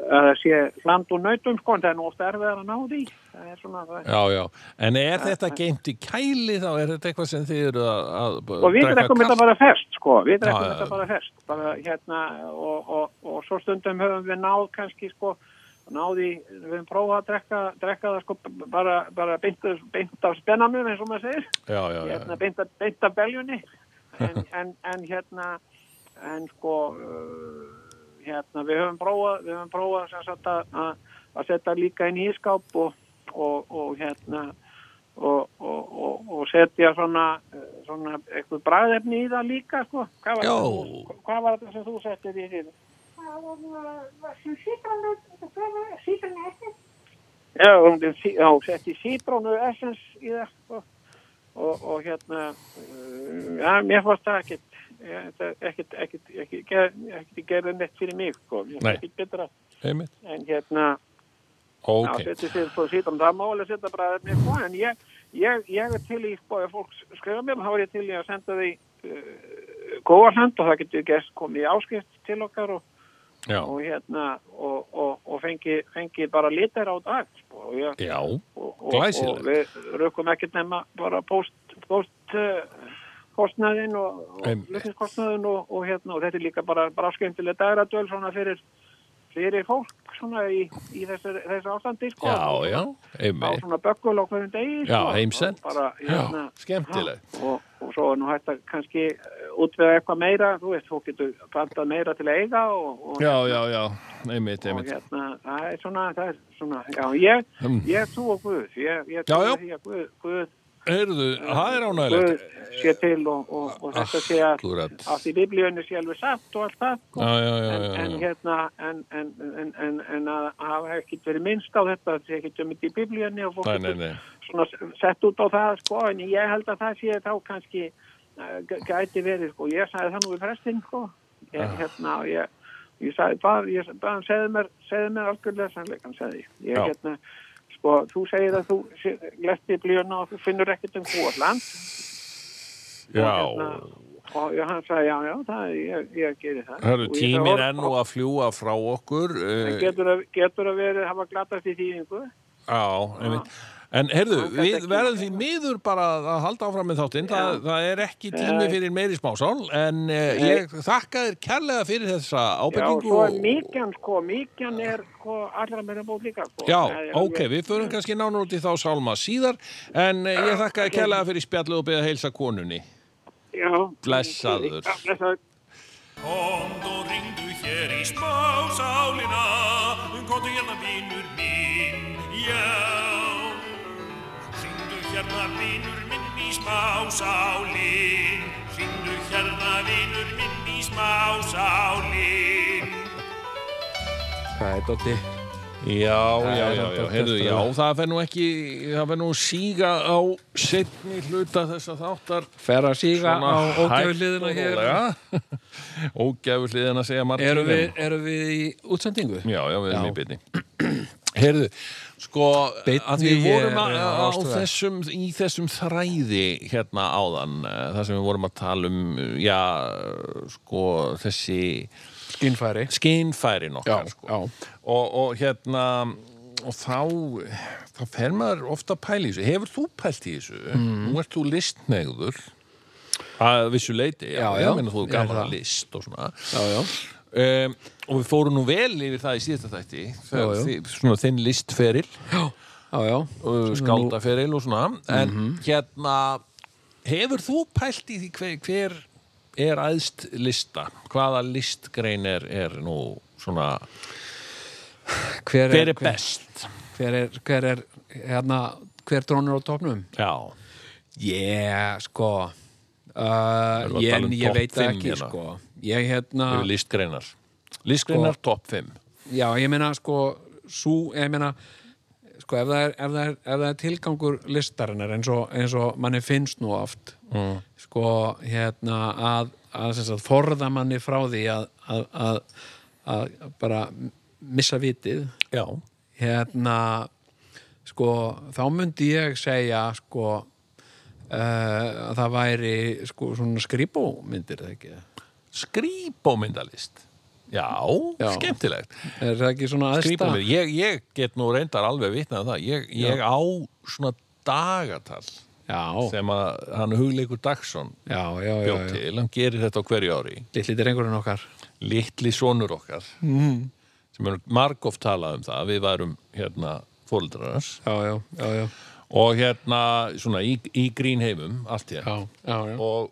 G: að það sé land og nautum sko en það er nú ofta erfið að ná því það er svona það
A: Já, já. En er þetta geimt í kæli þá? Er þetta eitthvað sem þið eru að, að
G: og Sko, við drekkum þetta bara fest sko, við
A: Já,
G: drekkum
A: já,
G: þetta
A: já.
G: bara fest bara hérna og, og, og svo stundum höfum við náð kannski sko náði, við höfum prófað að drekka, drekka það sko b- bara, bara beint, beint af spennanum eins og maður segir
A: Já, já, já.
G: hérna, beint, af- beint af beljunni en, en, en hérna en sko uh, hérna við höfum prófað við höfum prófað sem sagt að- að að setja líka inn í ískáp og, og, og hérna og, og, og, og setja svona, eh, svona eitthvað bræðefni í það líka sko. hvað, var
A: Já.
G: þetta, hvað var þetta sem þú settir í því? Já, hún er sí- já, hún setti sítrónu essens í það sko. og, og hérna eh, já, mér fannst það ekkit eh, þetta- ekkit, ekkit, ekkit, ekkit, ekkit gerði neitt fyrir mig sko. Mér
A: Nei.
G: fannst ekkit betra
A: Einmitt.
G: en hérna Já,
A: Ok.
G: þetta er svo síðan, það má alveg setja bara efni sko, en ég, ég, ég er til í, sko, ef fólk skrifa mér, þá er ég til í að senda því uh, góðarland og það getur gæst komið í áskipt til okkar og,
A: Já.
G: og hérna, og, og, og fengi, fengi bara litir á dag, sko, og ég,
A: Já.
G: og, og,
A: Glæsilegt.
G: og við rökkum ekkert nema bara post, post uh, kostnaðin og, og
A: Einmitt.
G: flutningskostnaðin og, og hérna, og þetta er líka bara, bara skemmtileg dæradöl svona fyrir, fyrir fólk svona í, í þessu, þessu ástandi, sko
A: Já, já.
G: á
A: Einmitt.
G: svona böggul á hverjum degi
A: Já,
G: sko.
A: heimsend.
G: Og bara, hérna,
A: Já, skemmtilegt.
G: já, og, og svo er nú hægt að kannski eh, útvega eitthvað meira þú veist, fólk getur pantað meira til að eiga og, og,
A: Já, já, já. Einmitt,
G: og
A: einmitt. Um.
G: hérna, það er svona, það er svona já, ég, ég trú á Guð ég, ég trú
A: Já, já.
G: á því að Guð, Guð,
A: Heyrðu, það er
G: Guð
A: ánægilegt.
G: sé til og, og, og þetta sé að
A: Akkurat.
G: að því biblíunni sé alveg satt og allt það sko.
A: Já, já, já,
G: en,
A: já,
G: en
A: já.
G: hérna en, en, en, en, en að hafa ekkert verið minnst á þetta, það sé ekkert um þetta í biblíunni og fólk
A: Nei, nei,
G: getur
A: nei.
G: svona sett út á það sko en ég held að það sé þá kannski eh, g- gæti verið sko ég sagði það nú við frestinn sko
A: Ah.
G: ég, hérna og ég ég sagði bara, ég sagði bara, segðu mér, segðu mér algjörlega sannleikann, segði ég, ég
A: Já.
G: hérna sko, þú segir að þú lesti blíðuna og þú finnur ekkert um húalland hérna-
A: Já.
G: og ég, hann sagði, já, já, það, ég, ég gerir það
A: Hörru,
G: Og ég sagði,
A: tíminn
G: "Og-
A: er nú að fljúa frá okkur.
G: en
A: eh,
G: getur að, getur að verið, hafa glatast í þýðingu
A: Já, einmitt. En heyrðu,
G: Hann gat
A: við
G: ekki-
A: verðum því miður bara að halda áfram með þáttinn. Það, það er ekki tími
G: Nei.
A: fyrir meiri smásál, en uh, ég þakka þér kærlega fyrir þessa
G: Já, og
A: ábyggingu.
G: svo er mikjan, sko, mikjan er sko, allra meira bóð líka, sko.
A: Já,
G: Það er
A: ok,
G: alveg-
A: við förum kannski nánar út í þá sálma síðar, en eh, ég þakka þér kærlega fyrir spjallið og beða heilsa konunni.
G: Já.
A: Blessaður.
G: Já, blessaður.
F: Komd og ringdu hér í spásálina, komdu hérna vinnur minn, já. Ringdu hérna vinnur minn í spásálin, ringdu hérna vinnur minn í spásálin.
C: Hvað er Doddi?
A: Já, já,
C: er
A: já, já,
C: þetta
A: heyrðu, já,
C: töfralega.
A: það fer nú ekki, það fer nú síga á setni hluta þessa þáttar.
C: Fer að síga á
A: Svona hægt
C: ógæfuliðina
A: og
C: hér.
A: rólega. Ógæfuliðina segja margir. en-
C: Erum við, erum við í útsendingu?
A: Já, já, við erum í byrni. Heyrðu, sko,
B: Beinni
A: að við vorum að,
B: er,
A: á
B: uh, ástæða.
A: þessum, í þessum þræði hérna áðan, eh, þar sem við vorum að tala um, já, sko, þessi
B: Skinnfæri.
A: skinnfærin
B: Já,
A: okkar, sko.
B: já.
A: Og, og hérna, og þá, þá fer maður ofta að pæla í þessu. Hefur þú pælt í þessu? Nú ert þú listnegður, Mm. að vissu leiti,
B: Já, já,
A: Ég meina þú
B: ég er
A: er gaman
B: það.
A: að list og svona.
B: Já, já.
A: Um, og við fórum nú vel yfir það í síðasta þætti þegar
B: já.
A: þi- svona þinn listferil
B: Já, já.
A: uh, skáldaferil og svona en hérna hefur þú pælt í því hver, hver er aðst lista hvaða listgrein er, er nú svona
C: Hver
A: hver er best
C: Hver er, hver er, hérna, hver drónur á topnum?
A: já,
C: Yeah, sko.
A: Erum við að
C: Uh, ég,
A: tala um
C: ég
A: topp
C: veit það
A: fimm
C: ekki,
A: hérna?
C: sko. Ég, hérna,
A: yfir listgreinar listgreinar
C: Sko-
A: topp 5
C: já, ég meina, sko, svo, ég meina, sko, ef það er, ef það er, ef það er tilgangur listarinnar eins og, eins og manni finnst nú oft, mm. sko, hérna, að, að, sem sagt, forða manni frá því að, að, að, að bara missa vitið,
A: já,
C: hérna sko, þá myndi ég segja sko uh, að það væri sko svona skribómyndir það ekki
A: skrýpómyndalist já,
C: Já.
A: skemmtilegt
C: er það ekki svona aðsta
A: skrýpómynd, ég, ég get nú reyndar alveg vitnað um það, ég, ég á svona dagatal
C: já,
A: sem að hann hugleikur Dagsson
C: já, já, já,
A: bjóð
C: já.
A: til, hann gerir þetta á hverju ári
C: litli drengurinn okkar
A: litli sonur okkar mm.
C: Mhm.
A: sem er margóft talað um það við værum hérna fóreldrarans
C: já, já, já, já,
A: og hérna svona í, í grínheimum allt í
C: já,
A: hérna
C: já, já.
A: og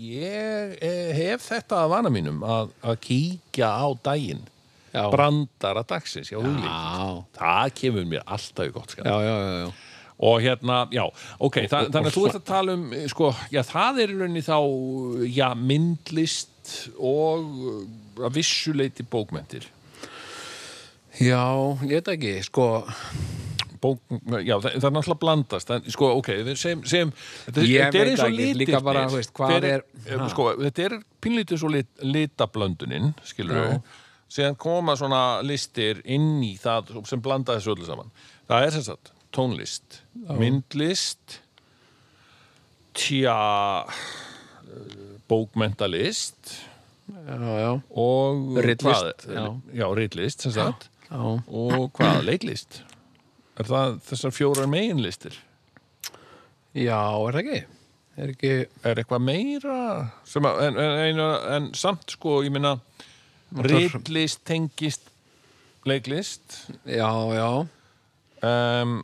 A: ég eh, hef þetta að vana mínum að, að kíkja á daginn
C: Já.
A: brandara dagsins hjá hugleik
C: Já.
A: það kemur mér alltaf í gott skap
C: Já, já, já, já.
A: og hérna, já, ok þa þannig að þú ert að tala um, eh, sko já, það er í rauninni þá, eh, já, myndlist og eh, að vissuleiti bókmentir
C: Já, ég veit ekki, sko
A: Bók, já, það, það er náttúrulega blandast en, sko, ok, við segjum, segjum þetta,
C: Ég
A: þetta
C: veit
A: er eins og
C: ekki,
A: litirnir
C: líka bara, þú veist, hvað
A: Hver
C: er- ha.
A: sko, þetta er pínlítið svo lit, litablöndunin skilur
C: Já.
A: við, síðan koma svona listir inn í það sem blanda þessu öllu saman það er sem sagt tónlist, myndlist tja eh, bókmentalist
C: Já, já,
A: og hvað,
C: Ritlist, já.
A: já, ritlist sem sagt
C: já
A: og hvað, leiklist er það þessar fjórar meginlistir
C: Já, er það ekki? Er ekki,
A: er eitthvað meira sem að, en, en, en, en samt sko, ég minna ritlist tengist leiklist
C: já, já
A: um,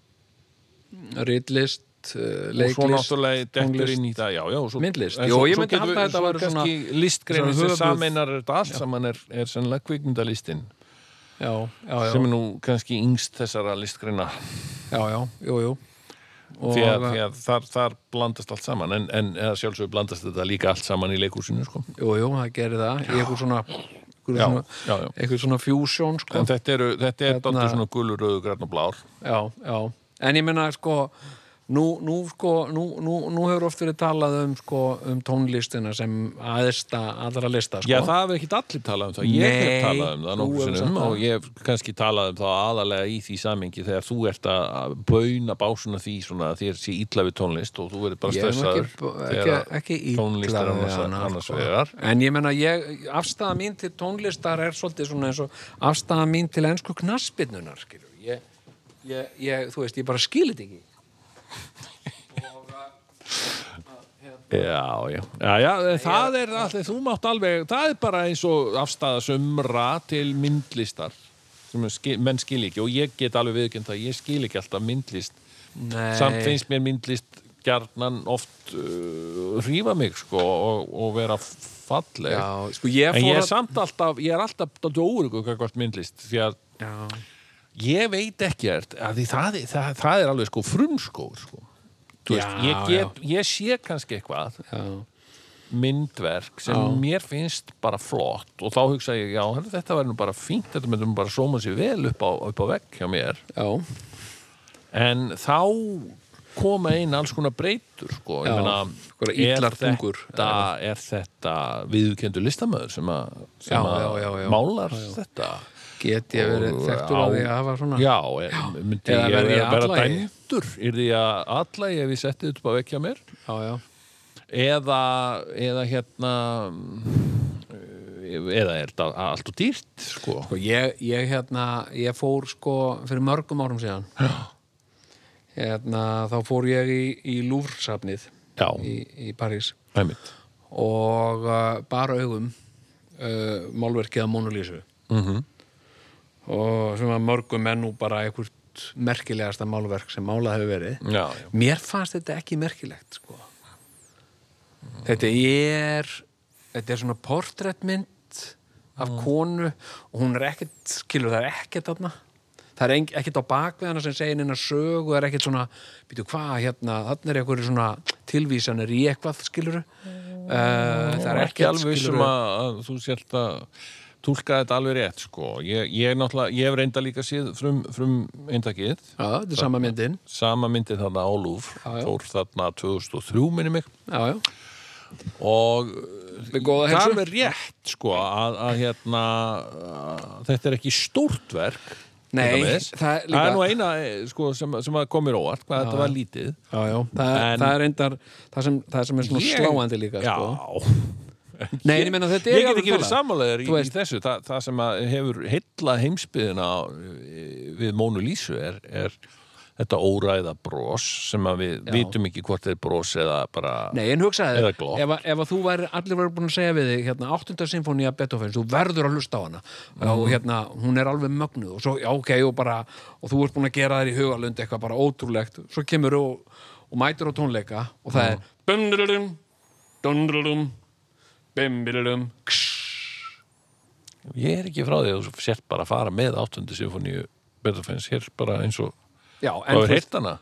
C: Rítlist, uh,
A: og svo
C: leiklist
A: náttúrulega dettur
C: tónlist.
A: inn í það já, já, og svo,
C: Myndlist.
A: en
C: Jú,
A: svo-
C: ég
A: svo
C: myndi
A: getum
C: halda
A: við-
C: að þetta
A: svo
C: væri svona-
A: kannski listgreinin
C: svona
A: sem
C: höfuð-
A: sameinar þetta allt saman er, er sennilega kvikmyndalistin
C: Já, já, já,
A: sem er nú kannski yngst þessara listgreina
C: já, já, jú, jú Og,
A: því að, því að þar, þar blandast allt saman en, en eða sjálfsögur blandast þetta líka allt saman í leikúsinu sko.
C: Jú, jú, það gerir það í eitthvað svona eitthvað
A: Já,
C: svona,
A: já, já.
C: eitthvað svona fusion sko.
A: en þetta, eru, þetta er
C: Hérna-
A: dottur svona gulur, rauður, grann og blár
C: já, já. en ég meina sko nú, nú, sko, nú, nú, nú hefur oft verið talað um, sko, um tónlistina sem aðsta allra lista sko.
A: Já, það hefur ekkert allir talað um það. Ég
C: Nei,
A: hef talað um það
C: þú
A: nokkuð
C: hefur
A: sinnum
C: sagt það.
A: og ég hef kannski talað um það aðalega í því samingi þegar þú ert að- að bauna básuna því svona að þér sé illa við tónlist og þú verður bara
C: Ég er nú
A: stressaður
C: ekki,
A: þegar
C: ekki, ekki
A: tónlist er annars,
C: hana,
A: annars
C: sko.
A: vegar.
C: en ég menna, ég, afstæða mín til tónlistar er svolítið svona eins og afstæða mín til ensku knaspinnunar ég, ég, ég, þú veist, ég bara skil þetta ekki
A: Já, já. Já, já, það er allir, þú mátt alveg, það er bara eins og afstæða sumra til myndlistar sem er skil, menn skil ekki og ég get alveg viðkjönd það, ég skil ekki alltaf myndlist
C: Nei.
A: samt finnst mér myndlist gjarnan oft uh, hrífa mig sko og, og vera falleg
C: Já, sko, ég
A: en
C: fór
A: ég er
C: að-
A: samt alltaf ég er alltaf dálítið óurugu hvað myndlist því að
C: já
A: ég veit ekki að, að því það, það, það er alveg sko frumskór sko. Þú veist,
C: Já,
A: ég, get, ég sé kannski eitthvað já. myndverk sem mér finnst bara flott og þá hugsa ég, já, herri, þetta verður nú bara fínt þetta myndum bara sóma sér vel upp á, upp á vegg hjá mér
C: Já,
A: en þá koma inn alls konar breytur sko. Ég
C: Já,
A: meina,
C: einhverjar
A: er
C: illar tungur.
A: þetta, er þetta viðkendur listamöður sem, a, sem
C: Já,
A: að
C: já, já, já.
A: málar þetta
C: Get ég verið
A: Og
C: þekktur
A: á-
C: á því að hafa svona
A: Já, e- myndi
C: Eða
A: ég
C: verð ég
A: vera, vera
C: atlagi?
A: dæmdur yrði ég allægi ef ég setti þetta upp að vekja mér
C: já, já.
A: eða, eða hérna eh, eða er þetta allt og dýrt sko.
C: Sko, ég, ég, hérna, ég fór sko fyrir mörgum árum síðan hérna, þá fór ég í, í Lúfrsafnið
A: Já,
C: í, í París
A: einmitt
C: og uh, bara augum uh, málverkið að Monolísu -hmm. og sem að mörgum er nú bara einhvert merkilegasta málverk sem málað hefur verið
A: Já,
C: mér fannst þetta ekki merkilegt sko. þetta er þetta er svona portrettmynd af
A: Mm.
C: konu og hún er ekkert, skilur það er ekkert þarna það er eng- ekkert á bakvið hana sem segir hennar sög og er ekkert svona, býtu hvað hérna þarna er eitthvað svona tilvísanir í eitthvað skilur uh, það
A: það
C: er
A: er Mm. ekki
C: ekkert
A: alveg sem að, að þú sért að túlka þetta alveg rétt sko. ég, ég, náttúrulega- ég hef reynda líka séð frum, frum eindakið
C: já, þetta er sama myndin
A: sama myndi þarna á Lúf
C: já.
A: fór þarna 2003 minni mig
C: já, já,
A: og
C: Með
A: það
C: góða heilsu.
A: er alveg rétt sko að, að hérna að þetta er ekki stórt verk
C: Nei,
A: til dæmis.
C: það er líka-
A: það er nú eina eh, sko, sem, sem að komir óvart hvað þetta var lítið
C: já, já. Það,
A: En-
C: það er reyndar það sem, það sem er svona
A: Ég-
C: sláandi líka
A: já,
C: sko. Nei, en ég meina þetta er
A: ég get
C: alveg
A: ekki verið
C: talað.
A: sammálaður í,
C: Þú
A: í þessu Þa, það sem að hefur heilla heimsbyðina e, við Mónu Lísu er, er þetta óræða bros sem að við vitum ekki hvort er bros eða bara
C: Nei, en hugsaði
A: Eða
C: ef,
A: glopp.
C: að- ef að þú væri, allir væri búin að segja við þig hérna, 8. sinfónía Beethoven, þú verður að hlusta á hana og
A: Mhm.
C: hérna, hún er alveg mögnuð og svo, já, ok, og bara og þú ert búin að gera þér í hugalund eitthvað bara ótrúlegt svo kemur og, og mætir á tónleika og það er bumdurlum, dundurlum bimbilum,
A: ég er ekki frá því að þú sért bara að fara með 8. symfóníu Beethoven's hér bara eins og
C: já, en,
A: og er
C: þú-
A: heitt hana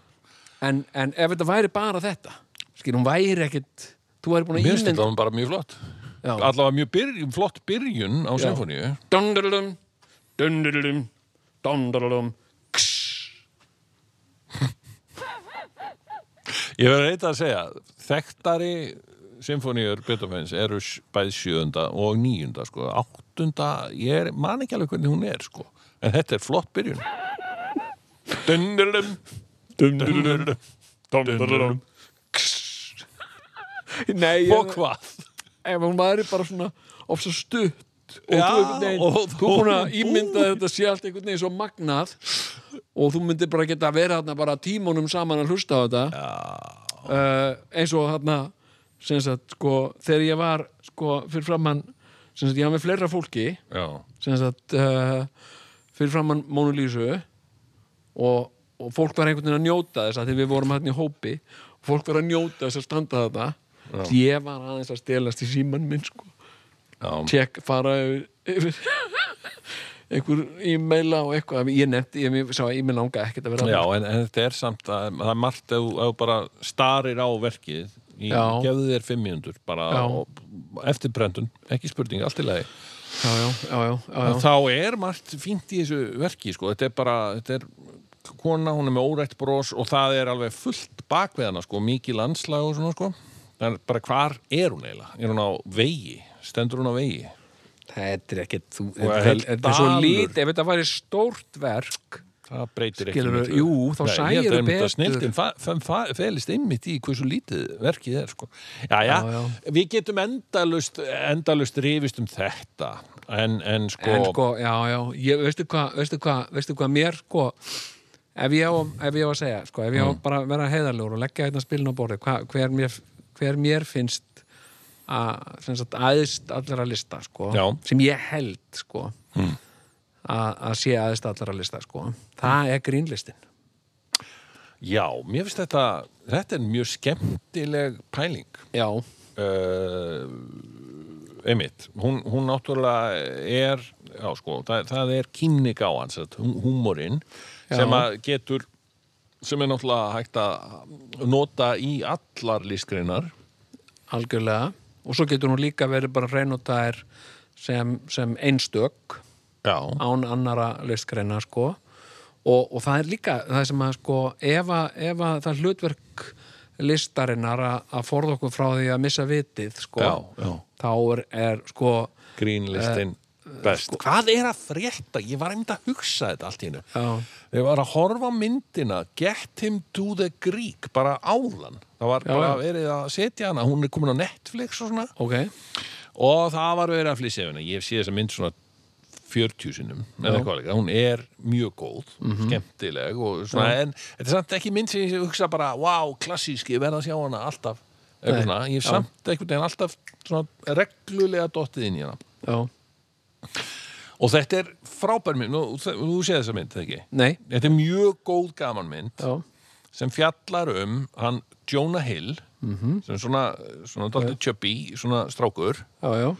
C: en, en ef þetta væri bara þetta skil, hún væri ekkit þú væri búin að
A: Mér finnst
C: ímynd
A: þetta bara mjög flott
C: Já.
A: Allavega mjög byrjun, flott byrjun á symfóníu
C: dundurlum, dundurlum dundurlum
A: Ég verður eitthvað að segja Þekktari symfóníur Beethoven's eru s- bæði sjöunda og níunda sko. Áttunda, ég er, man ekki alveg hvernig hún er sko. En þetta er flott byrjun Dundurlum Dundurlum Dundurlum
C: Nei, ég-
A: Og hvað?
C: ef hún væri bara svona ofsa stutt og
A: Já,
C: þú einhvern veginn,
A: og
C: þú er búin að
A: þú-
C: ímynda að þetta sé allt einhvern veginn svo magnað og þú myndir bara geta að vera þarna bara tímunum saman að hlusta á þetta uh, eins og þarna sem sagt sko þegar ég var sko fyrir framann sem sagt ég var með fleira fólki
A: Já,
C: sem sagt uh, fyrir framann Mónu Lísu og, og fólk var einhvern veginn að njóta þess að því við vorum hann í hópi og fólk var að njóta þess að standa þarna ég var aðeins að stelast í síman minn sko,
A: já,
C: tjekk fara yfir, yfir einhver e-maila og eitthvað ég nefndi, ég, ég sá að e-mail langa ekkert að vera
A: já en, en þetta er samt að það er margt ef ef þú bara starir á verkið í,
C: Já.
A: gefðu þér fimm mínútur bara
C: Já.
A: og, eftir prentun, ekki spurning, allt í lagi
C: já, já, já, já, já, já.
A: þá er margt fínt í þessu verki sko. þetta er bara þetta er kona, hún er með órætt bros og það er alveg fullt bak við hana sko, mikið landslag og svona sko. það er bara hvar er hún eiginlega er hún á vegi, stendur hún á vegi
C: þetta er ekkert þú,
A: Og
C: þetta,
A: heill
C: er- þetta er svo
A: dalur.
C: lít, ef þetta væri stórt verk
A: það breytir ekki
C: Skilurðu,
A: miklu.
C: jú, þá
A: Nei, ég held einmitt
C: sæirðu
A: að
C: betur.
A: snilldin fa- fa- fa- felist einmitt í hversu lítið verkið er sko. já, já,
C: Já, já.
A: við getum endalust endalust rifist um þetta en, en sko,
C: en sko, já, já, ég, veistu hvað veistu hvað, veistu hvað mér, sko ef ég á, ef ég á að segja, sko ef ég á bara að vera heiðarlegur og leggja hérna spilin á borði hva, hver, mér, hver mér finnst að, sem sagt, aðist allra lista, sko,
A: Já.
C: sem ég held sko mm. að sé aðist allra lista, sko það er grínlistin
A: já, mér finnst þetta þetta er mjög skemmtileg pæling
C: já,
A: uh, einmitt, hún, hún náttúrulega er, já sko það, það er kynning á hans, þetta hú- húmorinn sem að getur sem er náttúrulega hægt að nota í allar listgreinar
C: algjörlega og svo getur hún líka verið bara reynotæðir sem, sem einstök
A: Já,
C: án annara listgreina sko. og, og það er líka það sem að sko, ef, að, ef að það er hlutverk listarinnar að, að forða okkur frá því að missa vitið sko,
A: Já, já.
C: þá er, er sko
A: grínlistin best Eh, sko, Hvað er að frétta? Ég var einmitt að hugsa þetta allt í hennu
C: Já.
A: Ég var að horfa á myndina Get him to the Greek bara álan Það var bara verið að setja hana Hún er komin á Netflix og svona
C: ok,
A: og það var verið að flýsa yfir hana ég hef séð þessa mynd svona 40 sinnum eða eitthvað líka, hún er mjög góð
C: Mhm.
A: skemmtileg og svona en þetta er samt ekki mynd sem ég hugsa bara wow, klassísk, ég verð að sjá hana alltaf eitthvað svona, ég hef samt einhvern veginn alltaf svona reglulega dottið inn í hana
C: já,
A: og þetta er frábær mynd og þú þú séð þessa mynd, eða ekki?
C: nei
A: Þetta er mjög góð gaman mynd
C: já,
A: sem fjallar um hann Jonah Hill
C: Mhm.
A: sem er svona, svona dalti chubby, svona strákur
C: já, já,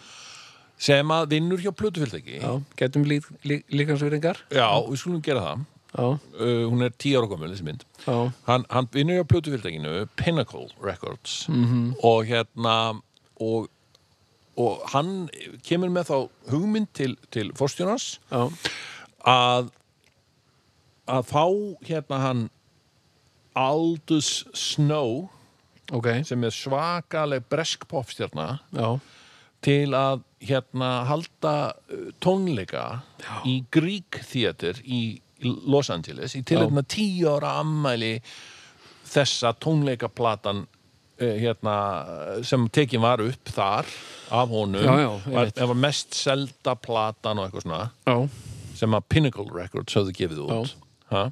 A: sem að vinnur hjá plötufyldegi
C: já getum lí, lí, líkansvýringar
A: Já, við skulum gera það.
C: já,
A: Uh, hún er tíu ára komul, þessi mynd.
C: já,
A: Hann, hann vinnur hjá plötufyldeginu Pinnacle Records og hérna og, og hann kemur með þá hugmynd til, til forstjónans
C: já,
A: að að fá hérna hann Aldous Snow
C: ok
A: sem er svakaleg bresk popstjarna
C: já,
A: til að hérna halda uh, tónleika í Greek Theater í Los Angeles í tilhengna tíu ára ammæli þessa tónleikaplatan uh, hérna sem tekin var upp þar af honum
C: Já, já, ég
A: var,
C: veit.
A: var mest selda platan og eitthvað svona
C: já
A: sem að Pinnacle Records höfðu gefið út ha?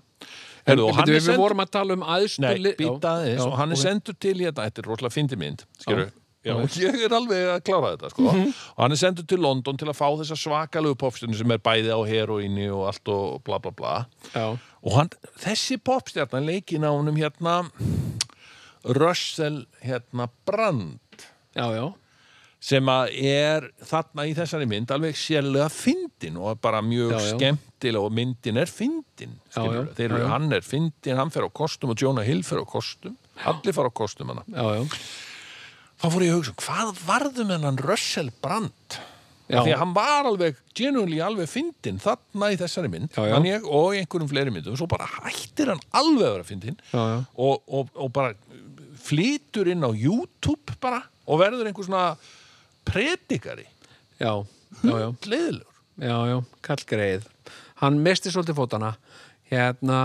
C: En,
A: Heyrðu, og hann er
C: bíddu, við
A: sendur-
C: vorum að tala um æðstu
A: Nei,
C: li- já,
A: býta aðeins
C: já,
A: og hann er
C: ok.
A: sendur til hérna, þetta er rosalega fyndi mynd skilur, já, ég er alveg að klára þetta sko.
C: Mhm.
A: og hann er sendur til London til að fá þessa svakalegu popstjörnu sem er bæði á heroínu og allt og bla bla bla
C: Já,
A: og hann, þessi popstjarnan leikin á honum hérna Russell hérna Brand
C: já, já,
A: sem að er þarna í þessari mynd alveg sérlega fyndin og er bara mjög
C: Já, já.
A: skemmtileg og myndin er fyndin
C: Já, já,
A: skilurðu. Þeir,
C: já, já.
A: hann er fyndin, hann fer á kostum og Jonah Hill fer á kostum allir fara á kostum hana
C: já, já,
A: þá fór ég að hugsa, hvað varðum hennan Russell Brand
C: Já.
A: því að hann var alveg, genuinely alveg fyndin þarna í þessari mynd
C: Já, já.
A: man Ég, og í einhverjum fleiri myndum, svo bara hættir hann alveg að vera fyndin
C: Já, já.
A: og, og, og bara flytur inn á YouTube bara og verður einhver svona predikari
C: já,
A: Hm?
C: já, já.
A: leðilegur
C: Já, já, Karl Greið Hann misti svolítið fótana hérna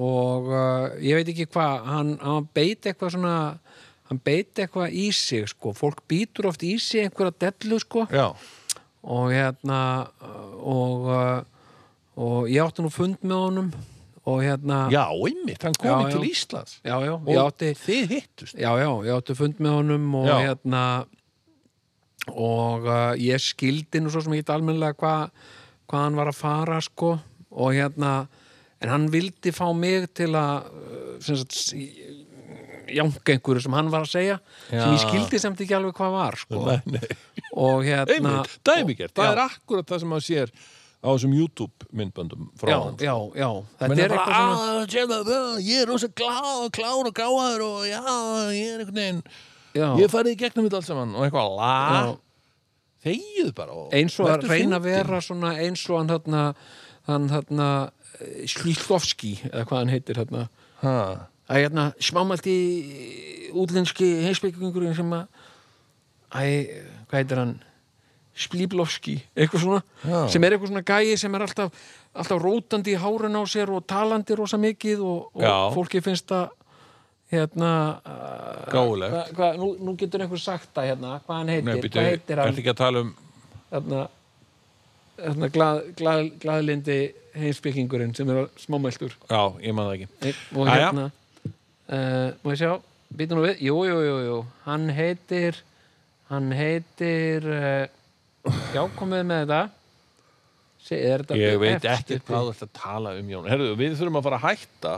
C: og uh, ég veit ekki hvað hann, hann beit eitthvað svona hann beit eitthvað í sig sko fólk býtur oft í sig einhverja dellu sko
A: Já,
C: og hérna og, uh, og ég átti nú fund með honum og hérna
A: Ah. já einmitt, hann kom
C: Já, já.
A: til Íslands
C: já, já,
A: og
C: ég átti
A: þið hittust
C: Já, já, ég átti fund með honum og
A: Já.
C: hérna og uh, ég skildi nú svo sem ég get almennilega hvað hva hann var að fara sko og hérna, en hann vildi fá mig til að uh, sem sagt, s- jánka einhverju sem hann var að segja sem ég
A: Já.
C: skildi samt ekki alveg hvað var sko
A: nei.
C: og hérna
A: Einmitt, dæmigert, það
C: Já.
A: er akkurat það sem maður sér á þessum YouTube myndböndum frá
C: Já,
A: honum,
C: já, já, þetta
A: Menn
C: er
A: bara,
C: eitthvað svona
A: "Ah, sérðu, ah, ég er rosa klár, klár og gáður og já, ég er einhvern veginn
C: já,
A: ég hef farið í gegnum þetta allt saman og eitthvað la,
C: Já.
A: þegið bara og
C: eins og að
A: vertu
C: reyna að
A: fyndin.
C: vera svona eins og hann hérna hann hérna Slíkovski eða hvað hann heitir hérna
A: ha.
C: að hérna smámaldi útlenski heimspekingurinn sem að æ, hvað heitir hann Splíblovski, eitthvað svona
A: Já.
C: sem er eitthvað svona gæi sem er alltaf alltaf rótandi í hárun á sér og talandi rosa mikið og,
A: Já.
C: og fólki finnst að hérna uh,
A: Gáfulegt.
C: hva, hva, nú, nú getur einhver sagt að hérna hvað hann heitir,
A: Nei, býtu,
C: hvað heitir hann Hérna,
A: ertu ekki að tala um
C: þarna, þarna glað, glað, glaðlindi heimspekingurinn sem er smámæltur
A: já, ég man það ekki
C: Nei, og
A: Jæja.
C: hérna uh, má ég sjá, býtum nú við jú, jú, jú, jú, hann heitir hann heitir uh, já, komið með þetta Se, er þetta
A: ég veit
C: efst
A: ekki
C: uppi?
A: hvað þú ert að tala um Jón Herðu, við þurfum að fara að hætta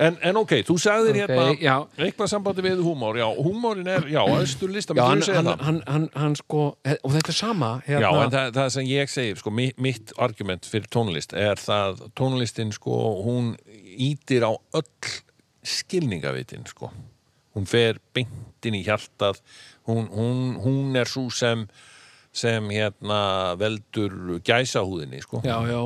A: en, en ok, þú sagðir
C: Ok,
A: hérna
C: já.
A: eitthvað sambandi við húmór já, húmórin er, já, östur lista
C: já,
A: myndirðu
C: hann,
A: segja
C: hann,
A: það?
C: hann, hann, hann sko og þetta er sama
A: Já,
C: hérna,
A: en það, það sem ég segi, sko, mi- mitt argument fyrir tónlist er það tónlistin, sko, hún ítir á öll skilningavitin, sko. Hún fer beintin í hjartað, hún, hún, hún er svo sem, sem hérna veldur gæsahúðinni, sko,
C: já, já,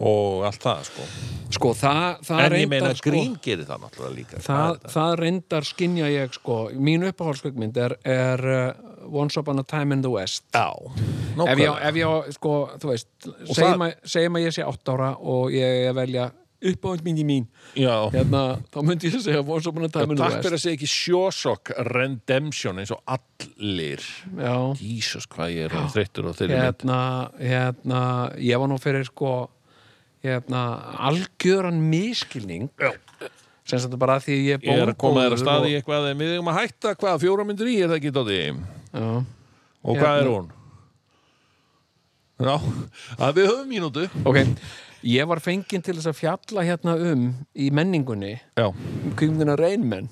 A: og allt það, sko.
C: sko það, það
A: en ég
C: reyndar,
A: meina,
C: sko,
A: grín gerir það náttúrulega líka.
C: það,
A: er
C: það reyndar skinja ég sko, mín uppáhaldskveikmynd er, er uh, Once Upon a Time in the West
B: Já,
C: ef ég, á-
B: nákvæmlega.
C: ef ég, á, sko, þú veist
B: það-
C: segjum að, segjum að ég sé 8 ára og ég er að velja uppáhaldsmyndi mín
B: Já.
C: hérna, þá myndi ég að segja Once Upon a Time in the
B: Takk fyrir
C: West
B: að segja ekki Sjósokk Redemption eins og allir.
C: Já,
B: Jísus, hvað ég er orðinn þreyttur á þeirri mynd.
C: hérna, hérna ég var nú fyrir sko hérna, algjöran miskilning Já sem þetta bara að því ég er
A: Ég er að koma þér
C: bóngóður
A: að staði
C: og-
A: í eitthvað þegar við eigum að hætta hvað fjóra myndir í er það ekki Dóti?
C: Já.
A: Og
C: Hérna.
A: hvað er hún? Já, að við höfum mínútu
C: Ok, ég var fenginn til þess að fjalla hérna um í menningunni
A: Já,
C: um kvikmyndina Reynmenn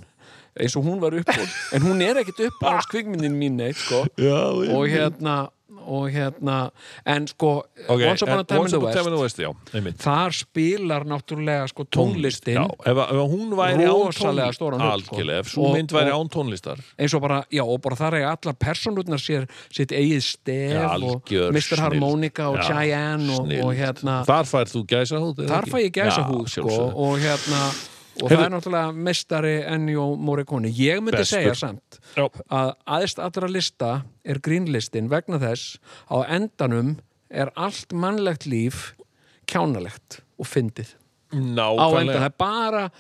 C: eins og hún var uppáhalds en hún er ekkit uppáhalds kvikmyndin mín neitt sko.
A: já
C: og hérna og hérna en sko
A: Ok,
C: Once Upon a
A: en
C: Time in
A: Once
C: the
A: Upon a
C: West
A: Time in the West, já, einmitt
C: þar spilar náttúrulega sko tónlistin
A: Já, ef, ef hún væri án
C: Rosalega stóran hlut, sko.
A: Algjörlega, ef svo
C: Og-
A: mynd væri
C: og-
A: án tónlistar
C: eins og bara, já, og bara þar eiga allar persónurnar sér sitt eigið stef
A: Já,
C: og
A: algjör
C: Mr.
A: snilld.
C: Harmonica og
A: Já,
C: Cheyenne og, og
A: snilld.
C: hérna
A: Þar fær þú gæsa hút
C: þar fæ ég gæsa húð sko, og hérna og það
A: Heyrðu-
C: er náttúrulega mestari Ennio Morricone ég myndi
A: Bestur.
C: segja samt
A: Já.
C: að aðeins allra lista er grínlistin vegna þess að á endanum er allt mannlegt líf kjánalegt og fyndið á endanum, það
A: Nákvæmlega
C: er bara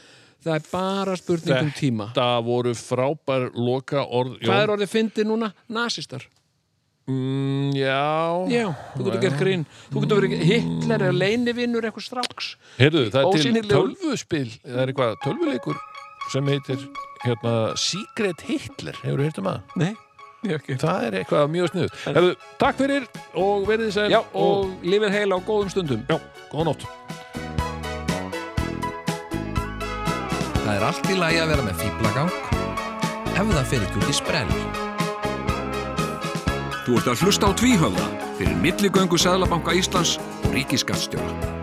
C: það er bara spurning um tíma
A: Þetta voru frábær loka orð
C: hvað er orðið fyndið núna? Nasistar
A: Mm, já,
C: já, þú getur gert grín þú getur verið Hitler eða leinivinnur eitthvað stráks
A: heyrðu, það er til
C: Ósýnilegur-
A: tölvuspil það er eitthvað tölvuleikur sem heitir hérna, Secret Hitler hefur þú heyrt um að?
C: nei, ég ekki
A: Það er eitthvað mjög snuð Hefðu, Takk fyrir og verðið sæl
C: já, og lifið heila á góðum stundum
A: já, góða nótt
H: Það er allt í lagi að vera með fýblagang ef það fer ekki út í sprell. Þú ert að hlusta á tvíhöfða fyrir milligöngu Sæðlabanka Íslands og Ríkiskatstjóra.